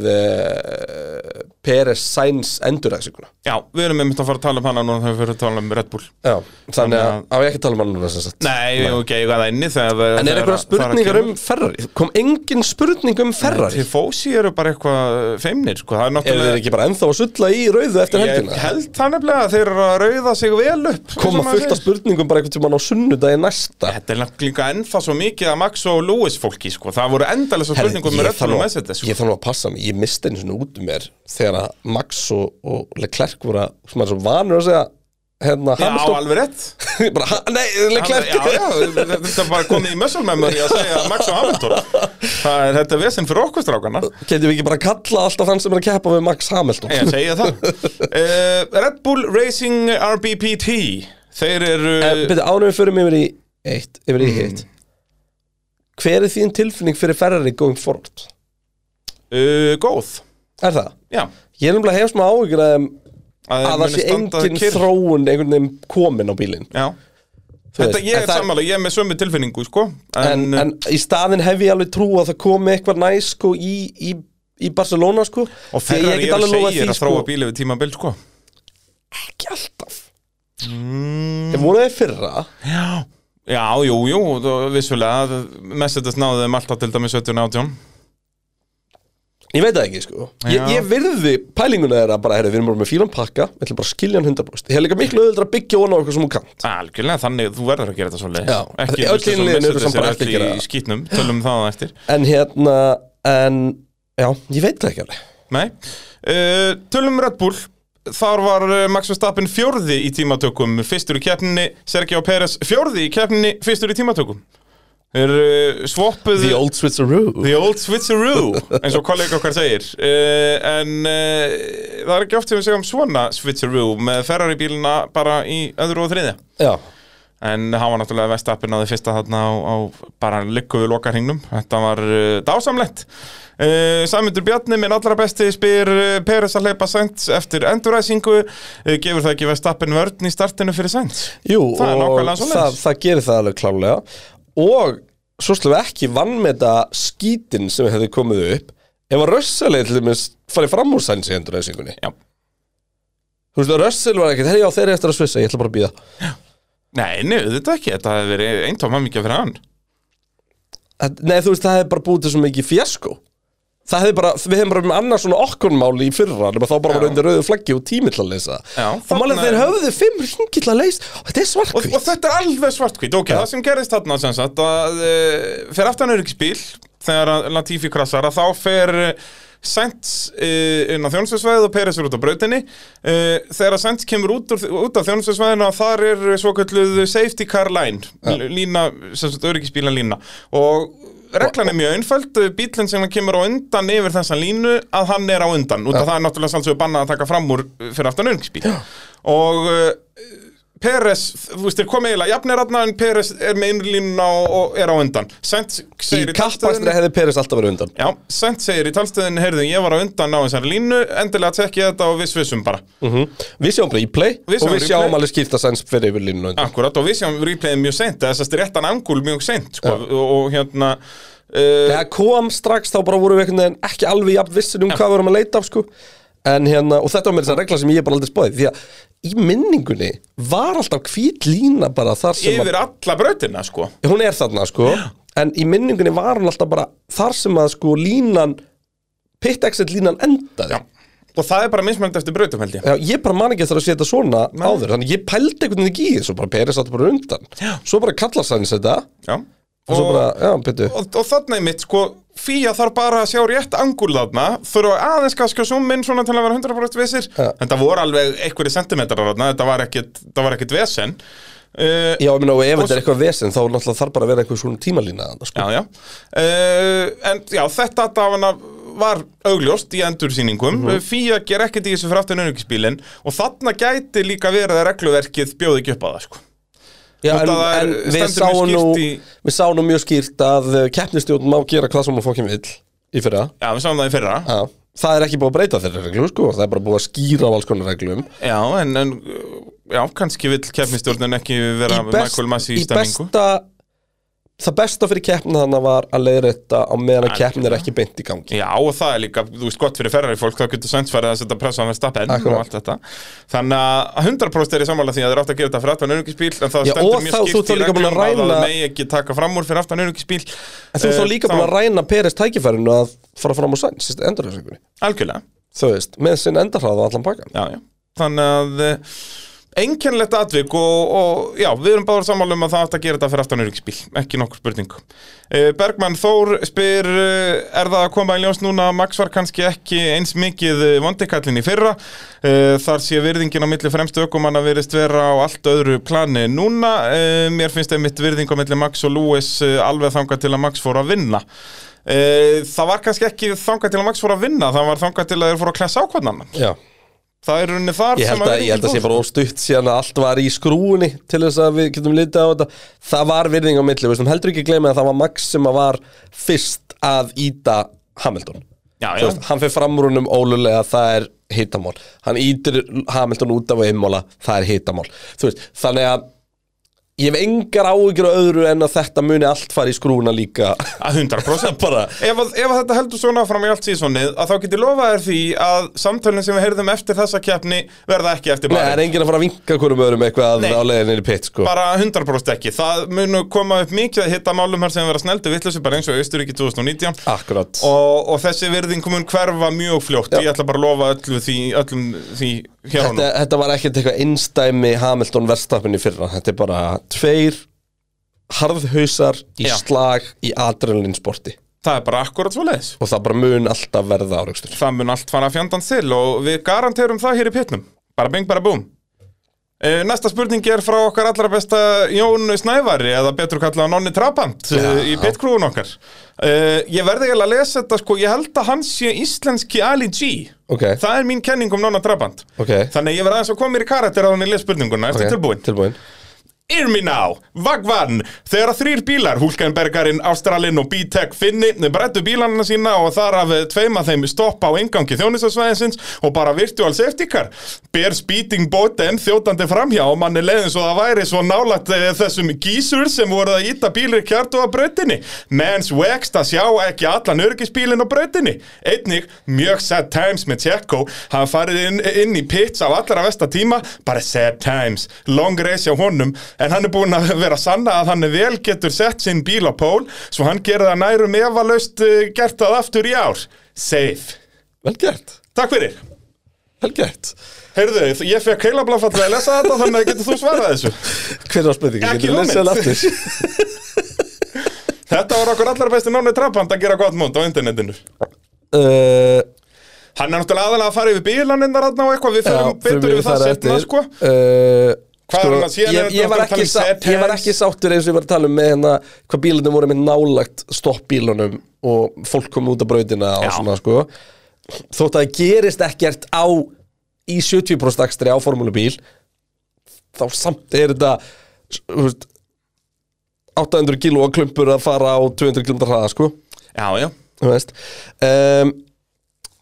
C: uh, Peres Sainz enduræksinguna
B: við erum einmitt að fara að tala um hana núna þegar við fyrir að tala um Red Bull
C: Já, þannig að
B: að-
C: á ég ekki að tala um hann núna sem sagt
B: nei, nei. ok, ég var það inni þegar það
C: En er eitthvað spurningar um Ferrari? Kom engin spurning um Ferrari?
B: Tifósi eru bara eitthvað feimnir sko. það er
C: Eru
B: náttúrulega
C: þeir ekki bara ennþá að sulla í rauðu eftir
B: Ég
C: helgina?
B: held það nefnilega að þeir eru að rauða sig vel upp
C: Koma
B: eins og maður
C: fullt af
B: segir.
C: spurningum bara einhvern tímann á sunnudagi næsta
B: Þetta er náttúrulega ennþá svo mikið að Max og Lewis fólki sko. Það voru endalega
C: Herri,
B: spurningum
C: ég
B: með Red Bull
C: þarf
B: og
C: nú-
B: Mercedes sko.
C: Ég þarf nú að passa mig, ég misti einu svona út um mér þegar að Max og, og Leclerc voru að, sem er svo vanur að segja hérna,
B: Já,
C: Hamilton
B: alveg rétt
C: bara, ha- Nei, Leclerc
B: Já, já, þetta er bara komið í muscle memory að segja Max og Hamilton Það er þetta vesinn fyrir okkur strákana
C: Getum við ekki bara að kalla alltaf þann sem er að keppa við Max Hamilton?
B: Ég segja það uh, Red Bull Racing RBPT Þeir eru
C: Eh, En byrja, ánum við förum yfir í eitt, yfir
B: Mm.
C: í hitt Hver er þín tilfinning fyrir Ferrari going forward?
B: uh, góð
C: Er það?
B: Já
C: Ég er nefnilega hef smá áhyggjur að, þeim
B: Að þeir
C: að það
B: muni
C: sé
B: standa
C: engin
B: kyrr.
C: þróun einhvern veginn komin á bílinn
B: Já
C: Þú
B: Þetta
C: veist,
B: ég
C: en
B: er
C: það-
B: sammála, ég er með sömu tilfinningu sko
C: en,
B: En, eh,
C: en í staðin hef ég alveg trú að það komi eitthvað næ sko í, í, í Barcelona sko
B: og
C: Því að
B: Ferrari
C: get
B: eru
C: alveg lofað
B: segir
C: því,
B: að þróa bíli við tímabil sko
C: Ekki alltaf mm. Ég voru þeir fyrra
B: Já Já, jú, jú, þá- vissulega Mercedes náðu þeim alltaf til dæmis 17 18
C: Ég veit það ekki sko ég,
B: Já.
C: ég virði pælinguna þeirra bara, herri, við erum bara með fílan pakka Við ætlum bara að skilja hann 100% Ég hef líka miklu auðvitað að byggja ofan á eitthvað sem hún kant
B: Algjörlega, þannig þú verður að gera þetta svolítið
C: Já,
B: Ekki
C: öll
B: hlusta svo
C: innliðin eru
B: Mercedes
C: samt bara
B: er
C: ekki að
B: öll
C: gera
B: í
C: það.
B: skítnum, tölum um það á eftir
C: En hérna, en Já, ég veit það ekki alveg
B: Nei, uh, tölum Red Bull Þar var eh, Max Verstappen fjórði í tímatökum Fyrstur í keppninni, Sergio Perez fjórði í keppninni, fyrstur í tímatökum Er uh, svoppuð
C: The old switcheroo
B: The old switcheroo, eins og kollega okkar segir uh, En uh, það er ekki oft sem við segjum svona switcheroo með Ferrari bílina bara í öðru og þriðja
C: Já,
B: En hafa náttúrulega vestappin á því fyrsta þarna á, á bara lykku við lokarhingnum. Þetta var uh, dásamlegt. Uh, Samundur Bjarni, minn allra besti, spyr uh, Peres að hleypa Sainz eftir enduræsingu. Uh, gefur það ekki vestappin vörn í startinu fyrir Sainz?
C: jú,
B: Það er
C: og
B: nákvæmlega svoleiðis.
C: það, það gerir það alveg klálega Og svo slum við ekki vann með þetta skítin sem hefði komið upp Ef að Russell eða til dæmis farið fram úr sæns í endurreysingunni
B: Já.
C: Þú veist, Russell var ekkert, herri já, þeir eru eftir að svissa, ég ætla bara að býða
B: Nei, neðu þetta ekki. Þetta hefði verið eintóm hamingja fyrir hann.
C: Þetta- Nei, þú veist, það hefði bara búið til svo mikið fjasko Það hefði bara, við hefðum bara með annars svona okkurmáli í fyrra nema Þá bara
B: Já.
C: var undir rauðu flaggi og tími til að leysa
B: Já,
C: Og málið
B: þarna-
C: þeir höfðu fimm ringi til að leysa Og þetta er
B: og,
C: svartkvít
B: og þetta er alveg svartkvít ok, það sem gerist þarna sem sagt að uh, fer aftan öryggisbíl þegar að Latifi krassar að þá fer uh, Sainz uh, inn á þjónusveisvæðið og Peres er út á brautinni uh, þegar að Sainz kemur út, úr, út á þjónusveisvæðinu að þar er svokölluð safety car line lína, sem sagt öryggisbílan lína og Reglan er mjög einföld, bílinn sem kemur á undan yfir þessa línu að hann er á undan út af það er náttúrulega sálsögur bannað að taka fram úr uh, fyrir aftan öryggisbíl og uh, Peres, þú veist, þeir komið eiginlega jafnir aðna en Peres er með innlínuna og, og er á undan Sainz
C: Í
B: segir
C: kappakstri hefði Peres alltaf verið undan
B: Já, Sainz segir í talstöðinu, heyrðu, ég var á undan á þessari línu, endilega tekki þetta og við svissum bara
C: Við sjáum bara í play
B: Við
C: Og
B: sjáum
C: við
B: replay.
C: sjáum alveg skýrt að sæns fyrir yfir línu undan
B: Akkurat, og við séum replayið mjög seint, eða þessast réttan angul mjög seint, sko, og, og hérna uh,
C: Þegar kom strax þá bara vorum við einhvern veginn ekki alveg jafn vissin um hvað við vorum að leita af sko En hérna, og þetta var með þess að regla sem ég bara aldrei spáði Því að í minningunni var alltaf hvít lína bara þar sem að
B: Yfir alla brautina, sko
C: hún er þarna sko en í minningunni var hún alltaf bara þar sem að sko línan pit exit línan endaði
B: Já. Og það er bara mismönd eftir brautum, held ég
C: Já, ég bara man ekki eftir að sé þetta svona áður þannig ég pældi einhvern veginn ekki í þessu bara Peris átti bara undan
B: Já.
C: svo bara kallar sænis þetta og,
B: Já
C: svo bara, já, betur
B: og, og þarna er mitt, sko Fía þarf bara að sjá rétt angul þarna Þurfa aðeins kannski að zooma inn svona til að vera 100% vissir
C: Já.
B: Þetta voru alveg einhverjir sentimetrar þarna Þetta var ekkit, þetta var ekkit vesen uh,
C: Já, ég meina, og ef
B: Og
C: þetta er eitthvað vesen þá náttúrulega þarf bara að vera eitthvað svona tímalína þarna, sko.
B: Já, já uh, En já, þetta dafana var augljóst í endursýningum mm Fía ger ekkert í þessu fyrir aftan önungisbílin Og þarna gæti líka verið að regluverkið bjóði ekki upp á það, sko
C: Já,
B: Þetta
C: en,
B: var-
C: en við
B: stendur mjög
C: sáum nú
B: skýrt í-
C: við sáum nú mjög skýrt að keppnistjóðum má gera hvað sem hún fókin vill í fyrra
B: Já, við sáum það í fyrra
C: Já, það er ekki búið að breyta þeirra reglum sko, það er bara búið að skýra á alls konar reglum
B: Já, en, en uh, já, kannski vill keppnistjórnin ekki vera með
C: best-
B: Michael Massi í
C: í
B: stemningu
C: besta það besta fyrir keppna þannig var að leiðrétta á meðan að keppna er ekki beint í gangi
B: Já, og það er líka, þú veist, gott fyrir ferrari fólk þá getur sænsfærið að setja pressa á Verstappen og
C: Akkurat.
B: allt þetta Þannig að 100% er ég sammála því að þeir átt að gera þetta fyrir aftan önugisbíl en það
C: Já,
B: stendur
C: og
B: mjög
C: þá- þú
B: skýrt
C: ert
B: í
C: þá líka búin að
B: reglum að það
C: ræna-
B: megi ekki taka fram úr fyrir aftan önugisbíl
C: en
B: Eh,
C: þú ert þá líka búin að ræna Peres tækifærinu að fara fram á sæns endurhjóðsengunni,
B: Algjörlega,
C: þú veist, með sinn endarhráð og allan pakkan
B: já, já Þannig að eh, einkennlegt atvik og, og já, við erum báður sammála um að það átt að gera þetta fyrir aftan öryggspíl, ekki nokkur spurning Eh, Bergmann Þór spyr eh, er það að koma í ljós núna að Max var kannski ekki eins mikið eh, vondikallin í fyrra, Eh, þar sé virðingin á milli fremstu ökumanna virðist vera á allt öðru plani núna Eh, mér finnst einmitt virðing á milli Max og Lewis eh, alveg þangað til að Max fór að vinna Eh, Það var kannski ekki þangað til að Max fór að vinna, það var þangað til að þeir fór að klessa ákvarnanna
C: Já,
B: Það er rauninni þar
C: ég held
B: sem
C: að, ég held að sé bara óstutt síðan að allt var í skrúunni til þess að við getum litið á þetta það var virðing á milli, við slum heldur ekki gleyma að það var Max sem að var fyrst að íta Hamilton
B: Já,
C: Þú
B: já.
C: veist, hann fyrir framrúnum ólulega, það er hitamál hann ítir Hamilton út af einmála, það er hitamál Þú veist, þannig að ég hef engar áhyggjur á öðru en að þetta muni allt fara í skrúna líka
B: Að 100%
C: bara,
B: Ef, að- ef að þetta heldur svona áfram í allt sísonið að þá getur lofað þér því að samtölinn sem við heyrðum eftir þessa keppni verða ekki eftir
C: nei, það er
B: bara
C: enginn að fara að vinka hverjum öðrum eitthvað
B: Nei.
C: á leiðinni í pitt sko.
B: bara 100% ekki, það munu koma upp mikið að hitta málum hér sem vera sneldu vittlusi bara eins og Austuríki 2019
C: akkurat
B: og, og þessi virðing mun hverfa mjög fljótt
C: Já.
B: ég ætla bara að lofa öllu því, öllum því hér á nú
C: þetta, þetta var ekkert eitthvað innstæmi Hamilton verðstappin í fyrra Þetta er bara tveir harðhausar í
B: Já.
C: slag í adrenalinsporti
B: það er bara akkurat svo leiðis
C: og það bara mun alltaf verða áreikstur
B: það mun allt fara að fjandans til og við garanterum það hér í pitnum bara bing bara búm Eh, Næsta spurning er frá okkar allra besta Jón Snævari eða betur kallað Nonni Trabant ja, í pitkrúun okkar Eh, Ég verði eiginlega að lesa þetta sko, ég held að hann sé íslenski Ali G
C: Ok,
B: Það er mín kenning um Nonna Trabant
C: ok
B: Þannig að ég verði aðeins að koma mér í karakter að hann ég les spurninguna, ertu
C: Ok,
B: tilbúin?
C: Tilbúin
B: Irminá, Vagvan, þegar þrýr bílar, Hulkenbergarinn, Ástralinn og B-Tech Finni, brettu bílanina sína og þar af eh, tveima þeim stoppa á engangi þjónusasvæðinsins og bara virtual safety car. Ber spýting bóten þjótandi framhjá og manni leiðin svo það væri svo nálægt eh, þessum gísur sem voru að íta bílir kjartu á brautinni. Mens vext að sjá ekki allan örgisbílinn á brautinni. Einnig, mjög sad times með Tjekko, hann farið inn, inn í pits á allra vesta tíma, bara sad times, long race hjá honum en hann er búinn að vera að sanna að hann vel getur sett sinn bíl á pól svo hann gerði það nærum efalaust eh, gert það aftur í ár safe,
C: Vel gert,
B: takk fyrir
C: vel gert
B: heyrðu, þau, ég fekk heila bláfalla að lesa þetta þannig að getur þú svarað þessu
C: Hver var spurningin?
B: Ekki
C: Getur við lesið hana
B: hugmynd.
C: aftur?
B: þetta var okkur allra besti Nóni Trabant að gera gott mót á internetinu
C: uh,
B: hann er náttúrulega aðalega að fara yfir bílaninn þar þarna og eitthvað, við
C: já,
B: fyrir betur yfir það
C: þar
B: setna
C: eftir.
B: sko
C: uh,
B: Hvað er hann að- síðan er
C: ég,
B: þetta
C: ég,
B: að
C: var
B: tala
C: ekki
B: um
C: sá,
B: set
C: ég var
B: hands.
C: ekki sáttur eins og ég var að tala um með hérna hvað bílunum voru með nálagt stoppbílunum og fólk kom út af brautina og
B: Já.
C: svona sko þótt að það gerist ekkert á í 70% akstri á formúlubíl þá samt er þetta þú veist, 800 kíló klumpur að fara á 200 km hraða sko
B: já, já,
C: Þú veist um,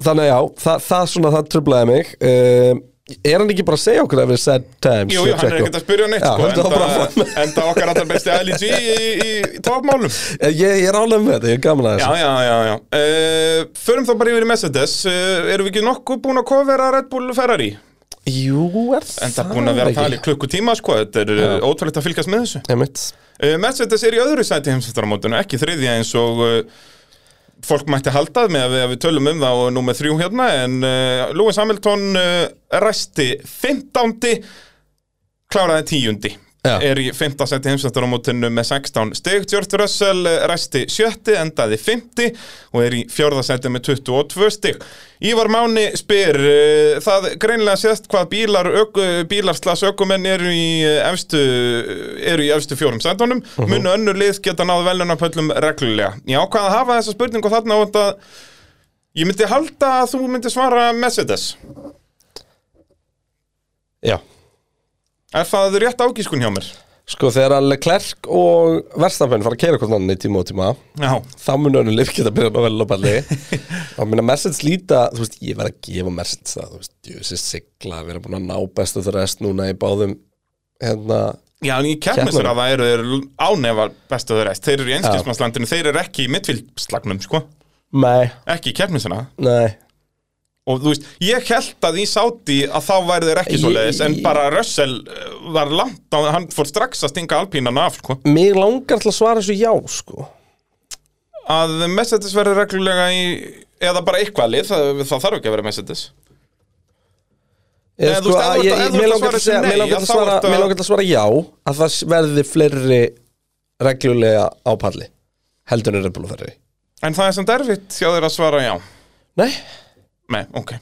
C: Þannig að já, það, það svona það tröflaði mig um, Er hann ekki bara að segja okkur að við sad times?
B: Jú, jú, hann er
C: Tjekko?
B: ekkert að spyrja neitt
C: Já,
B: sko,
C: höldum það bara
B: enda,
C: áfram.
B: enda okkar alltaf besti LG í, í, í, í topmálum
C: Eh, Ég, ég er álega með þetta, ég er gaman að
B: Já,
C: þessu
B: já, já, já uh, Förum þá bara yfir í Mercedes uh, Erum við ekki nokkuð búin að kofera Red Bull Ferrari?
C: Jú, er það
B: Enda búin að vera að tala í klukkutíma sko, þetta er já. ótrúlegt að fylgjast með þessu
C: Einmitt.
B: Uh, Mercedes er í öðru sæti heimsvættaramótinu, ekki þriðja eins og uh, fólk mætti haldað með að við, að við tölum um það og nú með þrjú hérna en uh, Lewis Hamilton uh, ræsti 15. kláraði 10.
C: Já.
B: er í 5. sæti heimsvættaramótinu með 16 stig, George Russell uh, ræsti 7. endaði 50 og er í 4. sæti með 22 stig Ívar Máni spyr uh, það greinlega sést hvað bílar, öku, bílar slags ökumenn eru í uh, efstu, eru í efstu fjórum sætunum, munu önnur lið geta náð velunarpöllum reglulega Já, hvað að hafa þessa spurningu þarna og þetta Ég myndi halda að þú myndi svara Mercedes.
C: Já
B: Er það rétt ágískun hjá mér?
C: Sko, þegar að Leclerc og Verstafenn fara að keira hvort annan í tíma og tíma
B: Já.
C: þá mun önnur lif geta að byrja með velopalli þá mun að Mercedes líta þú veist, ég verð að gefa Mercedes það þú veist, ég veist, sigla, við erum búin að ná bestu það rest núna í báðum hérna,
B: Já, en í keppnisur
C: Keppnum.
B: að það eru þeir eru ánefa bestu þeir rest. Þeir eru í einskilsmannslandinu, þeir eru ekki í mittfylgslagnum, sko.
C: nei,
B: Ekki í keppnisuna.
C: nei
B: Og þú veist, ég held að í Sáti að þá væri þeir ekki
C: Ég-
B: svoleiðis, en
C: ég-
B: bara Russell eh, var langt, á, hann fór strax að stinga alpínan af, sko.
C: mig langar til að svara þessu já, sko
B: Að Mercedes verður reglulega í, eða bara eitthvað lið, það, það þarf ekki að vera Mercedes.
C: Eða,
B: Nei, þú
C: sko,
B: veist, ef þú
C: að
B: ert- ef
C: ég-
B: þú ert
C: mig
B: að
C: langar
B: svara
C: til að segja-
B: þessu
C: mig
B: nei, að
C: langar til að
B: þá
C: svara-
B: ertu að-
C: mig langar til að svara já að það verði fleiri reglulega á palli heldur en reyndbúlu ferri
B: En það er samt erfitt hjá þeir að svara já.
C: nei,
B: Nei, ok.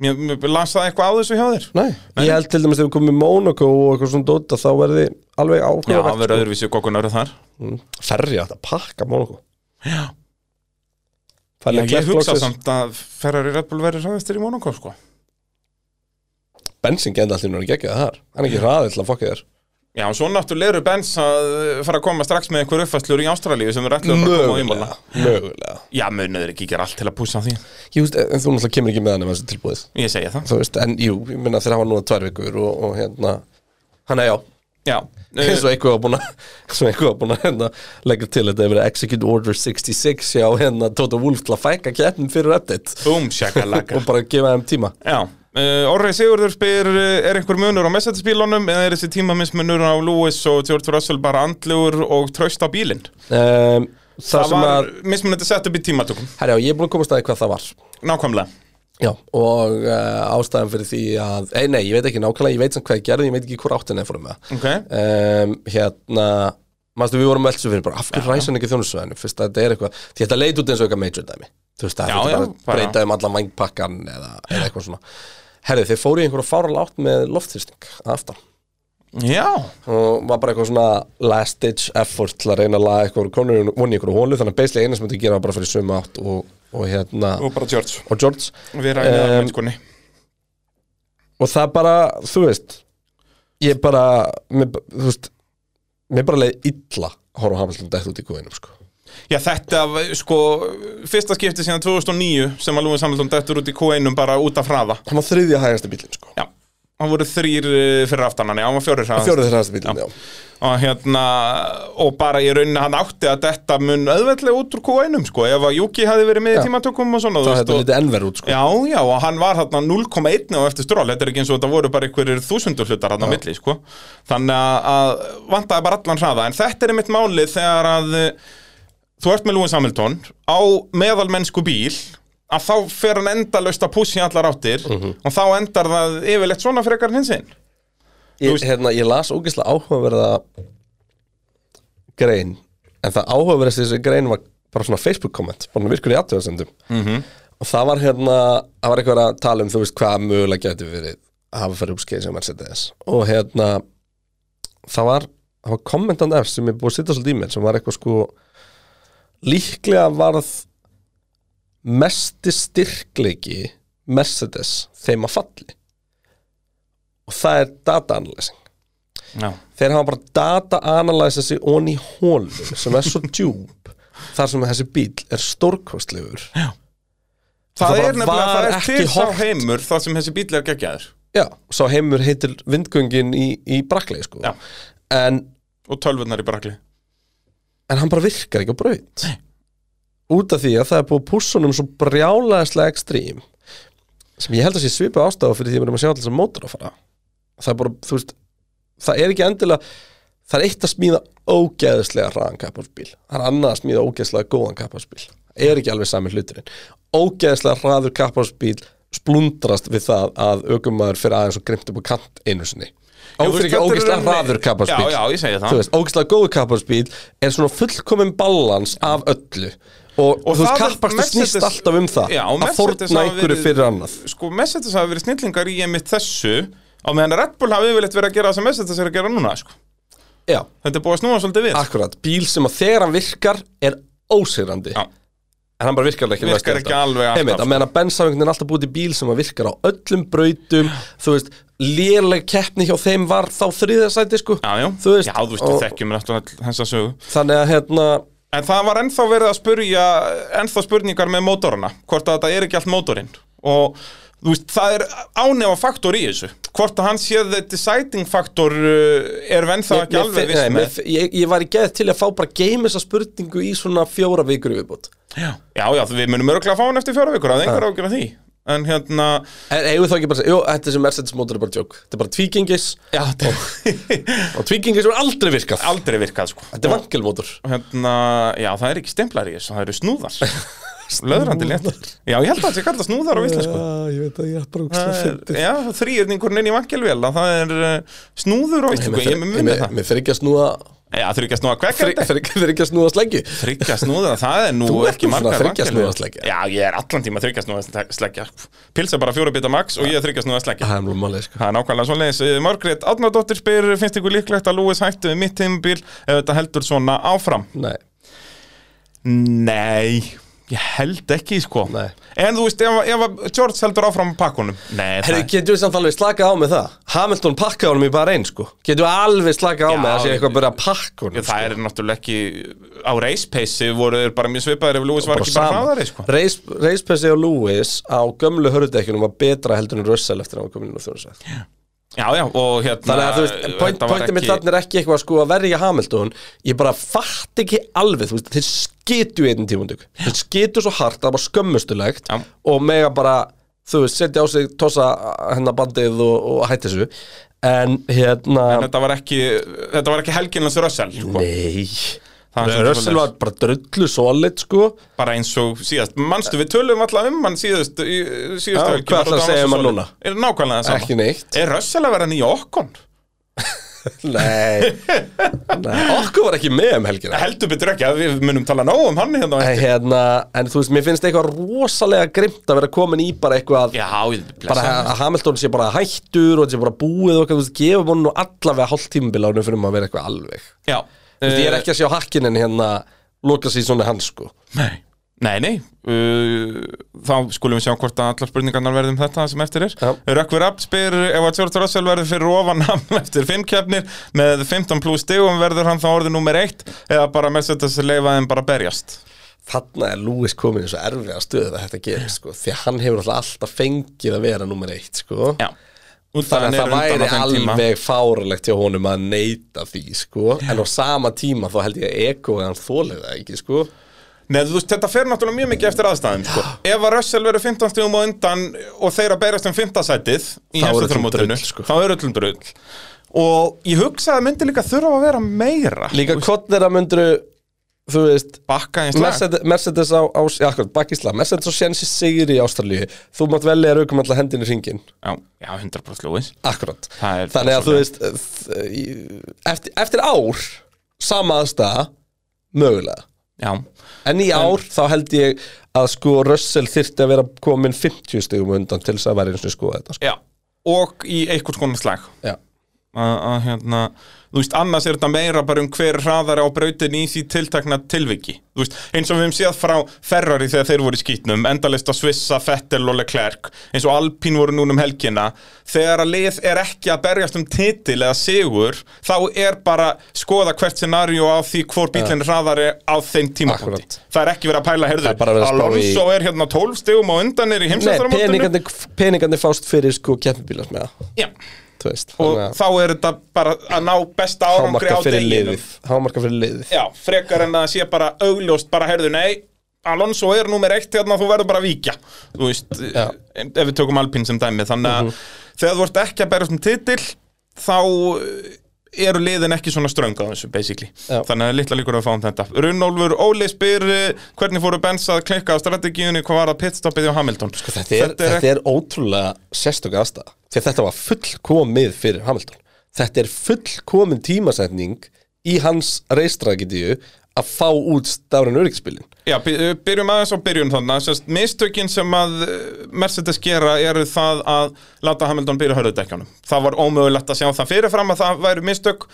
B: Mér, mér las það eitthvað á þessu hjá þér?
C: nei, ég held til dæmis þegar við komum í Monaco og eitthvað svona dóta þá verði alveg sko.
B: Já,
C: ákveða
B: verður öðruvísi kokkunar þar.
C: ferri að pakka Monaco
B: Já.
C: Það
B: Já,
C: er
B: ég
C: klart
B: hugsa
C: loksins
B: samt að Ferrari Red Bull verður hraðastir í Monaco sko.
C: Bensin genda allir núna geggjaði þar Hann er ekki hraðið til að fokka þér
B: Já, og svo náttúrulega eru Benz að uh, fara að koma strax með einhver uppfæstlur í Ástralíu sem er ætlaður bara að koma á ímálna
C: Mögulega
B: Já, munið þeir ekki gera allt til að púsa á því
C: Jú, veist, en þú náttúrulega kemur ekki með hann ef þessi tilbúið
B: Ég segja það
C: Þú veist, en jú, ég minna þeir hafa núna tvær vikur og, og hérna Hanna já,
B: Já,
C: eins og eitthvað var búin að eins og eitthvað var búin að hérna leggja til að þetta hefur verið Execute Order 66 hjá hérna Toto Wolf til að fæka keppnum fyrir update
B: búm, eh, sjakalaka
C: og bara gefa þeim tíma
B: Já, uh, Orri Sigurður spyr uh, er einhver munur á Mercedes-bílunum eða er þessi tímaminsmunur á Lewis og George Russell bara andlugur og trausta bílinn?
C: um, Það,
B: Það
C: sem
B: var
C: að,
B: mismunandi sett upp í tímatökum
C: herjá, ég er búin að komast að því hvað það var
B: Nákvæmlega
C: Já, og uh, ástæðan fyrir því að, ei nei, ég veit ekki nákvæmlega, ég veit samt hvað ég gerði, ég veit ekki hvort áttin er fórum með það.
B: okay.
C: Um, hérna, maður við vorum velsu fyrir bara, af hverju ræsum ekki þjónusvæðinu, fyrst að þetta er eitthvað, því þetta leit út eins og eitthvað major dæmi, þú veist, það
B: Já,
C: þetta
B: já,
C: bara,
B: bara-
C: bara breyta um allan vangpakkan eða, eða eitthvað svona. Herði, þeir fóru í einhverja fáral átt með loftþýsting að aftan
B: Já,
C: og var bara eitthvað svona last ditch effort til að reyna að laga eitthvað konur vonni einhverju hólu, þannig að basically eina sem þetta gera var bara fyrir sömu átt og, og hérna,
B: og bara George
C: og George
B: Við ræðum um,
C: Em,
B: mennskunni
C: og það bara, þú veist ég bara, mér, b- þú veist mér bara leið illa að horfa á Hamilton dætt út í guðinum sko.
B: Já, þetta, sko, fyrsta skipti síðan 2009 sem að Lúin Samhaldun dettur út í Q1 bara út af hraða.
C: hann var þriðja hægasti bílinn sko.
B: Já, hann voru þrýr fyrir aftan hann, já, hann var fjórir hraðast.
C: fjórið þeirra hægasti bílinn, já,
B: Og hérna, og bara í rauninni hann átti að detta mun auðveldlega út úr Q1, sko, ef að Juki hafi verið með í
C: Já.
B: tímatökum og svona,
C: það hefði
B: og...
C: lítið ennverð út sko.
B: Já, já, og hann var hérna 0,1 á eftir stról, þetta er ekki eins og þetta voru bara einhverjir þúsundur hlutar hann á milli, sko Þannig að- að vantaði bara allan hraða, en þetta er einmitt málið þegar að eh, þú ert með Lewis Hamilton á meðalmennsku bíl að þá fer hann endalaust að pússi allar áttir
C: Mhm.
B: og þá endar það yfirleitt svona frekar en hinsinn
C: ég, hérna, ég las ógeðslega áhugaverða grein en það áhugaverðast þessi grein var bara svona Facebook komment, bara virkur í aðtöðasendum -hmm. og það var hérna það var eitthvað að tala um, þú veist, hvað mögulega getur verið að hafa farið uppskeið sem Mercedes og hérna það var, það var kommentan efst sem ég er búið að sitja svolítið í mér, sem var eitthvað sko líklega varð mesti styrkleiki Mercedes þeim að falli og það er data analyzing
B: Já,
C: þeir hafa bara data analysa sig onni í hólu sem er svo djúb þar sem þessi bíl er stórkostlegur
B: það,
C: bara
B: er nefnilega,
C: var
B: það er
C: ekki
B: til sá
C: horft.
B: heimur þar sem þessi bíl er geggjaður
C: já, sá heimur heitir vindgöngin í, í brakli sko.
B: Já.
C: en,
B: og tölvurnar í brakli
C: en hann bara virkar ekki á braut út af því að það er búið að pússa honum svo brjálæðislega ekstrím sem ég held að sé svipa ástafa fyrir því að við erum að sjá alltaf sem mótur að fara það er bara, þú veist það er ekki endilega, það er eitt að smíða ógeðslega hraðan kapparsbíl það er annað að smíða ógeðslega góðan kapparsbíl það er ekki alveg sami hluturinn ógeðslega hraður kapparsbíl splundrast við það að ökumæður fyrir aðeins og grimt upp á kant einu sinni
B: Já, þú
C: ófyrir
B: veist,
C: ekki
B: þetta er
C: ógeðslega
B: rauninni-
C: hraður kapparsbíl
B: Já, já, ég segi það.
C: Þú veist, ógeðslega góður kapparsbíl er svona fullkomin ballans af öllu og,
B: Og
C: þú veist,
B: það er-
C: kapparstur snýst
B: Mercedes-
C: alltaf um það
B: Já, og
C: að
B: Mercedes
C: forna
B: hafa
C: einhverju
B: verið-
C: fyrir annað
B: sko Mercedes hafa verið snillingar í einmitt þessu á meðan Red Bull hafa yfirleitt verið að gera það sem Mercedes er að gera núna sko.
C: já,
B: þetta er búið að snúa svolítið við
C: akkurat, bíl sem að þegar hann virkar er ósigrandi
B: Já.
C: en hann bara virkar ekki
B: Virkar ekki alveg alltaf,
C: alltaf
B: sko.
C: að meðan að bensafengunin er alltaf búið til bíl sem að virkar á öllum brautum þú veist, léleg keppni hjá þeim var þá þriðasæti sko
B: já, já.
C: Þú veist,
B: já, þú veist, við
C: og-
B: þekkjum náttúrulega þessa sögu
C: þannig að hérna
B: En það var ennþá verið að spurja ennþá spurningar með mótorana hvort að þetta er ekki allt mótorinn og þú veist, það er ánefa faktor í þessu hvort að hann séð the deciding faktor uh, er venn það ekki
C: mér- mér-
B: alveg viss
C: nei, mér-
B: með
C: ég, ég var í geð til að fá bara game þessa spurningu í svona fjóra vikur í viðbútt
B: Já, já, við munum örgulega að fá hann eftir fjóra vikur að einhver ágjur af því En hérna,
C: en eigum við þá ekki bara að segja, jú, þetta sem Mercedes mótor er bara joke þetta er bara tvíkingis
B: já, þetta er
C: og tvíkingis er aldrei virkað
B: aldrei virkað sko
C: þetta er vankelmótor
B: Og hérna, já, það er ekki stemplar í þessu, það eru snúðar Löðrandi létt Já, ég held að þetta sé kallað snúðar á íslensku
C: Ah, ég veit að ég er bara
B: Það er- Já, þrýjörningurinn inn í vankelvél að það er uh, snúður og
C: Sko,
B: íslensku, ég mun með það
C: Mér fer ekki að snúa
B: Já, þryggja snúða kvekkandi
C: Fer ekki fer ekki að snúa sleggi
B: Þryggja snúða, það er nú
C: Þú ert
B: ekki
C: nú svona
B: margar
C: þriggja
B: vankelvél.
C: snúða sleggja.
B: Já, ég er allan tíma þryggja snúða sleggja Pilsa bara fjóra bita max og ég er þryggja snúða sleggja
C: Það er mjög málið sko
B: Það er nákvæmlega svoleiðis. Eh, Margrét Átnardóttir spyr, finnst ykkur líklegt að Lewis hættu við mitt tímabil ef þetta heldur svona áfram?
C: Nei,
B: Nei, ég held ekki sko
C: Nei.
B: En þú veist, ef, ef að George heldur áfram pakkunum Nei,
C: Herru, getur við samt alveg slaka á með það? Hamilton pakka honum í bara einn sko Getur við alveg slaka á
B: Já,
C: með það sé
B: ég-
C: eitthvað að byrja að pakka honum
B: það er náttúrulega ekki á race pace voru þeir bara mjög svipaðir ef Lewis var ekki bara hraðari sko.
C: sko Reispessi og Lewis á gömlu hörðdekjunum var betra heldur en Russell eftir að hann var komin inn á þjóðsvæð
B: Já, já, og hérna
C: Þannig að þú veist, point,
B: þetta var
C: pointið mitt þarna er ekki eitthvað sko að verja Hamilton Ég bara fatt ekki alveg, þú veist, þeir skitu í einn tímundug Þeir skitu svo hart, að það var skömmustulegt
B: Já.
C: Og mega bara, þú veist, setja á sig, tosa hennar bandið og, og hætti þessu En hérna,
B: En þetta var ekki, þetta var ekki helginans Russell sko.
C: nei
B: Það er svolítið
C: Russell
B: svoleiðis.
C: var bara drullu solid sko
B: bara eins og síðast Manstu, við tölum alltaf um hann síðast í, síðast
C: Já, hvað ætlar að segja um hann núna?
B: Er nákvæmlega það sama
C: Ekki neitt
B: Er Russell að vera nýja okkon?
C: Nei, nei. Okkur var ekki með um helgina
B: Heldur betur ekki að við munum tala nóg um hann hérna á
C: En
B: eftir.
C: hérna, en þú veist, mér finnst eitthvað rosalega grimt að vera komin í bara eitthvað
B: Já, ég
C: bara
B: blessa
C: að Hamilton sé bara hættur og þetta sé bara búið og eitthvað, þú veist, gefum honum nú allavega hálft tímabil ánum fyrir maður að vera eitthvað alveg Þú
B: Já Eh,
C: veist, ég er ekki að sjá hakkinin hérna loka sér svona hans sko
B: Nei, nei, nei. Uh, Þá skulum við sjá hvort að allar spurningarnar verðum þetta sem eftir er
C: Já.
B: Rökkvi Rapp spyr ef að George Russell verður fyrir ofan ham eftir fimm keppnir með 15 pluss stigum verður hann þá orðið númer eitt eða bara Mercedes leifa þeim bara berjast
C: Þarna er Lewis komin í svo erfiða stöðu að þetta gerir sko, því að hann hefur alltaf alltaf fengið að vera nummer eitt sko
B: Já
C: Þannig að það væri alveg fáralegt hjá honum að neyta því sko En á sama tíma þá held ég að Eko eða hann þólið það ekki sko
B: Nei, þú veist, þetta fer náttúrulega mjög mikið eftir aðstæðum sko. Ef að Russell verður 15 stíðum og undan og þeir að berjast um 15 sætið í
C: Þá er öllum
B: heimsættarmótinu,
C: drull, sko.
B: þá er öllum drull og ég hugsa að myndi líka þurfa að vera meira
C: Líka kottnera myndru, þú veist,
B: bakka eins lag
C: Mercedes, Mercedes á, á já, akkurat, bakisla, Mercedes á sjensi sigri í Ástralíu þú mátt velja um raukum alltaf hendinu hringin
B: Já, já 100% Lewis
C: akkurat,
B: Það er
C: þannig að þú
B: svoleiðis.
C: veist þ- í- eftir, eftir ár sama aðstæða mögulega,
B: Já,
C: en í ár þá held ég að sko Russell þyrfti að vera komin 50 stegum undan til þess að vera eins og skoða þetta sko.
B: já Og í einhvers konar slag
C: já,
B: að, að hérna, þú veist, annars er þetta meira bara um hver hraðar á brautin í því tiltakna tilviki, þú veist, eins og við hefum séð frá Ferrari þegar þeir voru í skýtnum endalist á Svissa, Fettel og Leclerc eins og Alpín voru núna um helgina þegar að lið er ekki að berjast um titil eða sigur, þá er bara skoða hvert scenario á því hvor bílinn hraðari á þeim tímapunkti
C: Akkurat.
B: það er ekki verið að pæla,
C: Það er bara
B: heyrðu,
C: verið að spá í-
B: Alonso er hérna 12 stegum og undan er í
C: Nei,
B: heimsættaramótinu
C: peningandi, peningandi fást fyrir sko keppibílas með það Þú veist
B: og
C: þannig að
B: þá er þetta bara að ná besta árangri
C: Hámarka
B: á
C: fyrir
B: deginum
C: liðið Hámarka fyrir liðið
B: Já, frekar en að sé bara augljóst bara heyrðu, nei, Alonso er númer eitt hérna, þú verður bara að víkja þú veist,
C: Já. Mhm.
B: eh, ef við tökum Alpín sem dæmi þannig að þegar þú ert ekki að bæra sem titil þá eh, eru liðin ekki svona ströng á þessu basically,
C: Já.
B: þannig að litla líkur að við fáum þetta Runnólfur Óli spyr eh, hvernig fóru Benz að klikka á strategíunni hvað var að pitstoppið hjá Hamilton sko,
C: Þetta er, þetta er ótrúlega sérstök aðstæða því að þetta var fullkomið fyrir Hamilton þetta er fullkomin tímasetning í hans reistrakitíu að fá út stafran öryggisbílin
B: Já, by- uh, byrjum aðeins á byrjun þannig Sérst, mistökin sem að uh, Mercedes gera eru það að láta Hamilton byrja hörðudekkjanum Það var ómögulegt að sjá það fyrirfram að það væru mistök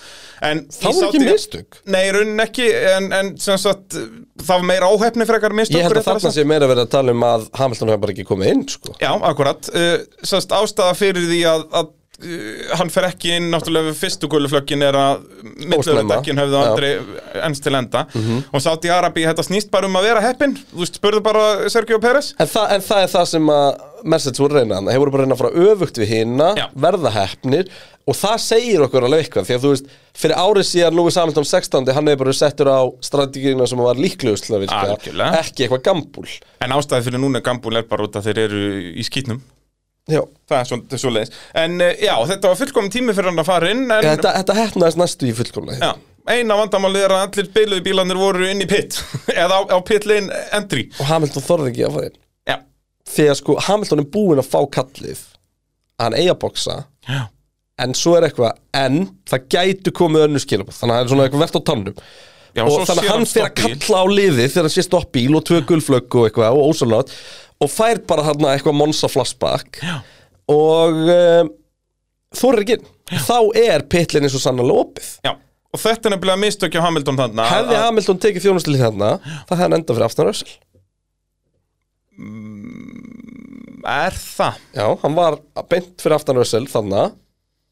B: en í
C: Það voru ekki
B: Saudi-
C: mistök.
B: Nei, í rauninni ekki, en, en sem sagt uh, það var meira óhefni frekar mistök
C: Ég held að
B: réttara
C: þarna
B: sagt.
C: sé meira verið að tala um að Hamilton hefur bara ekki komið inn sko.
B: Já, akkurat uh, Sérst, ástæða fyrir því að, að uh, hann fer ekki inn náttúrulega við fyrstu guluflögin er að
C: snemma.
B: milluröðdekkin höfðu
C: Já. Mhm.
B: andri ennst til enda og sátt í Arabi, þetta snýst bara um að vera heppin þú veist, spurðu bara Sergio Pérez
C: en, þa en það er það sem að Mercedes voru að reyna hann, hefur bara að reyna að fara öfugt við hina
B: Já.
C: verða heppnir og það segir okkur alveg eitthvað því að þú veist, fyrir árið síðan Lewis Hamilton 16. hann hefur bara verið settur á strategíuna sem var líklegust til að virka
B: Algjörlega.
C: ekki eitthvað gambúl
B: En ástæði fyrir núna Gambúl er bara út að þeir eru í skýtnum
C: Já.
B: Það er svo, það er svo leiðis En eh, já, þetta var fullkomin tími fyrir hann að fara inn en,
C: Þetta, þetta heppnaðist næstu í fullkomlega
B: já, Eina vandamálið er að allir beiluðu bílanir voru inn í pit Eða á, á pit lane entry
C: og Hamilton þorði ekki að fara inn
B: Já,
C: því að sko Hamilton er búinn að fá kallið að hann eiga að boksa
B: já.
C: en svo er eitthvað, en það gætu komið önnur skilabóð, þannig að það er svona eitthvað verðt á tannum
B: já
C: og
B: svo
C: þannig
B: sér
C: að hann fer að
B: stoppbíl.
C: kalla á liði þegar hann sé stoppbíl og tvö gulflögg og eitthvað og ósannlátt og fær bara hann eitthvað monsa flashback
B: Já.
C: og um, þorir ekki inn. þá er pitlinn eins og sannarlega opið
B: Já, og þetta er nefnilega mistökja Hamilton þarna að-
C: hefði Hamilton tekið þjónustlið þarna það hefði hann enda fyrir aftan rössal
B: Er það?
C: já, hann var beint fyrir aftan rössal þarna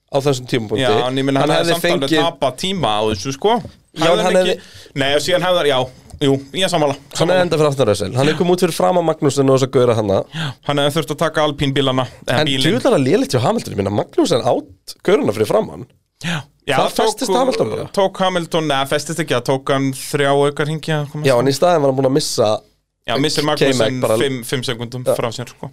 C: á þessum tímapunkti
B: Já, en ég minna hann, hefði samt alveg tapa tíma á þessu sko
C: Já, en
B: Hefði
C: hann
B: ekki... Nei, og síðan hefði, já, jú, ég sammála
C: hann hefði enda fyrir aftan rössal hann hefði komið út fyrir fram að Magnúsin og þess að gauðra hann
B: Hann hefði þurft að taka alpínbílana eða
C: en
B: bílinn.
C: tjúðar að lélitt hjá Hamilton ég minna Magnúsin átt gauðrana fyrir framann
B: Já, já
C: Þar festist Hamilton bara.
B: Tók Hamilton, neða, festist ekki, það tók hann þrjá aukar hingja
C: já, en í staðin var hann búin að missa
B: já missir
C: K-Mac
B: Magnúsin
C: bara-
B: 5 sekundum frá sér sko.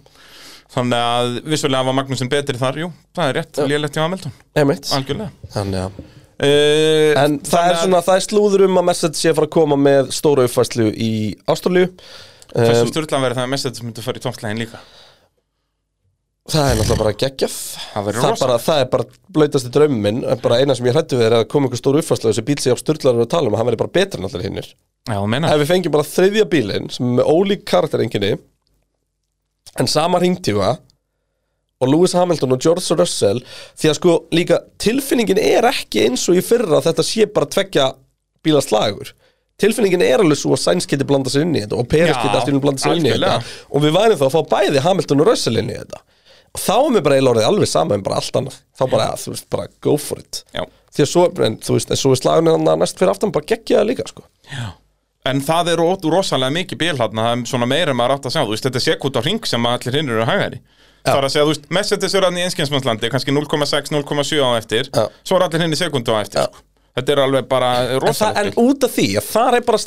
B: Þannig að vissulega var Magnúsin betri þar, jú, það er rétt, lélegt hjá Hamilton,
C: einmitt
B: algjörlega
C: Þannig að
B: uh,
C: En það er svona, það er slúður um að Mercedes sé að fara að koma með stóra uppfæslu í Ástralju
B: Þessu
C: um,
B: styrlan verið það að Mercedes myndi að fara í tómtlegin líka
C: Það er náttúrulega bara geggjaf
B: Það verður
C: það, er
B: rosa.
C: bara, það er bara blautasti draumum minn en bara eina sem ég hrættu við er að koma ykkur stóra uppfæslu þessi bíl sem ég á styrlaður að tala um að hann verði bara betri en allir hinnir
B: Já, þú meina
C: Ef við fengjum bara þriðja bílinn sem er með ólík karakteringinni en sama ringtífa og Lewis Hamilton og George Russell því að sko líka tilfinningin er ekki eins og í fyrra að þetta sé bara tvekja bíla slagur tilfinningin er alveg svo að Sainz geti blanda sér inn í þetta og Peres
B: Já,
C: geti allt í einu blanda sér inn í þetta
B: algjörlega.
C: og við værum þá að fá bæði Hamilton og Russell inn í þetta og þá er mér bara eiginlega orðið alveg sama en bara allt annað þá bara, þú veist, bara go for it
B: Já.
C: því að svo, en þú veist, en svo er slagurinn hann næst fyrir aftan bara geggjaði líka, sko
B: En það er ótú rosalega mikið bíl hann það er svona meira en maður átt að sjá, þú veist, þetta er sekund á ring sem að allir hinn eru að haga þér í Það er að segja, þú veist, Mercedes eru hann í einskjensmannslandi kannski 0,6, 0,7 á eftir
C: Já.
B: svo eru allir hinn í sekundu á eftir
C: Já.
B: sko. Þetta er alveg bara
C: en, það,
B: rosalega
C: en út af því að það er bara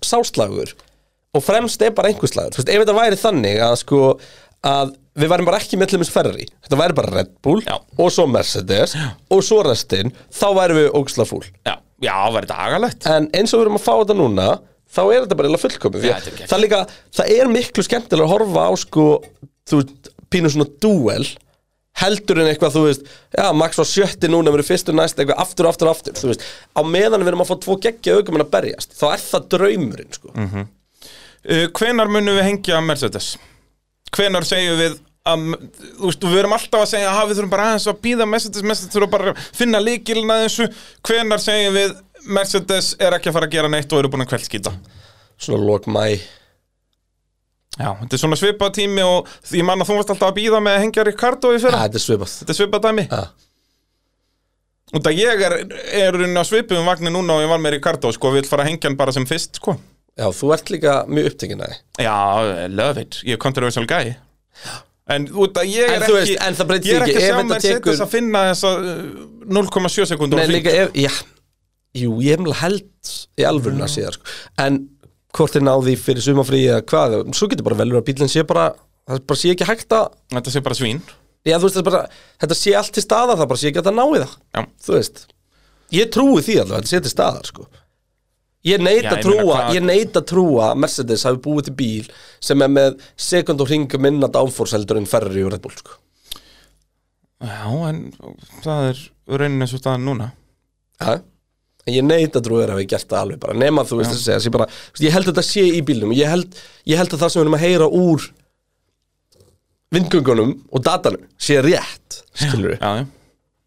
C: sáslagur og fremst er bara einhverslagur Þú veist, ef þetta væri þannig að sko að við værum bara ekki mellumins ferri þetta væri bara Red Bull
B: Já.
C: og svo Mercedes og svo restinn þá værum við ógisla fúl
B: Já, já, það væri dagalegt
C: en eins og við erum að fá þetta núna þá er þetta bara illa fullkomið
B: Já,
C: Því að
B: þetta er gegn.
C: það, er líka, það er miklu skemmtilega að horfa á sko, þú veist, pínu svona duel heldur en eitthvað, þú veist já, Max var sjötti núna, við erum fyrstur næst eitthvað, aftur, aftur, aftur, þú veist á meðan við erum að fá tvo geggja augum en að berjast þá er það
B: Mhm.
C: draumurinn, sko
B: uh, Hvenar munum við hengja Mercedes? Hvenar segjum við um, þú veist, og við erum alltaf að segja að við þurfum bara aðeins að býða Mercedes, Mercedes þurfum bara að finna líkilina þessu hvenar segjum við Mercedes er ekki að fara að gera neitt og eru búin að kveldskýta
C: Svona lok mæ
B: Já, þetta er svona svipað tími og ég man að þú varst alltaf að býða með að hengja Ricardo í
C: Ja,
B: fyrra
C: Þetta er svipað
B: Þetta er svipað dæmi
C: ja.
B: Út að ég er, er raunin á svipum vagnin núna og ég var með Ricardo, sko, vil fara að hengja hann bara sem fyrst, sko.
C: Já, þú ert líka mjög upptekinn að því
B: Já, I love it, ég er controversial guy. En út að ég
C: En
B: er
C: þú
B: ekki,
C: veist, en það breytir
B: ég er
C: ekki,
B: ekki
C: ef
B: að sjá
C: þetta
B: mér tekur...
C: tekur-
B: setjast að finna þessa uh, 0,7 sekundur
C: Nei, líka ef, já Jú, ég hef mjög held í alvöruna mm. síðar sko. En hvort er náði fyrir sumafrí eða hvað, svo getur bara velur að bílinn sé bara Það bara sé ekki hægt að
B: Þetta sé bara svín.
C: Já, þú veist, það er bara, þetta sé allt til staðar, það bara sé ekki hægt að ná í það
B: Já.
C: Þú veist Ég trúi því alveg að þetta sé til staðar, sko Ég neit
B: Já,
C: að
B: ég meina,
C: trúa,
B: hvað-
C: ég neit að trúa að Mercedes hafi búið til bíl sem er með sekund og hringu minna downforce heldur en Ferrari og Red Bull, sko
B: Já, en það er raunin eins og staðan núna.
C: Já, en ég neit að trúið er að við gert það alveg bara nema þú veist að segja, ég, bara, þú veist, ég held að þetta sé í bílnum ég held, ég held að það sem við erum að heyra úr vindgöngunum og datanum sé rétt skilur við
B: Já, já.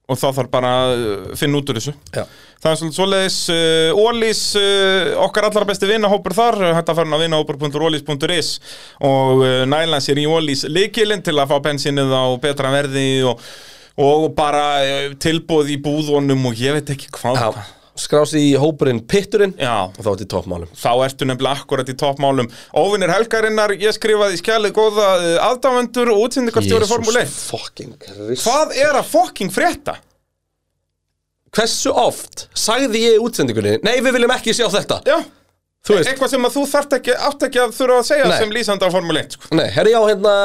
B: Og þá þarf bara að uh, finna út úr þessu.
C: Já.
B: Það er svolítið svoleiðis uh, Ólís, uh, okkar allra besti vinnahópur þar uh, hægt að fara inn á vinnahópur.ólís.is og uh, næla sér í Ólís leikilinn til að fá bensinnið á betra verði og, og bara uh, tilbúð í búðunum og ég veit ekki hvað
C: Já, skrási í hópurinn pitturinn
B: Já.
C: og þá ertu í toppmálum
B: Þá ertu nefnilega akkurat í toppmálum Óvinnir helgarinnar, ég skrifaði í skjalið góða uh, aðdávendur og útsendingarstjóri Formule 1
C: fucking Christ
B: Hvað er að fokking frétta?
C: Hversu oft sagði ég í útsendingunni Nei, við viljum ekki sjá þetta
B: Já,
C: Þú veist,
B: eitthvað sem að þú þarft ekki, átt ekki að þurfa að segja
C: Nei.
B: sem lýsandi á Formule 1 sko.
C: nei, herri á hérna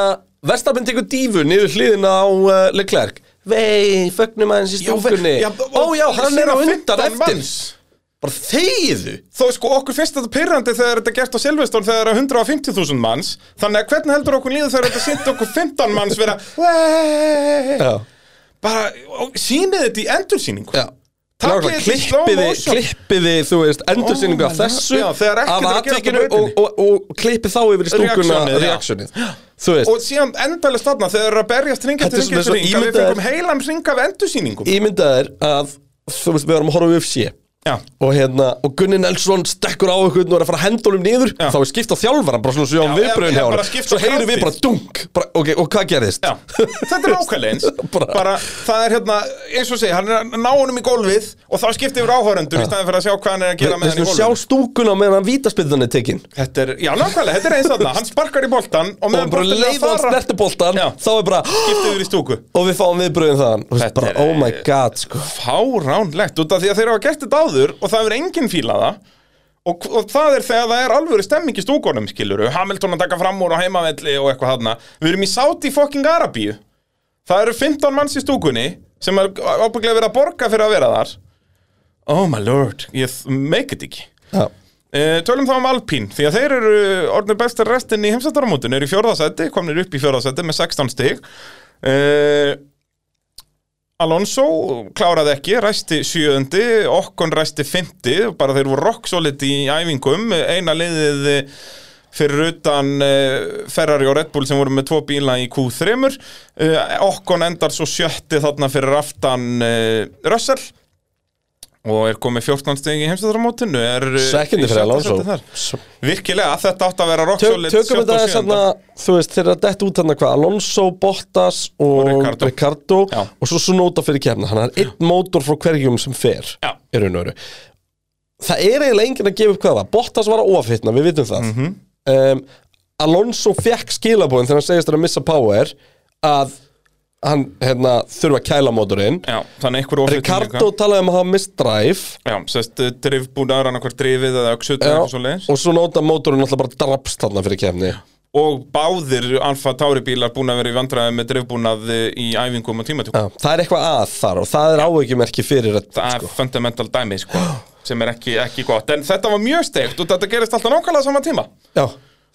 C: Verstapinn tekur dífu niður hliðina á uh, Leclerc Vei, fögnum aðeins í stúkunni Ó já, hann er á undan eftir Bara þegiðu
B: Þó sko okkur finnst þetta pyrrandi þegar þetta er gert á Silveston þegar það er 150.000 manns Þannig að hvernig heldur okkur líður þegar þetta sýndi okkur 15 manns vera "Wey?"
C: Já,
B: Bara og sýnið þetta í endursýningu
C: já
B: Takk
C: Nákvæmlega,
B: ég þetta í slow
C: klippiði,
B: motion.
C: klippiði, þú veist, endursýningu
B: Oh
C: af
B: my
C: þessu
B: God. Já, þegar ekkert
C: af
B: er að gerast á
C: atvikinu og,
B: brautinni.
C: og, og, klippið þá yfir í stúkuna
B: Reactionið, já.
C: reaksjonið Þú veist,
B: Og síðan endalist þarna þegar það berjast ringa
C: Þetta
B: til
C: er
B: ringa
C: svona
B: til ringa Við
C: ímyndað-
B: fengum heilan ringa af endursýningum
C: ímyndaðir að þú veist, við erum að horfa við sé
B: Já
C: og hérna, og Gunni Nelson stekkur á einhvern og er að fara að henda honum niður
B: Já.
C: þá er skipt á þjálfara, bara svona
B: Já,
C: sjáum
B: já,
C: viðbröðin hjá
B: bara
C: honum
B: skipt á
C: svo heyrum
B: krafti.
C: við bara dunk bara, ok, og hvað gerðist?
B: Já, þetta er nákvæmleins bara,
C: Bara-
B: það er hérna, eins og segja, hann er að ná honum í gólfið og þá skipti yfir áhórendur í staðin fyrir að sjá hvað hann er að
C: við
B: gera með hann í
C: þessum
B: gólfið
C: sjá stúkuna meðan vítaspildan er tekin
B: Þetta er, já nákvæmlega, þetta er eins þarna Hann sparkar í boltan og
C: og
B: meðan
C: bara
B: boltan er að
C: leiður hann
B: fara
C: snertu boltan
B: Já.
C: þá er bara
B: Skiptu yfir í stúku
C: og við fáum viðbröðin þaðan Þú veist,
B: Þetta
C: bara,
B: er-
C: oh my god, sko
B: Fáránlegt, út af því að þeir hafa gert þetta áður Og það hefur enginn fílað það og, og það er þegar það er alvöru stemming í stúkunum skiluru Hamilton að taka fram úr á heimavelli og eitthvað þarna Við erum í sáti fucking Arabíu Það eru 15 manns í stúkunni Sem er ábygglega verið að borga fyrir að vera þar Oh my lord, ég make it ekki
C: já.
B: Uh, tölum þá um Alpín, því að þeir eru orðnir bestar restin í heimsættaramótun eru í fjórðasætti, komnir upp í fjórðasætti með 16 stig uh, Alonso kláraði ekki, ræsti sjöundi Okkon ræsti fymti bara þeir voru rock solid í æfingum eina liðið eh, fyrir utan uh, Ferrari og Red Bull sem voru með tvo bíla í Q3 uh, Okkon endar svo sjötti þarna fyrir aftan uh, Russell og er komið 14 stegi í eh, heimsættaramótinu
C: secundi fyrir Alonso
B: Virkilega, þetta átti að vera rock
C: Tök,
B: solid
C: tökum þetta aðeins hérna, þú veist, þeir eru að detta út hérna hvað Alonso, Bottas og,
B: Og Ricardo.
C: Ricardo.
B: Já.
C: og svo Sunoda fyrir kemna, hann er einn mótor frá hverjum sem fer
B: Já.
C: í raun og veru það er eiginlega enginn að gefa upp hvað það var. Bottas var að ofhittna, við vitum það
B: Mhm.
C: um, Alonso fekk skilabóðin þegar hann segist að missa power að hann hérna, þurfa að kæla mótorinn
B: Já, þannig einhver ofið
C: Ricardo talaði um að hafa mist drive
B: Já, eh, sérst, drifbúnaður, hann okkur drifið eða öxut
C: Já,
B: eða eitthvað svo leiðis
C: og svo nota mótorinn alltaf bara drapst þarna fyrir kemni
B: Og báðir Alfa Tauri bílar búin að vera í vandræði með drifbúnað í æfingum og tímatökum
C: Já, það er eitthvað að þar og það er áveikjumerki fyrir sko. að,
B: Það er fundamental dæmi, sko sem er ekki, ekki gott, en þetta var mjög steikt og þetta gerist alltaf nákvæmlega sama tíma
C: já,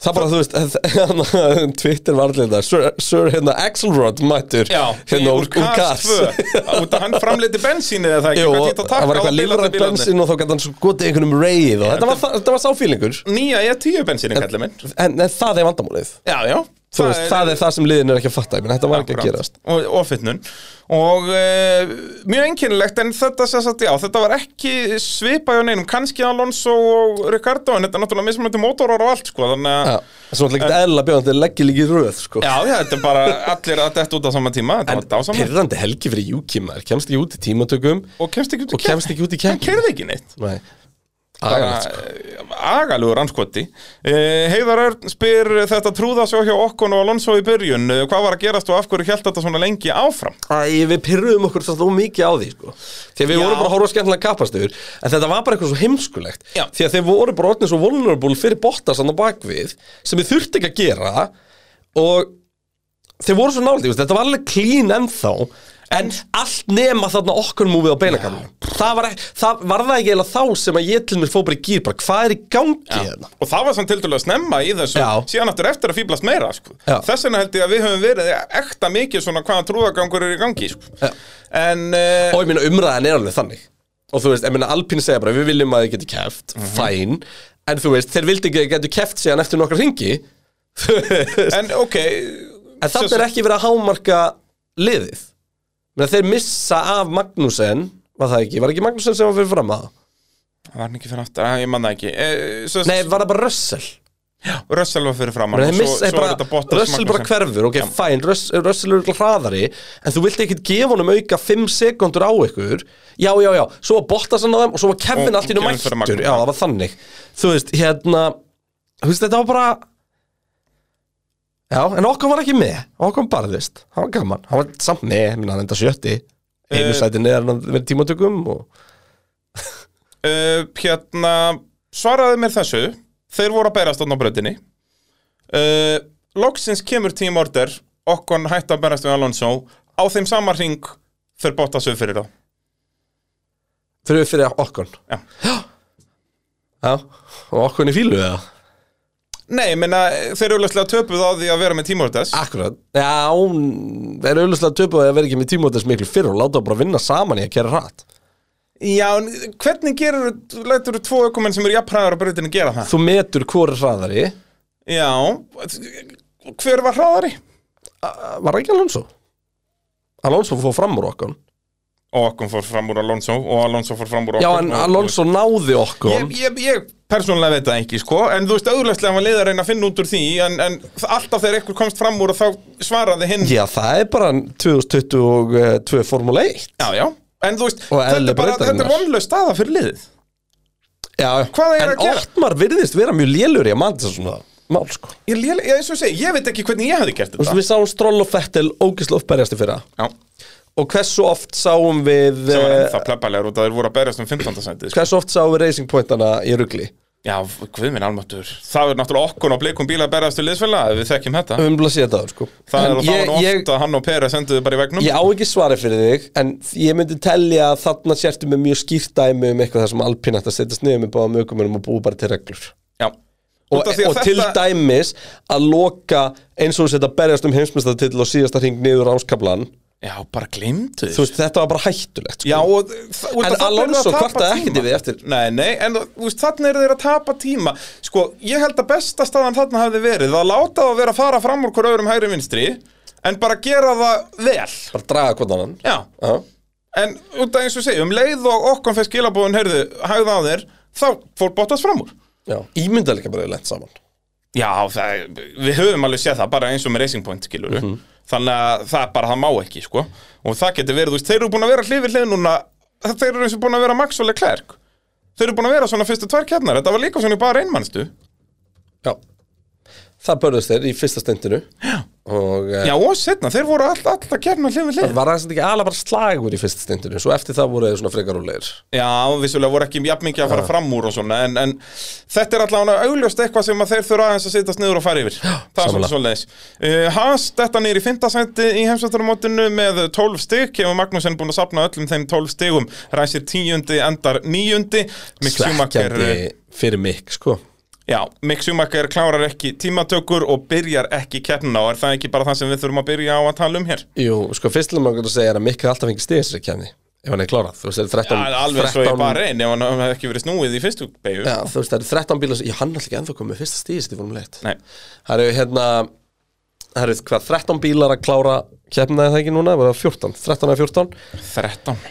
C: það bara, þú veist, hann- Twitter var allir þetta, Sir, Sir hérna Axelrod mættur,
B: í-
C: hérna úr, úr Kars.
B: 2. Út að hann framleiti bensín eða það ekki
C: Jú,
B: hvað
C: og
B: þýtt að taka
C: það var
B: á
C: eitthvað
B: bílarnir,
C: lífrætt
B: bílarnir.
C: bensin og þá gæti hann svo gotið einhvernum reyð og þetta var, það- þetta var sáfílingur,
B: Nýja E10 E bensínin, kallið minn
C: en, en það er vandamálið.
B: Já, já,
C: Þú veist, það er það sem liðin er ekki að fatta Ég menn, þetta var ekki að
B: Akkurat.
C: gerast
B: og, og fitnun og e, mjög einkennilegt en þetta sem sagt, já, þetta var ekki svipað hjá neinum, kannski Alonso og Ricardo en þetta er náttúrulega mismunandi mótorar og allt sko, þannig að
C: Já,
B: já.
C: það er svona ekki eðla bjóðan Þetta leggir líka í röð, sko
B: já, þetta er bara allir að detta út á sama tíma þetta var dásamlega
C: Pyrrandi helgi fyrir Juki, maður Kemst ekki út í tímatökum
B: og kemst ekki út
C: Og kemst ekki út í
B: hann
C: keppni.
B: kerði ekki neitt
C: Nei Agalegt, sko.
B: Bara, agalugur anskoti Eh, Heiðar Örn spyr þetta trúða svo hjá Okkon og Alonso í byrjun Eh, hvað var að gerast og af hverju held þetta svona lengi áfram
C: Æ, við pyrruðum okkur svo mikið á því sko. því að við
B: Já.
C: vorum bara að horfa skemmtilega kapast yfir en þetta var bara eitthvað svo heimskulegt
B: Já.
C: því að þeir voru bara orðin svo vulnerable fyrir Bottas hann á bakvið sem við þurfti ekki að gera og þeir voru svo nálægt, þú veist, þetta var alveg clean ennþá en allt nema þarna okkur múfið á beinakamlum það, var ekki- það var það ekki eða þá sem að ég til mér fór bara í gýr bara hvað er í gangi hérna
B: og það var samt tildulega snemma í þessu
C: Já.
B: síðan áttur eftir að fýblast meira sko.
C: Já.
B: þess vegna held ég að við höfum verið ekta mikið svona hvaða trúðagangur er í gangi sko.
C: Já.
B: en uh,
C: og ég minna umræðan er alveg þannig og þú veist, ég minna Alpín segja bara við viljum að þið geti keft, fæn en þú veist, þeir vildi ekki að þið geti keft síðan eftir nokkra ringi en
B: en ok
C: þannig er ekki verið að hámarka liðið minna, þeir missa af Magnúsen var það ekki, var ekki Magnúsen sem var fyrir fram að það?
B: var hann ekki fyrir aftur, að, ég manna ekki uh,
C: nei, var það bara Russell
B: Russell var fyrir framann
C: Menn,
B: og
C: þeir missa,
B: er
C: bara,
B: þetta Bottas
C: Russell bara
B: Magnussen.
C: hverfur, ok, fæn Russell, Russell er hraðari, en þú vilt ekkert gefa honum auka 5 sekundur á ykkur já, já, já, svo var Bottas hann á þeim og svo var Kevin
B: Og
C: allt í nú
B: Kevin fyrir
C: mættur
B: Magnús.
C: já, það var þannig, þú veist, hérna þú veist, þetta var bara já, en okkur var ekki með okkur barðist, það var gaman hann var samt með, minna hann enda sjötti
B: Eh.
C: einu sæti neðar en hann verið tímatökum og
B: uh, hérna, svaraði mér þessu þeir voru að berast þarna á brötinni uh, loksins kemur Team Order okkon hætti að berast við Alonso á þeim sama ring þeir bóta sög fyrir þá
C: þau eru fyrir okkur
B: Já.
C: já, og okkur í fílu eða
B: Nei, ég meina, þeir eru löslega töpuð á því að vera með Team Order
C: Akkurat, já, hún- það er auðvitað töpu að vera ekki með tímótes miklu fyrr og láta bara vinna saman í að kæra hratt
B: Já, en hvernig gerur, lætur þú tvo ökumenn sem eru jafnhræðar á brötinni gera það?
C: Þú metur hvor er hraðari
B: Já, hver var hraðari?
C: A- Var ekki Alonso? Alonso fór fram úr okkur
B: Og okkur fór fram úr Alonso og Alonso fór fram úr okkur
C: Já, en Alonso náði okkur
B: Ég, ég, ég persónulega veit það ekki, sko En þú veist, auðvitað hann var leiðar reyna að finna út úr því En, en alltaf þegar eitthvað komst fram úr og þá svaraði hinn
C: Já, það er bara 2022 Formule 1
B: já, já. En þú veist,
C: Og
B: þetta
C: eðli
B: er bara, þetta
C: brautarinnar.
B: er vonlega staða fyrir liðið
C: Já,
B: Hvað er
C: en
B: að gera?
C: Ottmar virðist vera mjög lélur í að manda svona mál sko
B: Ég, ég, ég, eins og ég, segi, ég veit ekki hvernig ég hefði gert
C: Þú veist,
B: þetta
C: Við sáum Stroll og Fettel ógislega uppberjast í fyrra
B: Já,
C: Og hversu oft sáum við
B: sem var
C: eh,
B: ennþá plebbalegur og það þeir voru að berjast um 15. sætið sko.
C: Hversu oft sáum við Racing Pointana í rugli
B: Já, guð minn almáttur Það er náttúrulega okkur á bleikum bíla að berjast til liðsfélaga ef Við þekkjum þetta
C: Við höfum bara að sé þetta áður sko
B: Það er
C: En
B: og það var nú
C: ég,
B: oft að hann og Pera senduðu bara í vegnum
C: ég, ég á ekki svari fyrir þig En ég myndi telja að þarna sértu með mjög skýrt dæmi Um eitthvað þar sem Alpín ætti að setjast niður með báðum ökumunum Og búi bara til reglur
B: Já.
C: Og,
B: Út af því að
C: og til
B: þetta-
C: dæmis að loka eins og þess að berjast um heimsmyndstatill og síðasta hring niður áskablan
B: Já, bara glimtu
C: Þú veist, þetta var bara hættulegt sko.
B: Já, og þa- út af
C: En
B: þarna eru
C: Alonso
B: þeir að tapa
C: kvartaði
B: tíma.
C: ekkert yfir því eftir.
B: Nei, nei, en þú veist, þarna eru þeir að tapa tíma Sko, ég held að besta staðan þarna hafði verið að láta það að vera að fara fram úr hver öðrum hægri vinstri en bara gera það vel
C: Bara draga hvort annan
B: Já,
C: Já.
B: en út af eins og segjum leið og okkur fyrir skilabóðin heyrðu hægða á þér, þá fór Bottas fram úr
C: Já. Ímyndalega bara lent saman
B: Já, það, við höfum alveg séð það bara eins og með Racing Point skilur þannig að það bara, það má ekki sko. og það getur verið, þú veist, þeir eru búin að vera hlifir hlið núna, þeir eru eins og búin að vera Max og Leclerc, þeir eru búin að vera svona fyrstu tvær kjarnar, þetta var líka svona í bara einmannstu
C: Já Það börðust þeir í fyrsta stendinu Já Og eh,
B: Já, og setna, þeir voru all, alltaf kjarnar hlifir hlið
C: var það samt ekki alveg bara slagur í fyrsta stendinu Svo eftir það voru þeir svona frekar úrlegir
B: Já, vissulega voru ekki jafn mikið að fara fram úr og svona, en, en þetta er allavega augljóst eitthvað sem að þeir þurfa aðeins að sitast niður og fara yfir. það er svona
C: sammála.
B: svoleiðis. Uh, Hans, þetta niður í fintasændi í heimsvættarumótinu með 12 stygg, hefur Magnússon búin að sapna öllum þeim 12 stygum, ræsir tíundi, endar níundi, Mick Schumacher, eh,
C: Svekkjandi fyrir mig, sko
B: já, Mick Schumacher klárar ekki tímatökur og byrjar ekki keppnina og er það ekki bara það sem við þurfum að byrja á að tala um hér?
C: Jú, sko, fyrstilega maður kannar að segja er að Mikk er alltaf fengið stigið sér kemni Ef hann er klárað, þú veist, það eru
B: Já,
C: 13
B: alveg svo ég
C: 13
B: bara reyn, ef hann hefði ekki verið snúið í fyrstu beigju.
C: Já, þú veist, það eru 13 bílar sem- Já, hann er alltaf ekki ennþá komið með fyrsta stigið sér, því vorum leitt
B: Nei.
C: Það eru, hérna herrið, hvað, 13 bílar að klára keppna það ekki núna, var það 14, 13 eða 14
B: 13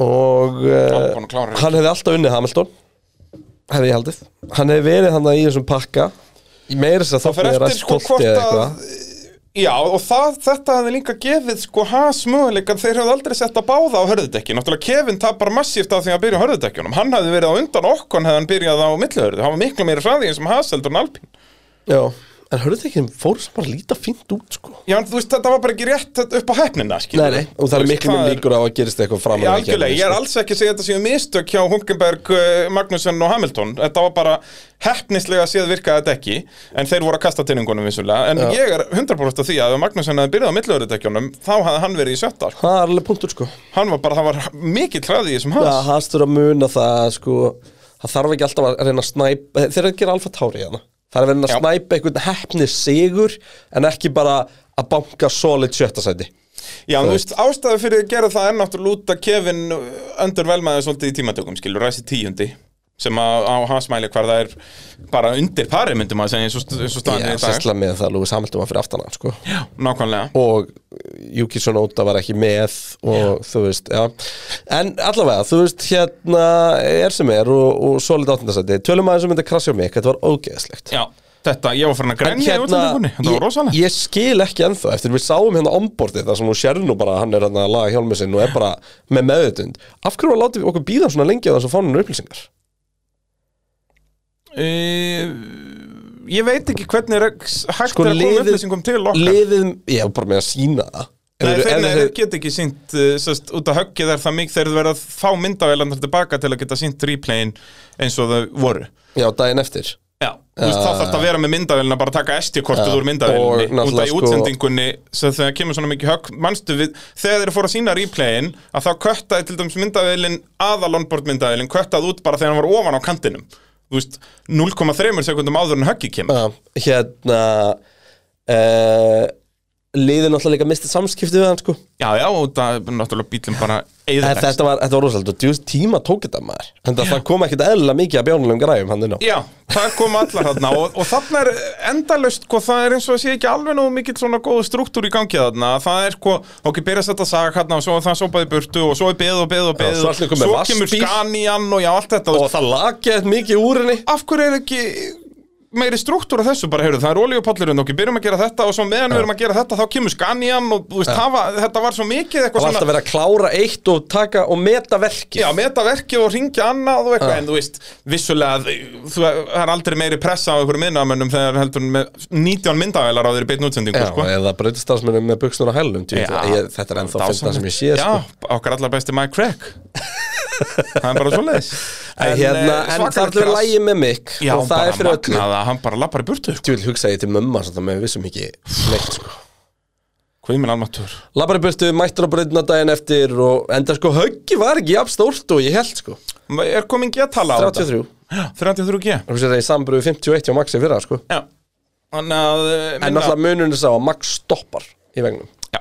C: og
B: Albon og klárar
C: uh,
B: ekki.
C: hann hefði alltaf unnið Hamilton hefði ég haldið hann hefði verið hann í þessum pakka í meira þess að
B: Það
C: þótt
B: fer
C: með
B: eftir
C: ræst
B: sko
C: tólti
B: hvort
C: eða
B: að
C: eitthvað
B: Já, og það, þetta hefði líka gefið sko has möguleika þeir hefði aldrei sett að báða á hörðudekki Náttúrulega Kevin tapar massíft af því að byrja á hörðudekkjunum Hann hefði verið á undan okkon hefði hann byrjað á millihörðu Hann var miklu meira hraðið eins og has heldur en Alpín
C: Já, en hörðu ekki, fóru sem bara líta fínt út sko
B: Já, en þú veist, þetta var bara ekki rétt upp á hefnina
C: Nei, nei, og það er miklu mjög líkur á að gerist eitthvað fram
B: Ég, algjörlega,
C: sko.
B: ég er alls ekki að segja þetta séu mistök hjá Hulkenberg, eh, Magnussen og Hamilton Þetta var bara hefnislega séð virkaði þetta ekki En þeir voru að kasta tinningunum vissulega En ég er 100% á því að ef Magnussen hefði byrjað á millöðutekjunum Þá hafði hann verið í sjötta sko.
C: Það er alveg punktur sko
B: Hann var bara, það var mikill hraði í þessum
C: Já,
B: hans
C: hastur að muna það sko Það þarf ekki alltaf að reyna að snæpa Þeir eru að gera alfa tári hérna Það er að reyna að
B: Já.
C: snæpa einhvern hefni sigur En ekki bara að banka solid sjötta sæti
B: Já, en þú veist, ástæðu fyrir að gera það er náttúrulega út að Kevin öndur velmaði svolítið í tímatökum, skilur, ræsi tíundi sem að, á hans mæli hvar það er bara undir pari, myndum að segja eins og, st- eins og staðan
C: Já,
B: er í dag
C: sérslega með það að Lewis Hamilton var fyrir aftan hann sko
B: Já, nákvæmlega
C: Og Yuki Sonoda var ekki með Og þú veist, já En allavega, þú veist, hérna er sem er Og, og solid áttundasæti Tölum aðeins um þetta krasja á mig, þetta var ógeðslegt
B: Já, þetta, ég var farin að
C: En hérna,
B: grenja í útlendingunni, þetta var rosalega
C: ég, ég skil ekki ennþá eftir við sáum hérna onboardið þar sem hún sér nú bara að hann er hann að laga hjálmið sinn og er bara með meðutund af hverju var látið við okkur býða svona lengi á þess að fá hann upplýsingar
B: ég, Eh, ég veit ekki hvernig er hægt
C: Sko,
B: er að
C: liðið-
B: koma upplýsingum til okkar
C: liðið, ég hef bara með að sína það
B: Nei,
C: Ef-
B: þeir,
C: ef-
B: nei, þeir geta ekki sínt uh, sest, út af höggið er það mikið þeir eru verið að fá myndavélandar tilbaka til að geta sínt replayin eins og þau voru
C: já, daginn eftir
B: Já, þú veist, þá þarf þetta að vera með myndavélina bara að taka SD-kortið
C: Já,
B: úr myndavélinni út af
C: og
B: í
C: náttúrulega sko-
B: útsendingunni sem þegar kemur svona mikið högg, manstu við þegar þeir fóru að sína replayin að þá köttaði til dæmis myndavélin, aðal onboard myndavélin köttaði út bara þegar hann var ofan á kantinum þú veist, 0,3 sekundum áður en höggið kemur
C: uh, hérna uh, liðið náttúrulega líka mistið samskipti við hann sko
B: Já, já, og það er náttúrulega bílum bara
C: En
B: eðilegst
C: þetta var, þetta var rosalega, djúst tíma tók þetta maður En það kom ekkit eðlilega mikið að bjónulegum græfum hann inn á
B: Já, það kom allar þarna og, og þarna er endalaust sko, það er eins og að sé ekki alveg nú mikill svona góð struktúr í gangi þarna það er sko, ok, byrja að setja sag þarna og svo er það sopaði burtu og svo er beð og beð og beð
C: svo allt í einu komið
B: svo
C: vatnsbíl.
B: kemur skanian og já, allt þetta
C: Og það lagið mikið úr henni
B: af hverju er ekki meiri struktúr að þessu bara, heyrðu, það er olíupollurinn og ok, byrjum að gera þetta og svo meðan við erum að gera þetta þá kemur skanian og þú veist, hafa, þetta var svo mikið
C: Það
B: eitthvað
C: var alltaf verið að klára eitt og taka og meta verkið
B: Já, meta verkið og ringja annað og
C: Ah.
B: eitthvað En þú veist, vissulega þú- Það er aldrei meiri pressa á einhverjum minnamönnum Þegar heldur með 19 myndavælar á þeirri beinn útsendingu
C: Já,
B: sko.
C: eða brautistafsmennum með buksnur á hælum djú,
B: Já.
C: ég, Þetta er ennþá
B: Dásamlegt.
C: fyrsta sem ég sé
B: Já,
C: sko.
B: okkar allar besti Mike Craig Það er bara svo leiðis
C: en, hérna, en það er alveg lægi með mig
B: eh, Já,
C: og það
B: bara
C: er fyrir öllu
B: magnaða, hann bara lappar í burtu sko.
C: Þú vil hugsa ég til mömmu hans að það með vissum ekki neitt sko
B: Hvað er minn almatur?
C: Labbar í burtu, mættur á breytna daginn eftir og enda sko höggi var ekki jafn stórt og ég held sko
B: Er komin G-tala á þetta?
C: 33
B: Já, 33G
C: og þess að það í sambröðu 51 og Maxi fyrir það sko
B: Já Þannig að eh,
C: En
B: minna-
C: náttúrulega munurinn sá að Max stoppar í vegnum
B: Já,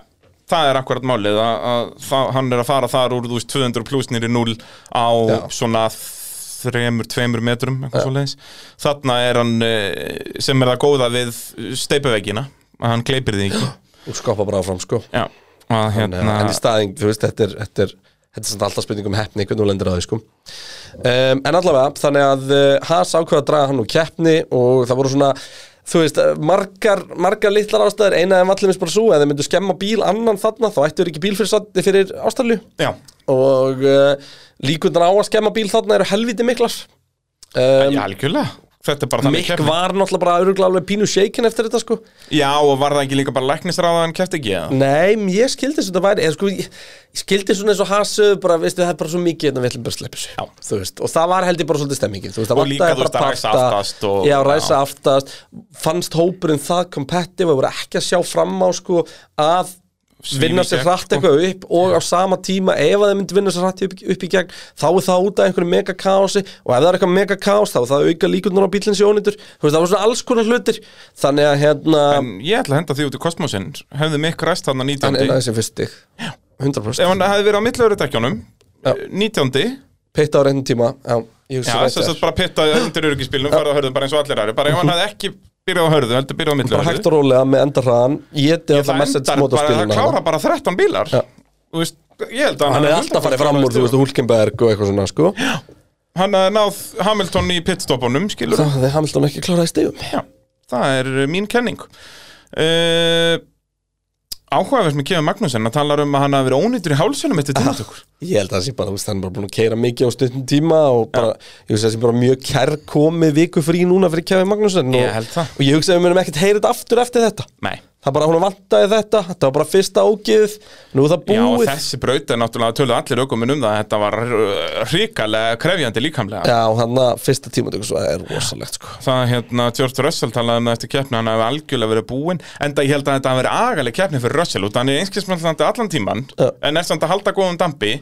B: það er akkurat málið að, að það, hann er að fara þar úr þú veist 200 pluss nýri 0 á
C: Já.
B: svona þremur, tveimur metrum eitthvað svo þarna er hann eh, sem er það góða við steipaveggina að hann kleipir því ekki
C: og skoppa bara áfram sko
B: Já, að
C: en, eh,
B: hérna
C: en í staðing, þú veist, þetta er, þetta er Þetta er samt alltaf spurning um heppni, hvernig hún lendir að þau sko um, En allavega, þannig að uh, Haas ákveða að draga hann úr keppni og það voru svona, þú veist, eh, margar, margar litlar ástæður, eina en vallumist bara svo, ef þeir myndu skemma bíl annan þarna, þá ættu þeir ekki bíl fyrir, sat- fyrir ástæðlu
B: Já,
C: og uh, líkundan á að skemma bíl þarna eru helviti miklar um,
B: já, algjörlega Þetta er bara þannig
C: Mikk
B: keppni.
C: var náttúrulega bara öruglega alveg pínu shaken eftir þetta sko
B: Já, og var það ekki líka bara læknisráða en kæft ekki eða?
C: Nei, ég skildi svona væri, eða sko, ég ég skildi svona eins og hasuðu bara, veistu, það er bara svo mikið en við ætlum bara að sleppa þessu,
B: Já.
C: þú veist, og það var held ég bara svolítið stemmingin, þú veist, það
B: Og líka,
C: vantaði
B: þú veist,
C: bara
B: að ræsa
C: parta-
B: aftast og-
C: Já, ræsa
B: já.
C: aftast, fannst hópurinn það competitive, að voru ekki að sjá fram á, sko, að
B: Svín
C: vinna
B: í
C: sér
B: gegn,
C: hratt
B: sko.
C: eitthvað upp og á sama tíma ef að þeir myndi vinna sér hratt upp, upp í gegn þá er það út af einhverju megakási og ef það er eitthvað megakási þá er það auka líkundur á bílinn sér ónýtur þú veist það var svona alls konar hlutir þannig að hérna
B: En ég ætla að henda því út í kosmosinn Hefði mikk ræst þarna
C: hann
B: 19.
C: er aðeins sem fyrst stig 100%
B: Ef hann hefði verið á millöfri dekkjónum 19.
C: pitta á reynum tíma já, ég hugsa
B: Já,
C: rétt
B: þess að
C: hjá þér.
B: bara pitta undir öryggisbílnum, farða að hörðu bara eins og allir aðri bara ef hann hafði ekki byrjað á hörðu, heldur byrjað á milli
C: Mhm. bara hægt og rólega með enda hraðan ég deða það message
B: endar bara, það
C: motorspilina
B: klára bara 13 bílar
C: Já.
B: Þú veist, ég held að
C: hann er
B: hafi
C: alltaf farið
B: 14
C: fram úr, þú veist,
B: stigum.
C: Hulkenberg og eitthvað svona, sko
B: Hann hafði náð Hamilton í pitstopunum, skilur
C: það hefði Hamilton ekki kláraði stegum
B: Já, það er uh, mín kenning uh, Áhugaverð með Kevin Magnúsen að tala um að hann hafi verið ónýttur í hálsunum eftir
C: Ah.
B: tímatökur
C: Ég held að það sé bara, þú veist, hann er bara búin að keira mikið á stuttum tíma og bara, ég veist, það sé bara mjög kærkomið viku frí núna fyrir Kevin Magnússon
B: Ég
C: og,
B: held það.
C: og ég hugsa að við munum ekkert heyra þetta aftur eftir þetta
B: Nei
C: Það bara, hún vantaði þetta, þetta var bara fyrsta ógið, nú er það
B: Já, og
C: búið
B: þessi braut er náttúrulega töluð allir aukuminn um það Þetta var ríkalega krefjandi líkamlega
C: Já, og hann að fyrsta tímatöku svo er rosalegt, sko
B: Það hérna, George Russell talaði um það eftir keppni Hann hefði algjörlega verið búinn Enda ég held að þetta hafi verið agaleg keppni fyrir Russell Út af hann er einskismöldandi allan tíman
C: Já.
B: En er samt að halda góðum dampi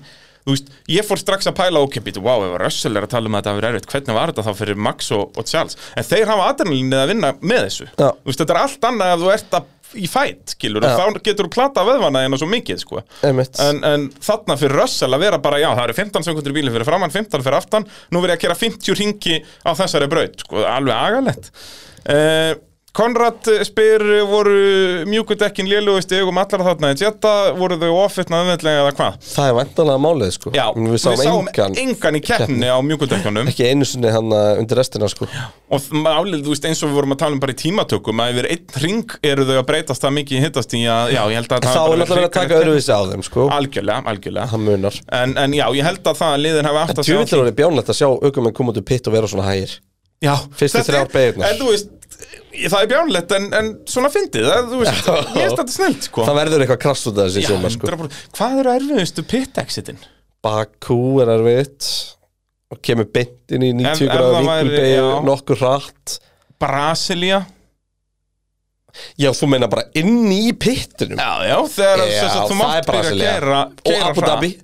B: Þú veist, ég fór strax að pæla ókipið Vá, ef Russell er að tala um að þetta hafi verið erfitt Hvernig var þetta þá fyrir Max og, og Charles En þeir hafa adrenalinnið að vinna með þessu
C: Já.
B: Þú veist, þetta er allt annað ef þú ert að í fætt, skilur,
C: Já.
B: þá getur þú plata veðvana hérna svo mikið, sko
C: Einmitt.
B: en, en þarna fyrir Russell að vera bara, já, það eru 15 sekundur í bílinn fyrir framann, 15 fyrir aftan, nú verið ég að kera 50 ringi á þessari braut, sko, alveg agalett. Eh, Konrad spyr, voru mjúkudekkin lélugusti augum allara þarna í Jetta, voru þau ofitna öðvendlega eða hvað?
C: Það er væntanlega málið, sko
B: Já,
C: Við sáum engan,
B: engan í keppni á mjúkudekkunum
C: ekki einu sinni hann að- undir restina, sko
B: og þ- málið, þú veist, eins og við vorum að tala um bara í tímatökum, að yfir einn ring eru þau að breytast það mikið í hittast í að, já, ég held að
C: Þá
B: hafi
C: er
B: bara
C: náttúrulega verið að
B: hrikalegt
C: taka
B: keppni.
C: öðruvísi á þeim, sko
B: Algjörlega, algjörlega
C: Það munar
B: En, en já, ég held að það að liðin hafi átt að
C: Tjúvillir voru bjánlegt að sjá aukumenn koma út úr pitt og vera svona hægir
B: Já,
C: Fyrstu
B: þetta
C: þrjár
B: er-
C: beygurnar.
B: En þú veist, ég- það er bjánlegt en, en svona fyndið, það, þú veist,
C: Já.
B: ég veist þetta snilt, sko
C: Það verður eitthvað krass út af þessi
B: Já,
C: sumar, sko
B: 100%. Hvað eru erfiðustu pit-exitin?
C: Bakú er erfitt og kemur beint inn í 90
B: Ef- ef
C: gráða
B: það væri-
C: vinkulbeigju
B: já.
C: nokkur hratt
B: Brasilia
C: Já, þú meina bara inn í pittinum
B: Já, já, þegar
C: Já,
B: sem sagt, þú
C: það
B: mátt
C: er Brasilía.
B: gera,
C: og
B: gera
C: Abu
B: hratt.
C: Dhabi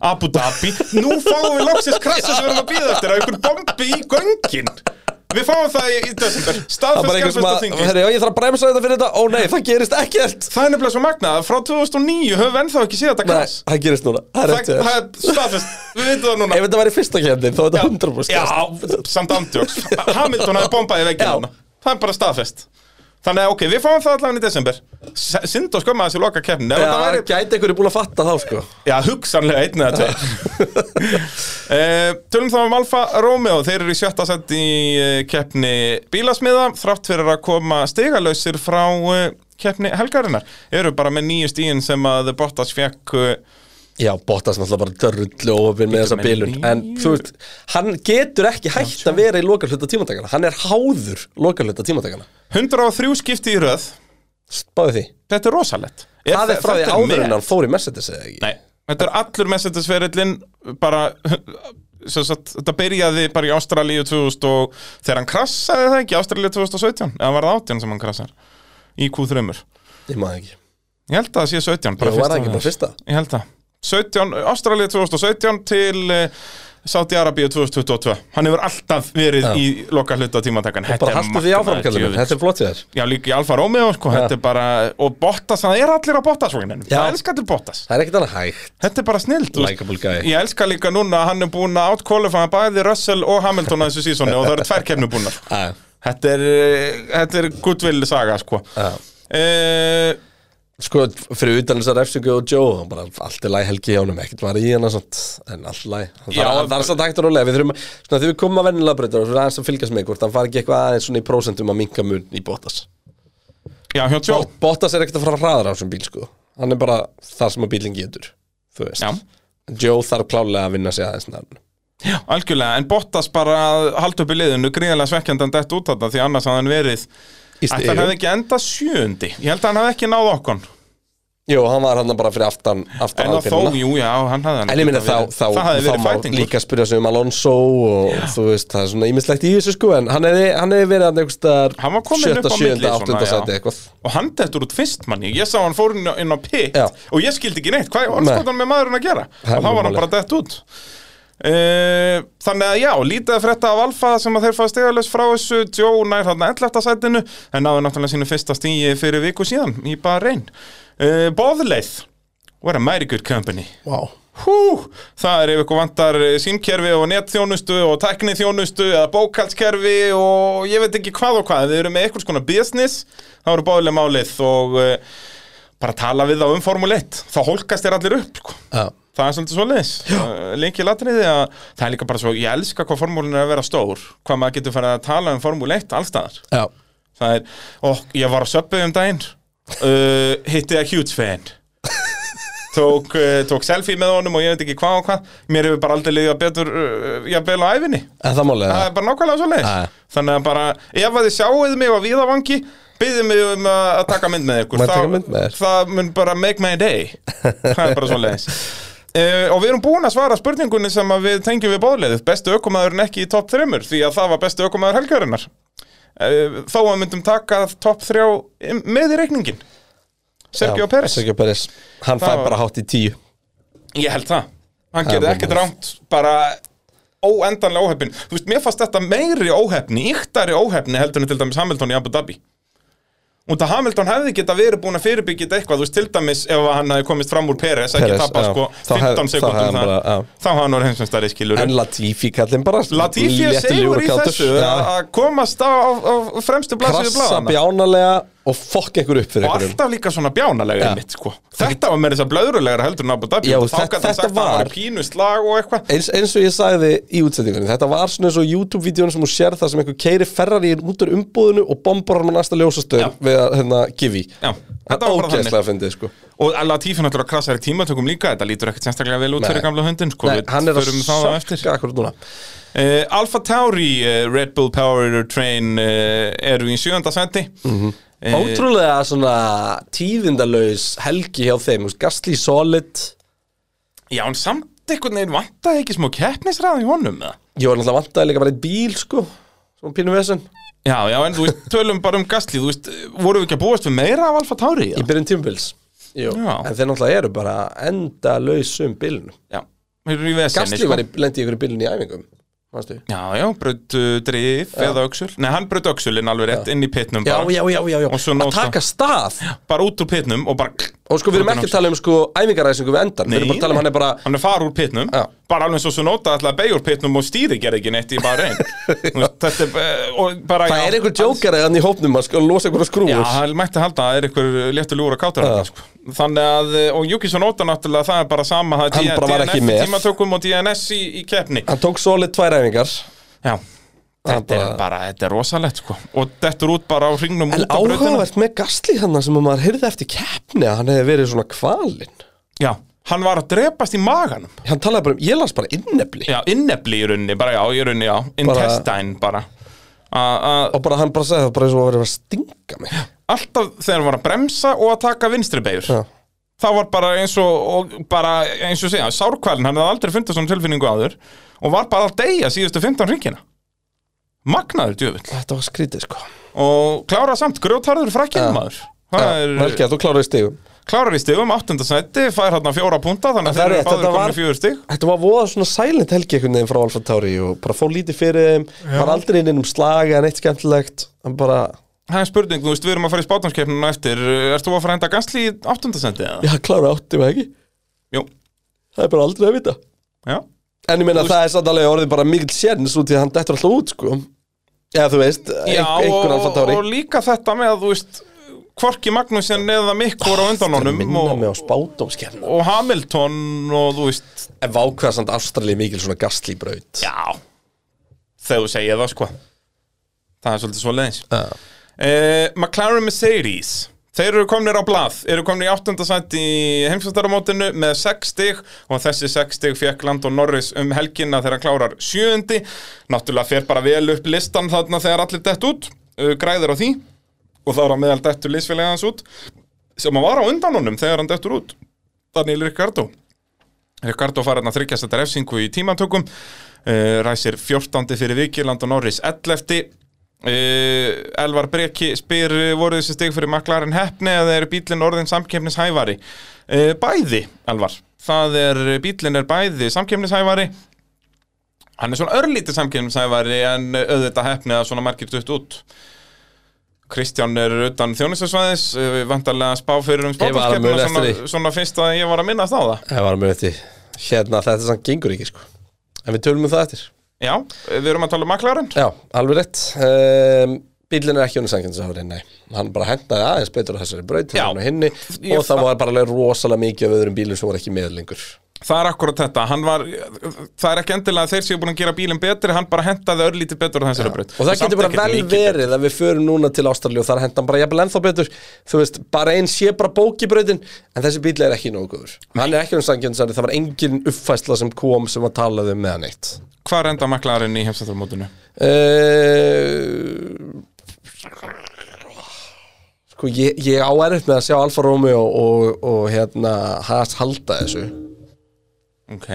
B: Abu Dhabi, nú fáum við loksins krassu sem við erum að býða eftir að ykkur bombi í göngin Við fáum það í, í desember
C: Það er bara
B: Staðfest
C: eitthvað sem að,
B: skjálfestaþingi
C: herri, já, ég þarf að bremsa þetta fyrir þetta Ó nei, það gerist ekkert
B: Það er nefnilega svo magnað að frá 2009 höfum við ennþá ekki séð þetta
C: Nei,
B: krass
C: það gerist núna, það er
B: Það
C: rétt hjá
B: það
C: þér.
B: er staðfest, við veitum það núna
C: Ef þetta væri fyrsta kemdin, þá er þetta 100%
B: Já,
C: gerst.
B: samt andjóks Hamilton hafði bombað í veggina
C: Já.
B: hana Það er bara staðfest Þannig að ok, við fáum það allavega í desember Sind og skömma þessi loka keppni
C: Já,
B: Já,
C: það
B: væri,
C: gæti einhverju búin að fatta þá, sko
B: já hugsanlega einn eða tvei uh, Tölum þá um Alfa Romeo Þeir eru í sjötta sett í eh, keppni bílasmiða Þrátt fyrir að koma stigalausir frá uh, keppni helgarinnar Eru bara með nýju stíin sem að Bottas fekk uh,
C: Já, Bottas náttúrulega bara dörrullu ofin með þessa
B: menn,
C: bilun
B: ný-
C: En þú veist, hann getur ekki hægt að vera í lokalhluta tímatakana Hann er háður lokalhluta tímatakana
B: 103 skipti í röð
C: Báði því
B: Þetta er rosalett
C: Það er frá því áður en hann fór í Mercedes eða ekki
B: Nei, þetta er allur Mercedes-ferillin bara sem sagt, þetta byrjaði bara í Ástralíu 2000 og þegar hann krassaði það ekki Ástralíu 2017, eða var það 18 sem hann krassar í Q3
C: Ég maður ekki
B: ég held að það sé 17 bara
C: Það
B: fyrsta
C: var það ekki bara
B: hans.
C: fyrsta
B: ég held það 17, Ástralíu 2017 til uh, Saudi Arabia 2022 hann hefur alltaf verið
C: Já.
B: í loka hluta tímatakan
C: Bara hastu því áfram, kallum við Þetta er flott í þér
B: Já, líka í Alfa Romeo, sko, þetta er bara og Bottas, það er allir á Bottas-vagninum
C: Já.
B: það elskar allir Bottas
C: Það er ekkert annað hægt
B: Þetta er bara snilt
C: Likeable guy.
B: Ég elska líka núna að hann er búin að outqualify bæði Russell og Hamilton á þessu sísoni og það eru tvær kemni búinar
C: Já.
B: Þetta er, eh, þetta er goodwill saga sko
C: Já.
B: Eh,
C: Sko, fyrir utan þessar refsingu og Joe hann bara, Allt er læg helgi hjá honum, ekkert var í hann En allt læg
B: Já,
C: Það er satt hægt og rólega Við þurfum að, svona, þegar við komum að vennilega breyta Það er aðeins að fylgjast með hvort Hann fari ekki eitthvað aðeins svona í prósentum að minka mun í Bottas
B: Já, hjá Joe
C: Bot- Bottas er ekkert að fara að hraðra á þessum bíl sko Hann er bara þar sem að bílinn getur Þú veist
B: Já.
C: Joe þarf klálega að vinna sig aðeins nærn
B: Já, algjörlega, en Bottas bara að halda upp í liðinu gríðarlega svekkjandan dætt út þarna því annars hafði hann verið Ætli hann hefði ekki enda sjöundi Ég held að hann hefði ekki náð okkon
C: Jú, hann var hann bara fyrir aftan, aftan
B: En að þó,
C: Alpínuna.
B: jú, já, hann hafði hann
C: En ég minna þá, þá,
B: Það hafði
C: þá
B: verið sko.
C: má
B: fætingur
C: líka spyrja sig um Alonso og þú veist, það er svona ímislegt í þessu sko en hann hefði, hann hefði verið hann einhverstaðar
B: Hann var kominn upp á milli
C: sjötta,
B: svona,
C: áttunda
B: já.
C: sæti eitthvað
B: og hann dettur út fyrst manni ég sá hann fór inn á, inn á pit
C: Já.
B: og ég skildi ekki neitt, hvað er orðskotan með maðurinn að gera
C: Það er
B: og þá var hann
C: málið.
B: bara dett út Uh, þannig að já, lítið að frétta af Alfa sem að þeir fæða stegalus frá þessu Joe nær þarna 11. sætinu en náðu náttúrulega sínu fyrsta stíi fyrir viku síðan í bara reyn uh, Bóðleið Eh, What a mighty good company
C: Vá
B: Hú, það er ef ykkur vantar eh, símkerfi og netþjónustu og tækniþjónustu eða bókaldskerfi og ég veit ekki hvað og hvað, við erum með einhvers konar business, það eru báðilega málið og eh, bara tala við þá um Formule 1, þá hólkast þér allir upp sko.
C: Já
B: Það er svolítið svoleiðis, Eh, lengi latriði að það er líka bara svo, ég elska hvað formúlin er að vera stór, hvað maður getur farið að tala um Formúl 1 allstaðar
C: Já
B: Það er, og ég var á söppu um daginn uh, Hitti að huge fan tók, uh, tók selfie með honum og ég veit ekki hvað og hvað Mér hefur bara aldrei liðið betur uh, Jafnvel á æfinni
C: En það málega
B: Það er bara nákvæmlega svo leiðis
C: Nei.
B: Þannig að bara, ef að þið sjáuð mig á víðavangi Byðið mig um að að taka mynd með ykkur
C: Má ég taka mynd með þér?
B: Það mun bara make my day Það er bara svo leiðis og við erum búin að svara spurningunni sem að við tengjum við bóðleiðið Bestu ökumæðurinn ekki í topp þremur Því að það var bestu ökumæður helgjörinnar Eh, Þó að myndum taka topp þrjá með í reikningin Sergio
C: Já,
B: Perez
C: Sergio Peres Hann
B: Það
C: fær
B: var-
C: bara hátt í tíu
B: Ég held það Hann
C: Það
B: gerði
C: var
B: ekkert
C: málið.
B: rámt Bara óendanlega óhefnin Þú veist, mér fannst þetta meiri óhefni Íktari óhefni heldur en til dæmis Hamilton í Abu Dhabi Út að Hamilton hefði geta verið búin að fyrirbyggja þetta eitthvað Þú veist, til dæmis ef að hann hefði komist fram úr Peres Ekki
C: Perez,
B: tappa
C: já.
B: sko
C: Þá
B: 15
C: hefði- þá hefði hann
B: sekundum
C: bara, já.
B: Þá hafði hann orðið heimsum stærri skilur
C: En Latifi kallinn bara
B: Latifi er
C: léttur
B: segur í
C: ljúfakátur.
B: þessu
C: Já.
B: að að komast á, á, á fremstu blaðsíðu
C: Krassa
B: blaðana
C: bjánalega Og fokk einhver upp fyrir
B: Og
C: einhverjum
B: alltaf líka svona bjánalega
C: Já.
B: einmitt, sko. Þetta var með þess að blöðrulegra heldur en Abu Dhabi
C: Já,
B: og þá
C: þetta-
B: gat hann
C: þetta
B: sagt að það
C: var-
B: var pínuslag og eitthvað
C: eins, eins og ég sagði í útsendingunni þetta var svona eins og YouTube-vídeónu sem hún sér þar sem einhver keiri Ferrari út úr umbúðinu og bombar hann á næsta ljósastöður
B: Já.
C: við að hérna, gifi
B: Já,
C: þetta var bara þannig fyndið, sko.
B: Og Latifi náttúrulega krasar í tímatökum líka Þetta lítur ekkert sérstaklega vel út
C: Nei.
B: fyrir gamla hundin sko,
C: Nei,
B: við
C: hann er að
B: förum þá á eftir.
C: sökka akkur núna
B: Uh, Alfa Tauri, uh, Red Bull Power Train uh, eru í sjönda senti mm
C: Mhm.
B: -hmm.
C: ótrúlega svona tíðindalaus helgi hjá þeim, þú veist, Gasly Solid
B: Já, en samt einhvern veginn vantaði ekki smá keppnisræði í honum eða?
C: ég var náttúrulega vantaði líka bara eitt bíl sko, svona pínu vesen
B: Já, já, en þú veist, tölum bara um Gasly Þú veist, voru við ekki að búast við meira af Alfa Tauri
C: í
B: eða?
C: byrjun tímbils Jú.
B: Já.
C: en þeir náttúrulega eru bara endalausum bílunum
B: Já, við erum í vesenni
C: Gasly var í, lendi í einhverju bílun í æfingum manstu?
B: Já, já, braut uh, drif eða öxul Nei, hann braut öxulinn alveg rétt inn í pitnum
C: Já,
B: bara,
C: já, já, já, já.
B: Og svo
C: að
B: náðist
C: taka stað
B: bara út úr pitnum og bara
C: Og sko, við erum ekki að tala um sko æfingaræsingu við endan Við erum bara að tala um hann er bara
B: Hann er fara úr pitnum
C: Já.
B: Bara alveg svo svo nota alltaf beig úr pitnum og stýri gerði ekki neitt í bara einn Þetta er eh, og bara
C: Það
B: já,
C: er einhver jókari hann í hópnum að sko losa einhverja
B: Já,
C: skrúfur
B: hann mætti halda að það er einhver léttur ljúra kátur uh. sko. Þannig að, eh, og Juki svo nota náttúrulega það er bara sama það
C: Hann
B: er
C: bara var
B: DNF
C: ekki með.
B: Tímatökum og DNS í, í keppni
C: Hann tók solid tvær æfingar
B: Já,
C: Hann
B: þetta er
C: bara-
B: bara, þetta er rosalegt sko Og dettur út bara á hringnum út
C: En
B: af brautina.
C: áhugavert með Gasly hann sem að maður heyrði eftir keppni að hann hefði verið svona kvalinn
B: Já, hann var að drepast í maganum
C: Hann talaði bara um, ég las bara innefli
B: Já, innefli í rauninni, bara já, í rauninni, já Intestine bara A- a-
C: Og bara hann bara sagði það bara eins og að verið að stinga mig
B: Alltaf þegar hann var að bremsa og að taka vinstri beigur
C: Já.
B: Það var bara eins og, og bara eins og segja, sárkvælin, hann hefði aldrei fundið svona tilfinningu áður og var bara að deyja síðustu 15 ringina Magnaður djöfull
C: Þetta var skrítið sko
B: og klára samt, grjótarður frækinn maður Það er
C: Velkja, þú kláraði stigum
B: klárar í stigum, 8. seti, fær hérna fjóra punta þannig að
C: Það
B: þeir eru
C: er rétt,
B: báðir
C: þetta var-
B: komin í fjögur stig
C: Þetta var voða svona silent helgi einhvern veginn frá Alfa Tauri og bara fór lítið fyrir þeim, var aldrei inn um slag eða neitt skemmtilegt, hann bara
B: Það er spurning, þú veist, við erum að fara í spátumskeppnuna eftir Erst þú að fara að henda gansli í 8. seti eða?
C: Já, klára átti mig ekki
B: Jú,
C: Það er bara aldrei að vita
B: já
C: En ég meina það er satt alveg orðið bara mikill sérns út í að hann dettur alltaf út sko Eða þú veist, ein,
B: Já,
C: einhver alfa
B: og,
C: tári
B: og líka þetta með að þú veist Kvorki Magnúsin eða Mikk voru á undan honum
C: minna
B: og,
C: mig á spátumskerna
B: og Hamilton og þú veist
C: En vákvæða samt Ástralíu mikil svona gastlíbraut
B: Já Þegar þú segir það sko Það er svolítið svo leiðis
C: Já.
B: McLaren Mercedes Þeir eru komnir á blað, eru komnir í áttundasætt í heimsvættaramótinu með 6 stig og þessi 6 stig fekk Landon Norris um helgina þegar hann klárar sjöundi. Náttúrulega fer bara vel upp listan þarna þegar allir dett út, uh, græðir á því og þá er hann meðal dettur liðsfélagi hans út sem hann var á undan honum þegar hann dettur út. Daniel Ricardo. Ricardo farið að þryggjast þetta refsingu í tímantökum uh, ræsir 14. fyrir viki Landon Norris 11. Uh, Elvar Breki spyr uh, voru þessi stig fyrir McLaren hefni eða eru bílinn orðin samkefnishævari uh, bæði Elvar það er, bílinn er bæði samkefnishævari hann er svona örlítið samkefnishævari en uh, auðvitað hefni að svona margir dutt út Kristján er utan þjónustasvæðis, uh, vantarlega spá fyrir um
C: var að
B: spátumskeppina
C: muna eftir
B: svona, svona fyrst að ég var að minnast á það.
C: Það var mjög eftir Hérna þetta sem gengur ekki sko En við tölum um það eftir
B: Já, við erum að tala um maklarinn.
C: Já, alveg rétt um, Bíllinn er ekki honum sannkjöndsafurinn, nei Hann bara hendaði aðeins betur á þessari braut
B: Já.
C: heldur en á hinni,
B: Ég-
C: Og það var bara alveg rosalega mikið af öðrum bílum sem voru ekki með lengur
B: Það er akkurat þetta, hann var, það er ekki endilega að þeir séu búin að gera bílinn betri, hann bara hentaði örlítið betur á þessari braut.
C: Og það
B: samt
C: getur bara
B: ekkert
C: vel
B: mikið betur.
C: verið að við förum núna til Ástralíu og þar henda hann bara jafnvel ennþá betur Þú veist, bara einn sé bara bók í brautin En þessi bíl er ekki nógu góður Hann er ekki honum sannkjöndsafurinn, það var engin uppfæsla sem kom sem að talaði um með hann eitt
B: Hvar enda maklarinn í hefstættarmótinu?
C: Eh, Sko, ég, ég á erfitt með að sjá Alfa Romeo og, og, og hérna Haas halda þessu
B: Ok,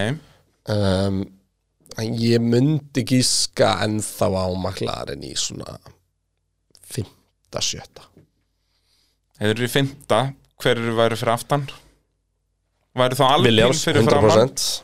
C: um, en ég myndi gíska ennþá á maklarinn í svona 5. 7.
B: þeir eru í fymta, hverju væru fyrir aftan? Væru þá alveg
C: Williams,
B: fyrir framann?
C: 100%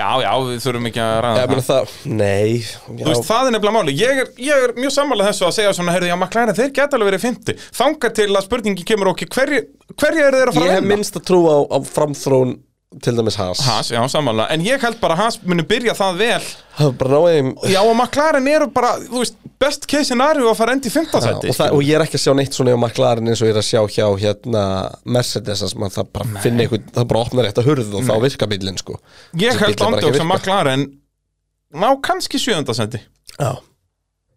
B: Já, já, við þurfum ekki að ræða
C: Ég meina það, nei já,
B: Þú veist, það er nefnilega máli. Ég er, ég er mjög sammálað þessu að segja svona, heyrðu, já, McLaren, þeir geta alveg verið 50. Þanga til að spurningi kemur okkur, hverju hverju eru þeir að fara
C: Ég
B: að
C: hef
B: vinna?
C: minnst að trúa á, á framþrón til dæmis Haas
B: Haas, já, sammála. En ég held bara að Haas muni byrja það vel.
C: Það er bara náðið
B: Já, og McLaren eru bara, þú veist, best case scenario að fara enda í 15
C: Já,
B: sæti. sko.
C: og, það, og ég er ekki að sjá neitt svona hjá McLaren eins og ég er að sjá hjá hérna Mercedes að það bara finna einhvern, það bara opnar rétt að hurð og þá virka bílinn sko
B: ég
C: þessi bíll
B: held
C: er bara ekki
B: ándjóks
C: að
B: að
C: virka.
B: McLaren ná kannski 7. sæti.
C: Já,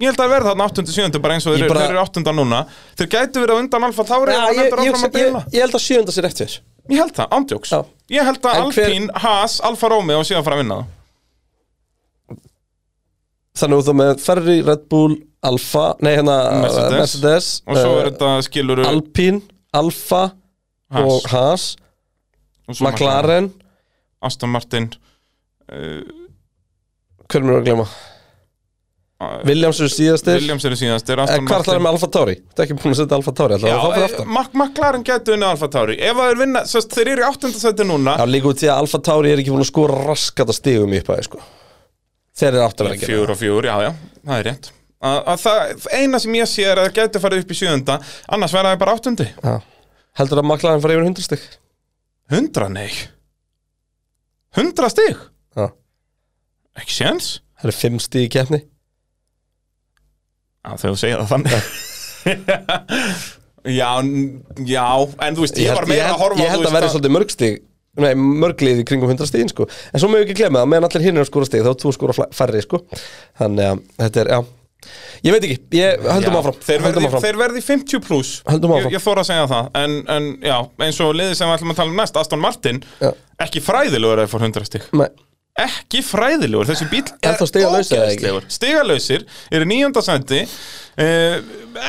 B: Ég held að verða þarna 8. 7. bara eins og
C: Ég
B: þeir,
C: bara-
B: þeir eru 8. núna. Þeir gætu verið á undan Alfa Tauri og
C: ég, ég,
B: heldur
C: ég,
B: áfram að
C: ég,
B: deila.
C: ég held að sjönda sér rétt fyrir
B: Ég held það, ándjóks.
C: Já.
B: Ég held að
C: En hver-
B: Alpín, Haas, Alfa Romeo sé að fara að vinna það.
C: Þannig að þú með Ferrari, Red Bull, Alfa Nei hérna
B: Mercedes.
C: Mercedes, Mercedes
B: Og svo er
C: eh,
B: þetta skilur
C: Alpine, Alfa
B: Haas.
C: og Haas
B: og svo
C: McLaren,
B: Aston Martin
C: hver er mér að glemma?
B: uh,
C: Williams er síðastir eh,
B: Williams eru síðast er Aston
C: Hvað ætlar það
B: Martin
C: með Alfa Tauri? Það er ekki búin að setja Alfa
B: Já,
C: Tauri allavega, þá fyrir aftan
B: Mac McLaren gætu unnið Alfa Tauri Ef að þeir vinna, sérst, þeir eru í áttundasæti núna
C: Já, líka út því að Alfa Tauri er ekki búin að skora raskata stigum í upphæði, sko. Þeir eru aftur að vera að gera.
B: Fjúr og fjúr, já, já, það er rétt að, að það, eina sem ég sé er að það gætu farið upp í sjöunda annars verða það bara áttundi
C: það. Já. Heldur að maklaðan fara yfir 100 stig?
B: Hundra, nei Hundra stig?
C: Já.
B: Ekki séns?
C: Það eru 5 stig í keppni.
B: Já, þegar þú segir það þannig Já, n- já, en þú veist, ég, var
C: held-
B: meira
C: held-
B: að horfa á,
C: Ég
B: þú
C: held
B: veist,
C: að verði svolítið mörg stig, nei, mörglið í kringum 100 stigin, sko. En svo mögum ekki glemma það, meðan allir hinn er að skora stig, þá er þú að skora fla- færri, sko. Þannig að þetta er, já. Ég veit ekki, ég höldum
B: Já,
C: áfram.
B: Þeir
C: höldum
B: verði,
C: áfram.
B: þeir verði 50 pluss
C: Höldum
B: Ég,
C: áfram.
B: ég þóra að segja það en, en já, eins og liðið sem við ætlum að tala um næst Aston Martin,
C: Já.
B: ekki fræðilegur eða fór 100 stig
C: Nei,
B: Ekki fræðilegur, þessi bíl
C: Er þá stigalausir eða ekki?
B: ógeðslegur. Stigalausir, eru nýjönda sendi eh,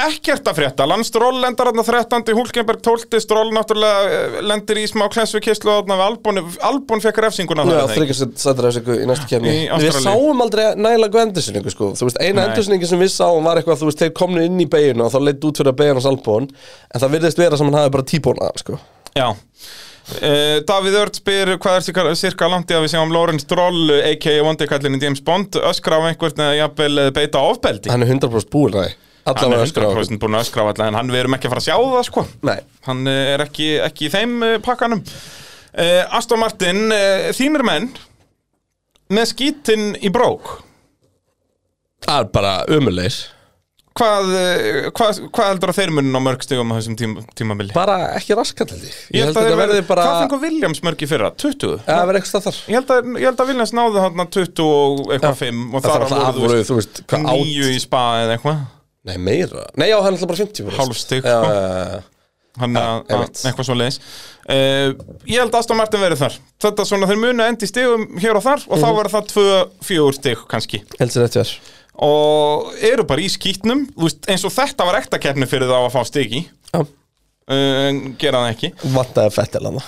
B: Ekkert að frétta Landstról lendar þarna 13. Hulkenberg 12. Stról náttúrulega eh, lendir í smá klessu kyslu þarna við Albon Albon fekk refsinguna
C: Já,
B: þarna, þegar.
C: þryggjast sættir af þessu í næstu kemni
B: Í
C: Við
B: Ástralíu.
C: sáum aldrei nægilega góð endursynningu sko. Þú veist, eina
B: Nei.
C: endursynningu sem við sáum var eitthvað Þú veist, þeir komnu inn í beiginu og þá leitt út fyrir að beiginu hans albón En það virðist vera sem hann hafi bara tíbóna sko.
B: Já Uh, Davíð Örd spyr hvað er cirka, cirka langt í að við sjáum Lawrence Stroll a.k.a. vondikallinu James Bond öskra á einhvern eða jafnvel eh, beita ofbeldi
C: Hann er 100% búin að
B: hann
C: Alla
B: er
C: var öskra á okkur.
B: 100% búin að öskra á alla en hann við erum ekki að fara að sjá það sko
C: Nei,
B: hann eh, er ekki, ekki í þeim eh, pakkanum uh, Aston Martin uh, þínir menn með skítinn í brók
C: það er bara umulegir
B: hvað, uh, hvað, hvað heldur að þeir munin á mörg stigum á þessum tíma, tímabili?
C: Bara ekki raskat held ég Ég held að
B: þeir
C: þetta verði
B: verði-
C: bara
B: hvað fengur Williams mörg í fyrra? 20?
C: Ja, Það verði eitthvað staðar
B: Ég held að, ég held að Vilnius náði hann 20 og eitthvað 5 og
C: Það
B: þar
C: þarf alltaf
B: af voru,
C: afvoruð, þú veist,
B: þú
C: hvað átt
B: nýju í spa eða eitthvað
C: Nei, meira Nei, já, hann er alltaf bara 50
B: Hálf stig,
C: Já,
B: sko.
C: já, já.
B: hann að
C: ég
B: að-
C: veit.
B: eitthvað svo leiðis Ég held að Aston Martin verið þar þetta svona þeir muni endi stigum hér og þar og
C: Mhm.
B: þá verður það 2-4 stig kannski
C: Held sér þetta verð
B: og eru bara í skýtnum þú veist, eins og þetta var ekta keppni fyrir þá að fá stig í
C: Já,
B: uh, en gera það ekki
C: vantaði fett eða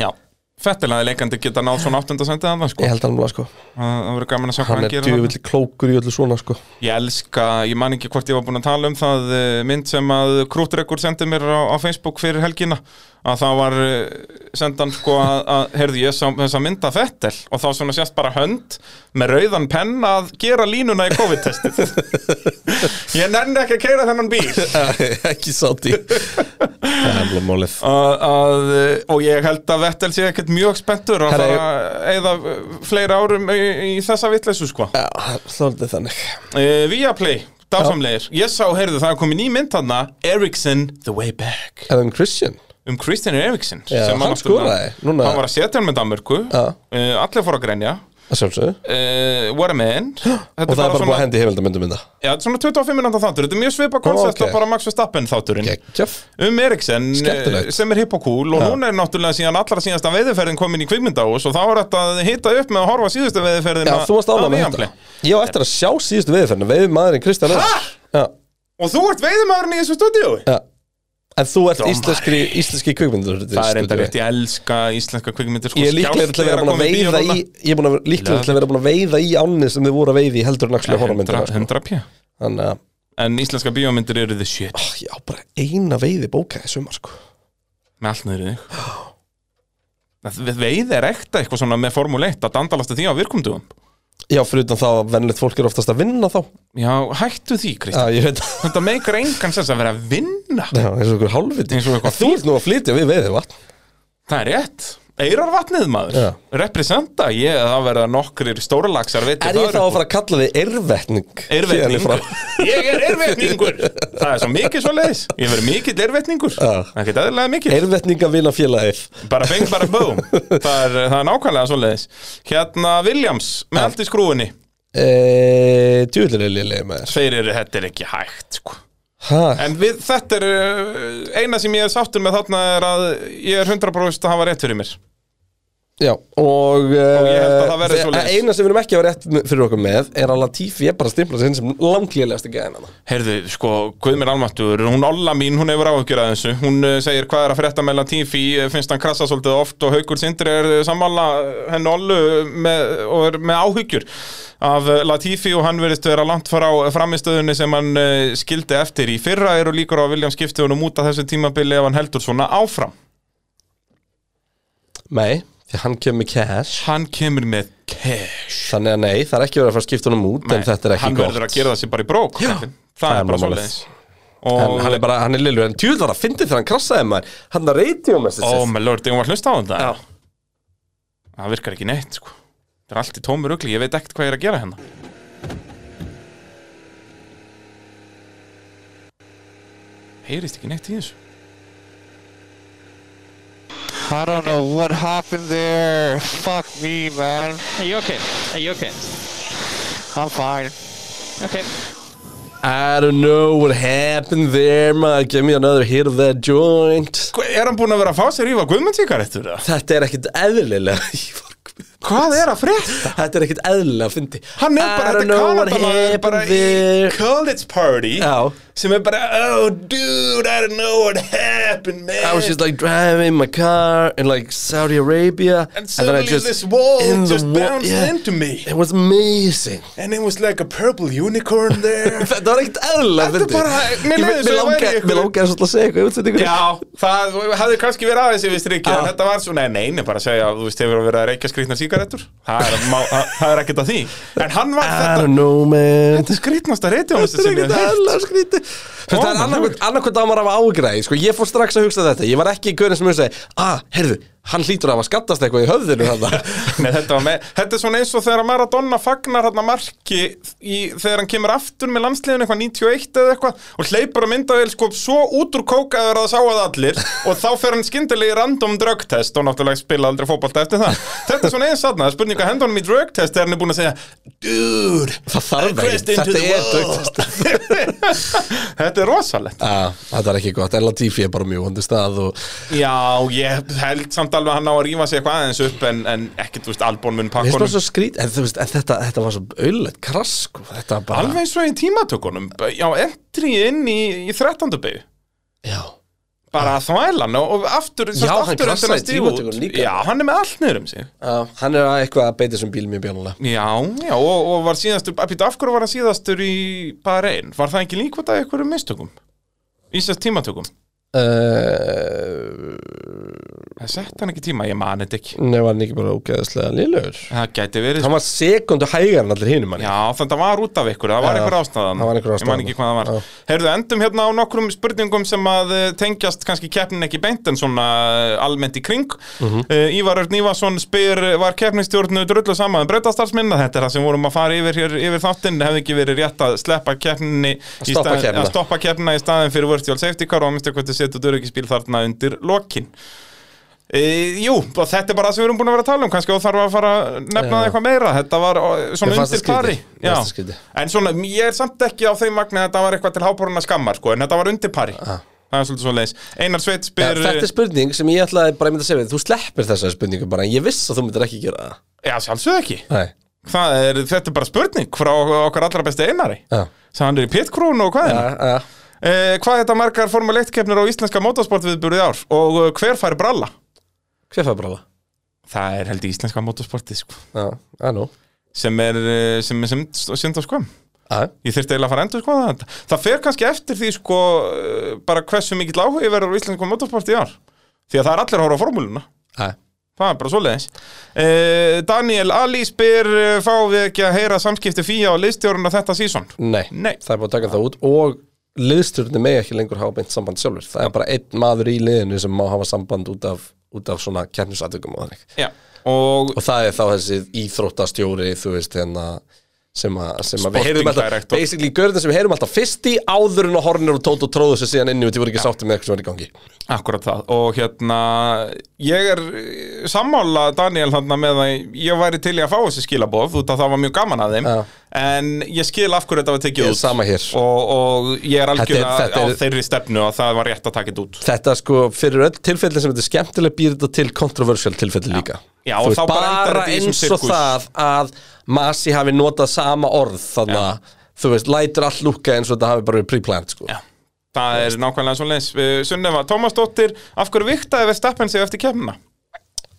B: Já fettilega leikandi geta náð svona 8. sendið annað sko
C: Ég held alveg sko
B: Það það verður gaman að sjá hvað
C: Hann
B: hann
C: er
B: gerir þarna.
C: djöfull klókur í öllu svona sko
B: Ég elska, ég man ekki hvort ég var búin að tala um það eh, mynd sem að Krútrekkur sendi mér á, á Facebook fyrir helgina að það var eh, sendan sko að, að heyrðu ég sá þessa mynd að Fettel og þá svona sést bara hönd með rauðan penn að gera línuna í COVID-testið Ég nenni ekki að keira þennan bíl
C: Ekki sátt í Það er alveg málið
B: að, að, eh, og ég held að Vettel sé ekkert mjög spenntur að
C: Herra,
B: fara að eyða fleira árum í, í þessa vitleysu sko
C: Já, það er svolítið þannig
B: uh, Viaplay, dásamlegir Ég sá, heyrðu, það er komið ný mynd þarna Eriksson, The Way Back
C: Er það um Christian?
B: Um Christian Eriksson
C: Já,
B: sem
C: hann
B: var náttúrulega-
C: skoraði, núna-
B: Hann var að setja hann með Danmörku
C: Já.
B: uh, Allir fóru að grenja
C: Það sjálfsögðu
B: uh, What a man
C: Og það er bara búið að hendi heimildamöndum mynda
B: Já, þetta er svona 25 minúta þáttur Þetta er mjög svipa koncept
C: ok.
B: og bara Max Verstappen þátturinn
C: Gekkjaf
B: um Eriksen
C: Skemmtilegt.
B: eh, sem er hipp og cool og hún er náttúrulega síðan allra síðasta veiðiferðin komin í kvikmyndahús og þá er þetta að hita upp með að horfa á síðustu veiðiferðin
C: Já,
B: að-
C: þú varst
B: að
C: ánað með
B: Viaplay.
C: þetta Ég á eftir að sjá síðustu veðurferðinu Veður maðurinn Kristján
B: Ha?
C: Eðars Já,
B: Og þú ert veiðimæðurinn í þessu stúdíu
C: já En þú ert
B: Dómari.
C: íslenski, íslenski kvikmyndur
B: Það er enda rétt, ég elska íslenska kvikmyndir sko,
C: Ég er líklega til að vera búin að veiða í Ég er búin að vera- líklega til að vera búin að veiða í ánni sem þið voru að veiða í heldur en axlega horfmyndina
B: 100,
C: sko.
B: 100 pjö
C: Þannig að
B: En íslenska bíómyndir eru the shit
C: ah, ég á bara eina veiði bókaði sumar sko
B: Með allt niður í þig Það- við- Veið er ekta eitthvað svona með formuleitt að dandalastu því á virkumdugum
C: Já, fyrir utan það að vennilegt fólk er oftast að vinna þá
B: Já, hættu því
C: Já,
B: Kristján
C: ég veit
B: Þetta meikar engan sens að vera að vinna
C: Já, eins og ykkur hálfviti
B: Eins og eitthvað
C: Þú ert nú að flytja við veiði vatn
B: Það er rétt Eirarvatnið maður
C: Já.
B: Representa ég að það verða nokkrir stóralagsar veitir
C: Er ég þá að fara að kalla þig ervetning? Héðan í frá?
B: Eirvetningur Ég er eirvetningur Það er svo mikið svo leiðis Ég verið mikill eirvetningur
C: Já.
B: Það er ekki aðeinslega mikill
C: Ervetningavina félagið
B: Bara bing, bara boom það er, það er nákvæmlega svo leiðis Hérna Williams með allt í skrúinni
C: e, Djúlir er liðlega með þér
B: Þeir eru, þetta er ekki hægt sko
C: Ha,
B: En við, þetta er uh, eina sem ég er sáttur með þarna er að ég er 100% að hafa rétt fyrir mér
C: Já, og,
B: ég held að það verði
C: eh,
B: svoleiðis.
C: Eina sem við erum ekki að vera rétt m- fyrir okkur með er að Latifi er bara að stimpla sig inn sem langlýlegast ekki aðeina
B: Heyrðu, sko, Guðmir Almattur, hún Olla mín, hún hefur áhugjur að þessu Hún uh, segir hvað er að frétta með Latifi, uh, finnst hann krassa svolítið oft og Haukur Sindri er uh, sammála uh, henni Ollu með, og er með áhugjur af uh, Latifi og hann verðist vera langt frá framistöðunni sem hann uh, skildi eftir í fyrra eru líkur á að William skipti honum út að þessu tímabili ef hann heldur svona áfram
C: Nei, því hann kemur með cash
B: Hann kemur með cash
C: Þannig að nei, það er ekki verið að fara að skipta honum út en þetta er ekki
B: Hann
C: gott
B: verður að gera það sér bara í brók Já, það,
C: það
B: er
C: er
B: bara
C: málið.
B: svoleiðis
C: En
B: Og
C: hann er bara, hann er lillur En tjúð var að fyndi þegar hann krassaði maður Hann er radio message
B: Ó, maður lörði, hún var að hlusta á þetta
C: Já.
B: Það virkar ekki neitt, sko Það er allt í tómur ugli, ég veit ekkert hvað ég er að gera hérna Heyrist ekki neitt í þessu
D: I don't know what happened there. Fuck me, man.
E: Are you okay? Are you okay?
D: I'm fine.
E: Okay.
C: I don't know what happened there maður Give me another hit of that joint
B: Hva, Er hann búinn að vera að fá sér ífa guðmundsíkar eftir það?
C: Þetta er ekkit eðlilega Ég var-
B: Hvað er að frétta?
C: Þetta er ekkit eðlilega að fyndi
B: Hann er
C: I
B: bara, þetta
C: don't know
B: er
C: what
B: Kanadamaður bara
C: happened
B: í
C: there
B: college party
C: Já.
B: sem er bara, oh dude, I don't know what happened, man
C: I was just like driving my car in like Saudi Arabia
B: And suddenly this wall just bounced into me.
C: It was amazing
B: And it was like a purple unicorn there
C: Þetta var ekkert eðlilega
B: Þetta er
C: fyndi
B: bara- mér leiðist að það væri einhver-
C: Mér langar svolítið að segja eitthvað í útsendingunni.
B: Já, það hafði kannski verið aðeins yfir strikið en þetta var svona, nei, nei, bara að segja þú veist, hefur verið að reykja skrýtnar sígarettur það er, má, það, það er ekkert að því en hann var
C: I
B: þetta,
C: don't know man
B: þetta er skrýtnasta reytjónustu sem ég hef
C: aðlega skríti Fyrst,
B: Ó,
C: Það er
B: maður,
C: annarkvæmt annarkvæmt að maður hafa ágræði sko. Ég fór strax að hugsa þetta Ég var ekki í gaurin sem ég segi Ah, heyrðu, hann hlýtur að hafa skattast eitthvað í höfðinu þarna."
B: Nei, þetta, var með, þetta er svona eins og þegar Maradona fagnar hérna marki í, þegar hann kemur aftur með landsliðinu eitthvað 91 eða eitthvað og hleypur að myndavél sko svo út úr kókaður að það sá að allir og þá fer hann skyndilega í random drugtest og náttúrulega spila aldrei fótbalta eftir það Þetta er svona eins aðna, spurninga hendunum í drugtest þegar hann er búin að segja Dude,
C: Það þarf ekki,
B: crashed into
C: þetta
B: the
C: er
B: wall."
C: dögt
B: Þetta er rosalegt
C: ah, Þetta er ekki gott, en Latifi er bara mjög hundi stað og
B: Já, ég held samt alveg að hann á að rífa sig eitthvað aðeins upp en, en ekki, þú veist, Albon mun
C: Mér finnst bara
B: pakkunum
C: svo skrít, en, þú veist, en þetta, þetta var svo auðlegt krass sko. Þetta var bara
B: Alveg eins og í tímatökunum Já, entry inn í, í 13. beigju
C: Já
B: bara að þvælan og, og aftur,
C: Já, hann
B: aftur
C: krassaði
B: að stíga út.
C: tímatökunum líka.
B: Já, hann er með allt niður um sig
C: Já, hann er að eitthvað að beita þessum bíl mjög bjónulega
B: Já, já, og, og var síðastur Pítu, af hverju var hann síðastur í Bahrein? Var það ekki líkvæmt að einhverjum mistökum? Ísast tímatökum?
C: uh,
B: Það sett hann ekki tíma, ég mani þetta ekki
C: Nei, var hann ekki bara ógeðslega liðlegur
B: Það gæti verið
C: Hann var sekundu hægar en allir hinum hann
B: Já, þannig að það var út af ykkur, það var
C: Já,
B: einhver ástæðan
C: það var
B: Ég
C: einhver
B: man
C: ástæðan.
B: ekki hvað það var
C: Já.
B: Heyrðu, endum hérna á nokkrum spurningum sem að eh, tengjast kannski keppnin ekki beint en svona eh, almennt í kring mm
C: Mhm.
B: Ívar Örn Ívarsson spyr eh, var keppnistjórnu drullu saman um breytastarfsminn þetta er það sem vorum að fara yfir, hér, yfir þáttinn hefði ekki verið rétt að sleppa keppninni í
C: stoppa
B: stað-
C: keppnina.
B: að stoppa keppnina í staðin fyrir virtual safety car og að minnstu hvað þið setur dörgisbíl þarna undir lokin E, jú, og þetta er bara það sem við erum búin að vera að tala um kannski óþarf að fara að nefna það eitthvað meira þetta var ó, svona
C: Mér fannst
B: undir
C: það
B: pari
C: skrítið. Mér
B: Já.
C: fannst það skrítið.
B: en svona, ég er samt ekki á þeim magni að þetta var eitthvað til háboruna skammar sko, en þetta var undir pari það er svolítið svo leis Einar Sveit
C: Ah. Já,
B: spyr
C: þetta er spurning sem ég ætlaði bara að mynda að segja við Þú sleppir þessari spurningu bara en Ég viss að þú myndir ekki gera
B: Já, sjálfsögðu ekki
C: það Nei
B: Það er, þetta er bara spurning frá okkar allra besti Einari
C: Já.
B: sem hann er í pitkrún og hvað er það?
C: Já,
B: Hvað þetta margar Formule 1 keppnir á íslenska motorsportviðburði ár og eh, hver fær bralla?
C: hver fær bara
B: Það er held í íslenska motorsportið sko,
C: það? Já, já, nú
B: sem er eh, sem er synd- synd á skoðum
C: Já,
B: Ég þurfti eiginlega að fara að endur skoða þetta Það fer kannski eftir því sko eh, bara hversu mikill áhugi verður á íslensku motorsporti í ár Því að það er allir að horfa á formúluna
C: já
B: Það er bara svoleiðis e, Daniel Ali spyr eh, fáum við ekki að heyra samskipti fíja og liðstjóruna þetta sísón
C: Nei,
B: Nei.
C: það er búin að taka það út og liðstjórnir megi ekki lengur hafa beint samband sjálfur það er bara einn maður í liðinu sem má hafa samband út af, út af svona kjarnisatvikum og, þannig.
B: Já Og
C: og það er þá þessi íþróttastjóri þú veist hérna sem að, sem að við heyrum alltaf,
B: director.
C: basically görðin sem við heyrum alltaf fyrst í áður en að hornir og tótt og tróðu sér síðan inn í og því voru ekki sátti með eitthvað sem var í gangi
B: Akkurat það og hérna ég er eh, sammála Daniel þarna með að ég væri til í að fá þessi skilaboð út að það var mjög gaman að þeim
C: Já.
B: en ég skil af hverju þetta var tekið
C: Ég er
B: út
C: sama hér.
B: Og, og ég er algjörlega
C: Þetta er- þetta
B: á
C: er-
B: þeirri stefnu að það var rétt að taka þetta út
C: þetta sko fyrir öll tilfelli sem þetta er skemmtilega býr þetta til kontroversial tilfelli líka
B: Já,
C: Þú
B: og
C: veist,
B: þá bara endar
C: bara
B: þetta í þessum
C: eins og
B: sirkus.
C: það að Masi hafi notað sama orð þannig að þú veist, lætur allt lúka eins og þetta hafi bara verið pre-planned sko.
B: Já. það er nákvæmlega svo leins Sunnefa, Tómas Dóttir, af hverju viktaði Verstappen sig eftir kemna?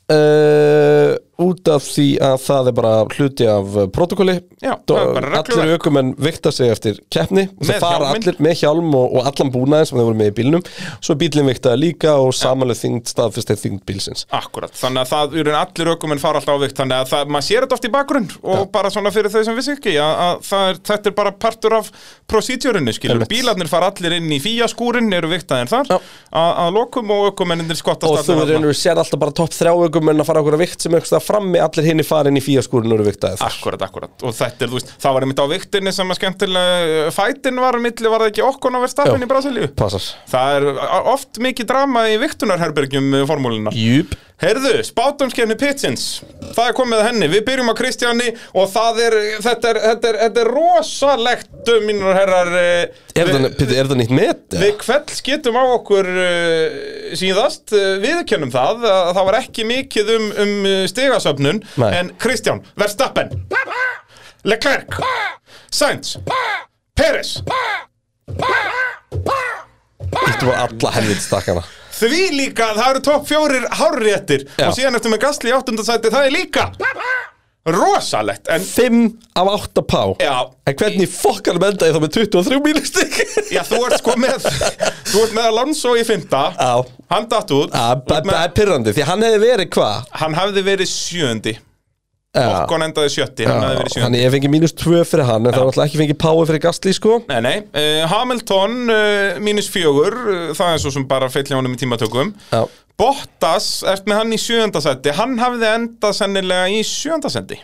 C: uh, út af því að það er bara hluti af uh, protokolli
B: Já,
C: Dó-
B: það er bara
C: allir
B: regluverk.
C: aukumenn vikta sig eftir keppni og
B: Með
C: það fara
B: hjálminn.
C: allir með hjálm og, og allan búnaðin sem þeir voru með í bílnum svo er bílinn viktaði líka og samanlega þyngd staðfyrst eitt þyngd bílsins
B: Akkurat, þannig að það eru allir ökumenn fara alltaf á vikt þannig að það, maður sér þetta oft í bakgrunn og bara svona fyrir þau sem vissi ekki að, að það er, þetta er bara partur af procedurinu skilur,
C: Einmitt.
B: bílarnir fara allir inn í fíaskúrin eru viktaðir þar
C: Já.
B: að, að lokum og ökumennir skottast
C: og þú
B: allir þarna.
C: reynir við sér alltaf bara topp þrjá ökum en að fara okkur að vikt sem eitthvað staðar frammi allir hinn í farin í fíaskúrinu eru viktaði þar
B: Akkurat, akkurat, og þetta er, þú veist, það var einmitt á viktinni sem að skemmtilega fætin var milli var það ekki okkur á verðstafin
C: Já.
B: í Brasilíu
C: passar
B: Það er oft mikið drama í viktunarherbergjum formúluna
C: Júp
B: Herðu, spátumskefni Pitsins Það er komið að henni, við byrjum á Kristjáni og það er, þetta er, þetta er, þetta er rosalegt mínur herrar eh,
C: Er
B: við,
C: það, Pétur, er það nýtt met?
B: við kveld skytum á okkur eh, síðast, við kennum það að það var ekki mikið um, um eh, stigasöfnun
C: Nei.
B: en Kristján, Verstappen Leclerc Sainz Peres
C: Þetta var alla helvit stakkana
B: Því líka, það eru topp fjórir hárréttir
C: Já.
B: og síðan eftir með gasli í áttundasæti, það er líka rosalegt en
C: 5 af 8 pá
B: Já,
C: En hvernig fokkar mendaði þá með 23 mínustík?
B: Já, þú ert sko með Þú ert með Alonso í fymta
C: Já.
B: Hann datt út Þú ert
C: Það
B: með,
C: er pirrandi því hann hefði verið hvað?
B: Hann hafði verið sjöndi
C: Já.
B: Okkon endaði sjötti, hann hafði verið sjöndi
C: Þannig ég fengi mínus 2 fyrir hann en það var alltaf ekki fengið pái fyrir Gastli sko
B: Nei, nei, uh, Hamilton uh, mínus fjögur, uh, það er svo sem bara fyllja honum í tímatökum
C: Já.
B: Bottas, ert með hann í sjöndasætti Hann hafði endað sennilega í sjöndasætti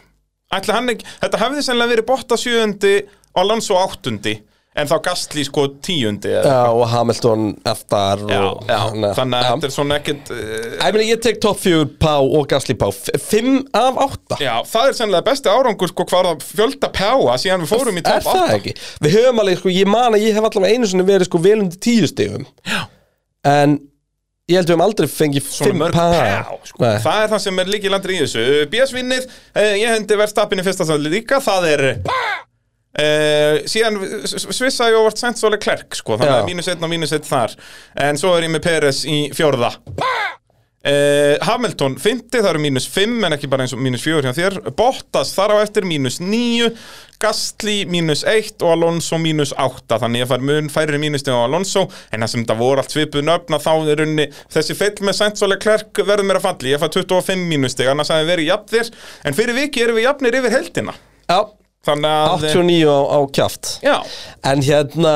B: Ætli hann ekki, þetta hafði sennilega verið Bottas sjöndi og Alonso áttundi En þá Gastli sko tíundi eða-
C: Já og Hamilton eftar
B: já,
C: og,
B: já,
C: Þannig að-
B: þannig að
C: Já.
B: þetta er svona ekkert uh,
C: Æ, meni, ég tek topp fjögur pá og gasli pá F- Fimm af átta
B: Já, það er sennilega besti árangur sko hvar það fjölda páa síðan við fórum í
C: Er
B: top
C: það
B: 8
C: ekki? Við höfum alveg, sko, ég man að ég hef allavega einu sinni verið sko vel undir tíu stegum Já En ég held við höfum aldrei fengið
B: Svona
C: fimm
B: mörg
C: pá
B: pá, sko.
C: Nei.
B: Það er það sem er Eh, líkilandur í þessu BS vinnið, eh, ég hendi verðstappin í fyrsta sæli líka Það er Uh, síðan svissa ég óvart sent svoleið klerk sko, þannig
C: Já.
B: að mínus einn og mínus einn þar en svo er ég með Peres í fjórða uh, Hamilton 50, það eru mínus 5 en ekki bara eins og mínus 4 hjá þér Bottas þar á eftir mínus 9 Gastli mínus 1 og Alonso mínus 8 þannig ég fær mun færri mínus á Alonso en það sem þetta voru allt svipuð nöfna þá er runni þessi fell með sent svoleið klerk verður mér að falli, ég fær 25 mínus annars að við verið jafn þér en fyrir viki erum við jafnir yfir heldina
C: Já,
B: Þannig að
C: 89 á, á kjaft
B: Já,
C: En hérna,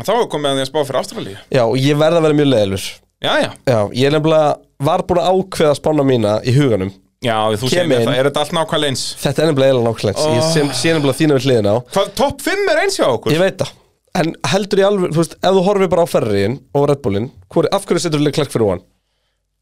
B: En Þá er komið að því að spá fyrir Ástralíu
C: já, ég verð að vera mjög leðilur
B: Já, já,
C: Já, ég nefnilega var búin að ákveða spána mína í huganum
B: já, þú
C: Kem
B: segir mér
C: inn.
B: það, er þetta allt nákvæmlega eins
C: Þetta er nefnilega eiginlega nákvæmleins oh. Ég sé- sé nefnilega þína við hliðina á
B: Hvað, topp 5 er eins hjá okkur?
C: Ég veit það En heldur ég alveg, þú veist, ef þú horfir bara á ferriðin og Red Bullin hvor, Af hverju setur þú Leclerc fyrir hann?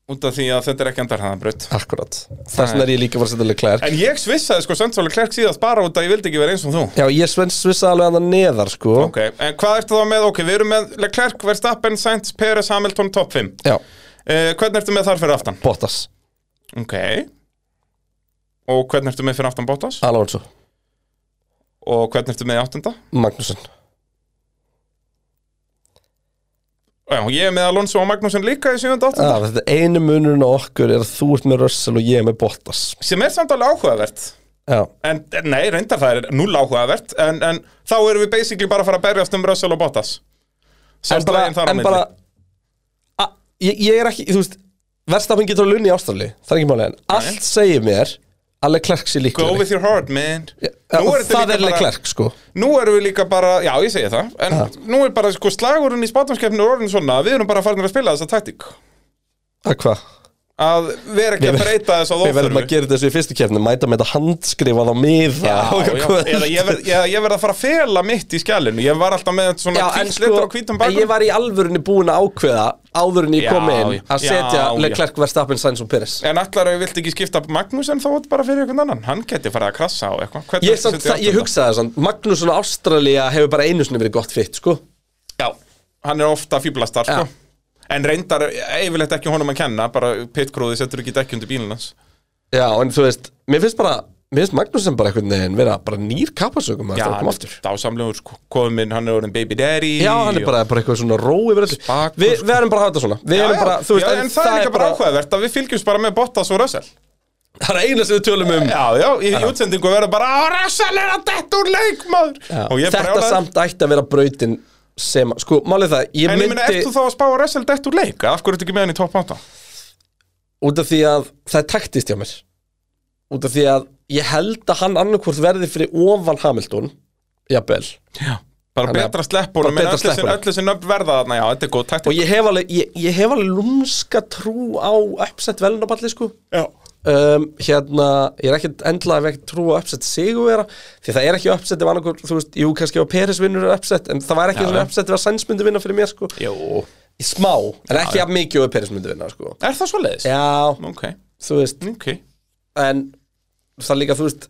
B: Út af því að þetta er ekki endarhæðanbraut
C: Akkurat Þess vegna er ég líka bara að setja Leclerc
B: En ég svissaði sko Sandsóli Klerk síðast bara út af að ég vildi ekki vera eins og þú
C: Já, ég svens vissa alveg hann að neðar, sko
B: Ok, en hvað ertu þá með? Ok, við erum með Leclerc, Verstappen, Sainz, Peres, Hamilton, topp 5 uh,
C: Já,
B: Hvernig ertu með þar fyrir aftan?
C: Bottas,
B: Ok Og hvernig ertu með fyrir aftan Bottas?
C: Alonso,
B: Og hvernig ertu með í áttunda?
C: Magnússon
B: Já, ég er með Alonso og Magnússon líka í 7. áttunda
C: ah, Þetta einu munurinn á okkur er að þú ert með Russell og ég er með Bottas
B: Sem er samt alveg áhugavert
C: Já,
B: En, en nei, reyndar það er null áhugavert en, en þá erum við basically bara að fara að berjast um Russell og Bottas
C: en bara,
B: Sjálfslægin þar á
C: en
B: milli.
C: bara a, ég, ég er ekki, þú veist Verstafinn getur að lunni í ástafli, það er ekki máli en allt segir mér að Leclerc sé
B: Go
C: líklegri
B: with your heart, man
C: Já,
B: Nú
C: og
B: er þetta
C: það
B: líka
C: er
B: bara-
C: Leclerc, sko
B: Nú erum við líka bara, já ég segi það En nú er bara sko slagurinn í spátumskeppinu orðin svona að Við erum bara farin að spila þessa taktík
C: að hvað?
B: Að vera ekki að
C: Við-
B: breyta þess að
C: Við verðum að
B: óþörfu
C: gera þessu í fyrstu kefni mæta með þetta handskrifað á miða
B: Já,
C: og
B: já,
C: eitthvað.
B: eða ég verð, ég, ég verð að fara að fela mitt í skjælinu Ég var alltaf með
C: Já,
B: svona
C: en
B: hvítt
C: sko,
B: litur á hvítum
C: en
B: bakum
C: ég var í alvörunni búin að ákveða áður en ég
B: Já,
C: kom inn að
B: já,
C: setja
B: já.
C: Leclerc, Verstappen, Sainz og Pires
B: En allar að við vilt ekki skipta Magnúsen þá út bara fyrir einhvern annan Hann geti farið að krassa á eitthvað Hvernig
C: Ég,
B: ertu
C: samt,
B: setja
C: það- ég
B: áttunda?
C: hugsaði það samt, Magnússon og Ástralía hefur bara einu sinni verið gott fitt, sko
B: Já, hann er ofta fýblastar sko.
C: Já.
B: En reyndar, yfirleitt ekki honum að kenna Bara pitkrúði setur ekki dekki undir bílinn hans
C: Já, en þú veist, mér finnst bara Mér finnst Magnússon bara einhvern veginn vera bara nýr kappasökum að það
B: hann er
C: koma aftur
B: dásamlegur sko. Kominn, hann er orðin baby daddy
C: Já, hann er bara, bara eitthvað svona ró yfir öllu
B: Spakur,
C: Vi, Við erum bara að hafa þetta svona Við
B: Já,
C: erum
B: já,
C: bara, þú veist,
B: já, en það er líka bara áhugavert að við fylgjumst bara með Bottas og Russell
C: Það er eina sem við tölum um
B: Já, já, í já. útsendingu verður bara "Á, Russell er að detta úr leik, maður Og ég er
C: Þetta
B: brjálaður.
C: samt ætti að vera brautin sem, sko, málið það Ég
B: En ég meina,
C: myndi,
B: ert þú þá að spá að Russell detta úr leik? Af hverju ertu ekki með hann í topp 8?
C: út af því að það er taktist hjá mér Út af því að ég held að hann annarkvort verði fyrir ofan Hamilton Jafnvel
B: Bara
C: Þannig að-
B: betra slepp honum,
C: bara
B: en
C: betra
B: öll þessi-
C: sleppa honum.
B: öll þessi nöfn verða þarna Já, þetta er góð
C: Og
B: taktik
C: ég hef alveg, ég, ég hef alveg lúmska trú á uppsett velnaballi, sko
B: Já.
C: um, hérna, ég er ekkert endla ef ekki trú að uppsett sigurvera því það er ekki uppsett ef annarkur, þú veist, jú, kannski ef Peris vinnur er uppsett, en það var ekki svona uppsett ef að Sainz myndi vinna fyrir mér, sko
B: Jú.
C: Í smá, en ekki að mikið ef Peris myndi vinna, sko
B: Er það svo leiðis?
C: Já,
B: Ok,
C: þú veist,
B: ok
C: en það er líka, þú veist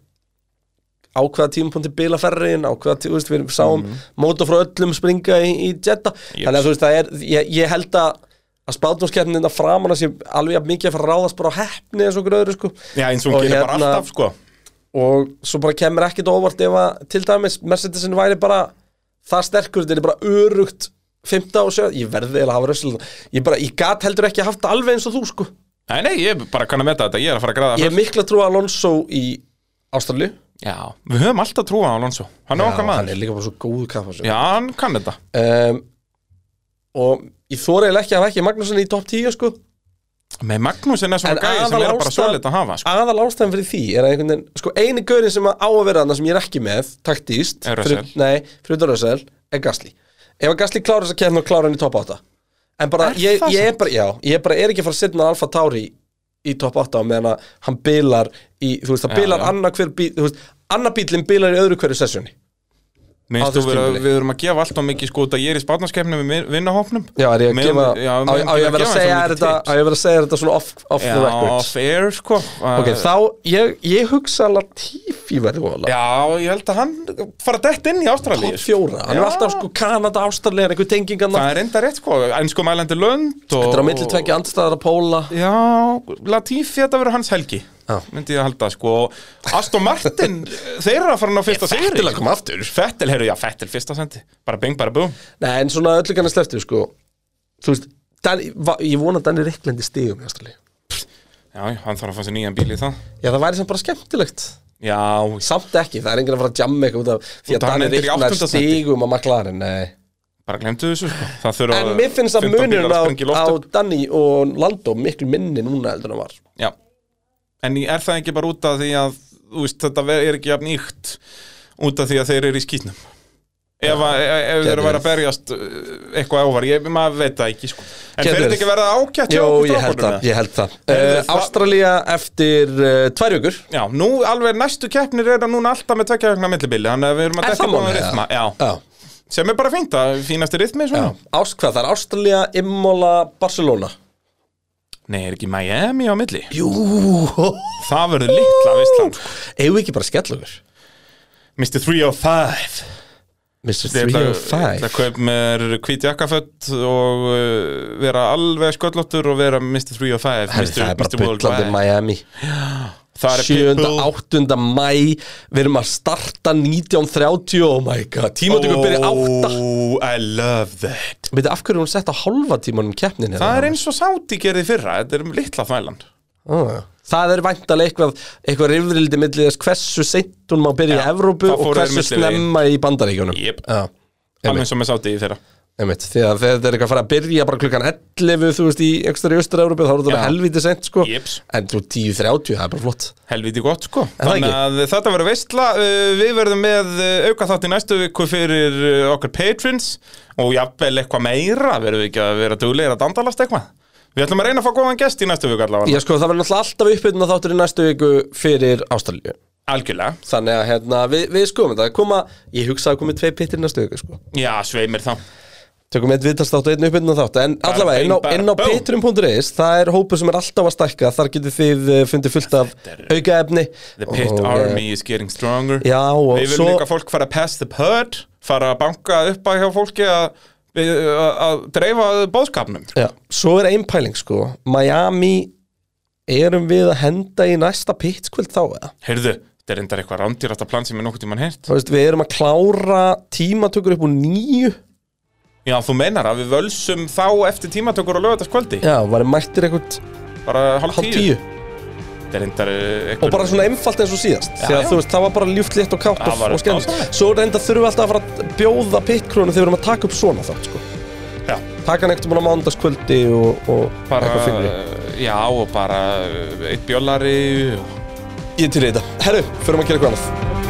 C: á hvaða tímapunkti bila ferriðin á hvaða tíma, þú veist, við sáum
B: Mhm.
C: mm frá öllum springa í, í Jetta þannig að þú veist, það er, ég, ég held að að spátnumskeppnina framan að sé alveg jafn mikið að fara að ráðast bara á heppni eins og okkur öðru sko
B: Já, eins og hún
C: Og
B: gerir bara
C: hérna-
B: alltaf, sko
C: og svo bara kemur ekkit óvart ef að til dæmis Mercedesin væri bara það sterkur, þetta er bara örugt 15 og 7, ég verði eiginlega að hafa rössl ég bara, ég gat heldur ekki haft það alveg eins og þú sko,
B: Nei, nei, ég bara kann að meta þetta, ég er að fara að græða
C: ég hef mikla trú að Alonso í Ástralju
B: Já, við höfum alltaf trúa á Alonso Hann er okkar
C: hann
B: maður
C: er líka bara svo góðu kappa
B: Já, hann kann þetta
C: um, og ég þóra eiginlega ekki að hafa ekki Magnússon í top 10 sko
B: Með Magnúsin er
C: En
B: svona gæði sem
C: aðal
B: er bara
C: ástæð-
B: svolít að hafa sko.
C: aðal ástæðan fyrir því er að einhvern veginn sko eini gaurin sem að á að vera þarna sem ég er ekki með taktíst,
B: Er
C: fyrir-
B: Russell.
C: nei, fyrir utan Russell er Gasly, ef að Gasly klára þess að kemna og klára hann í top 8 en bara, ég,
B: það
C: ég er bara, já, ég bara er ekki að fara að setna Alfa Tauri í top 8 á meðan að hann bilar í, þú veist, það bilar
B: já.
C: annar hver bíl, þú veist, annar bílinn bilar í öðru hverju sessjóni, á
B: Minnst þú
C: þessu
B: vera,
C: tímabili.
B: við erum að gefa alltaf mikið sko að ég er í spátnarskefni með vinnahópnum
C: já, er ég að
B: Megum-
C: gefa
B: já,
C: á,
B: megum
C: á ég að vera
B: gefa eins
C: að
B: og mikið
C: segja er þetta,
B: tips.
C: á ég að vera að segja er þetta svona off, off the
B: Já,
C: record
B: fair, sko
C: ok, þá, ég, ég hugsa Latifi verður óalega
B: Já, ég held að hann fara dætt inn í Ástralíu
C: Top fjóra, hann
B: Já.
C: er alltaf sko Kanada, Ástralja, einhver tengingan
B: Það er enda rétt, sko, einsku mælandi lönd
C: Þetta er á milli tvekja andstæðar að póla
B: Já, Latifi, þetta verður hans helgi
F: Já.
B: myndi ég að halda sko Og Aston Martin, þeir eru að fara ná fyrsta sigri
F: Fettil að koma aftur
B: Fettil, heyrðu, já, Fettil fyrsta sendi Bara bing, bara búm
C: Nei, en svona öllu kannar sleftu, sko Þú veist, Dan, va, ég vona að Danni Rikklandi stigum í Ástrali
B: Já, já, hann þarf að fá sér nýjan bíl í það
C: Já, það væri sem bara skemmtilegt
B: Já,
C: Samt ekki, það er enginn að fara að jamma eitthvað út af Því
B: Út
C: að
B: af hann
C: Danni
B: endur í
C: Rikkland
B: áttunda seti.
C: stigum að maklarinn, nei
B: bara glemtu þessu sko Það þurfa
C: En mér finnst að
B: 15 bílar
C: munurinn á,
B: springi í
C: á
B: loft upp.
C: Danni og Landó miklu minni núna heldur en hann var
B: Já, en í- er það ekki bara út af því að þú veist, þetta ver- er ekki jafn íkt út af því að þeir eru í skýtnum ef, að- e- ef þeir eru að vera að berjast uh, eitthvað ávar, ég maður veit það ekki sko. en
C: Gæti
B: þeir eru
C: verið.
B: ekki að verða ágætt hjá
C: Jó,
B: okkur
C: ég held
B: strákunum,
C: það,
B: eða?
C: ég held það
B: Heyrðu,
C: uh,
B: það-
C: Ástralía eftir uh, tvær vikur
B: Já, nú alveg næstu keppnir eru núna alltaf með tvekja vegna millibili, þannig að við erum að
C: Er
B: dekka
C: það
B: búin
C: málið,
B: rithma, já,
C: Já,
B: sem er bara fínt að fínasti rithmi
C: já
B: svona,
C: Ást, hvað það er Ástralía, Immola, Barcelona
B: nei, er ekki Miami á milli,
C: Jú,
B: það verður litla veistlan, sko.
C: eigum við ekki bara að skella okkur
B: Mr. 305
C: Mr.
B: Ég ætla- Ég
C: 305
B: ætla að kaup mér hvít jakkafött og uh, vera alveg sköllóttur og vera Mr. 3 og 5
C: Herri,
B: Mr.
C: það er bara
B: Mr. Worldwide.
C: bullandi Miami
B: Það er
C: 7.
B: Pitbull.
C: 8. mæ Við erum að starta 19.30 Oh my god, tímatökum byrja 8
B: Oh, I love that
C: Veitu, af hverju er hún sett á hálfa tímanum keppnin hérna?
B: Það er eins og Sáti gerði í fyrra, þetta er litla þvælan
C: Ah. Það er væntalega eitthvað, eitthvað rifrildi millir þess hversu seint hún má byrja
B: Já,
C: í Evrópu
B: það
C: og
B: fóru þeir
C: hversu
B: millivegi.
C: snemma í Bandaríkjunum
B: Jep.
C: Já,
B: Alveg eins og með Sáti í fyrra
C: einmitt, því að þegar þetta er eitthvað að fara að byrja bara klukkan 11 þú veist í ekstra í Östur-Evrópu þá er þetta
B: Já.
C: helviti seint sko
B: Jeps.
C: en þú 10.30, það er bara flott
B: Helviti gott sko
C: það ekki?
B: Þannig að þetta verður veistla uh, Við verðum með uh, auka þátt í næstu viku fyrir uh, okkar patrons Og jafnvel eitthvað meira Verðum við ekki að vera duglegir að dandalast eitthvað Við ætlum að reyna að fá góðan gest í næstu viku allavega
C: Já sko, það verður náttúrulega alltaf uppbyrna þáttur í næstu viku fyrir Ástralíu
B: Algjörlega
C: Þannig að hérna, við, við skoðum þetta koma, Ég hugsa að komi tvei pittir næstu viku sko.
B: Já, svei mér þá
C: Tökum einn viðtastátt og einn uppbyrna þátt En allavega, inn á,
B: bein bara,
C: inn á
B: boom.
C: pitturum.is Það er hópur sem er alltaf að stækka Þar getið þið eh, fundið fullt af aukaefni
B: The pit
C: Og, eh,
B: army is getting stronger
C: Já, og
B: Við viljum
C: svo-
B: líka að fólk fara að pass the pud Fara að banka upp að hjá fólki að, að, að dreifa bóðskapnum
C: Já, svo er ein pæling sko Miami Erum við að henda í næsta pittkvöld þá eða?
B: Heyrðu, þetta er endar eitthvað rándýrasta plan sem er nokkuð tímann heyrt
C: Þú veist, við erum að klára tímatökur upp úr nýju
B: Já, þú meinar að við völsum þá eftir tímatökur og lögataskvöldi
C: Já, varum mættir eitthvað
B: Bara hálf
C: hálf
B: tíu,
C: tíu
B: Þetta er eh, endar eitthvað
C: og bara svona einfalt eins og síðast því að
B: já.
C: þú veist, það var bara ljúft létt og kátt
B: Það
C: og,
B: var
C: og skemmt
B: dásamlegt.
C: svo reynda þurfum við alltaf að fara að bjóða pittkrónu þegar við erum að taka upp svona þátt sko.
B: Já.
C: taka hann eitthvað á mándagskvöldi og, og
B: bara,
C: eitthvað fyrir
B: Já, og bara eitt bjólari og
C: ég er til í þetta herru, förum að gera eitthvað annað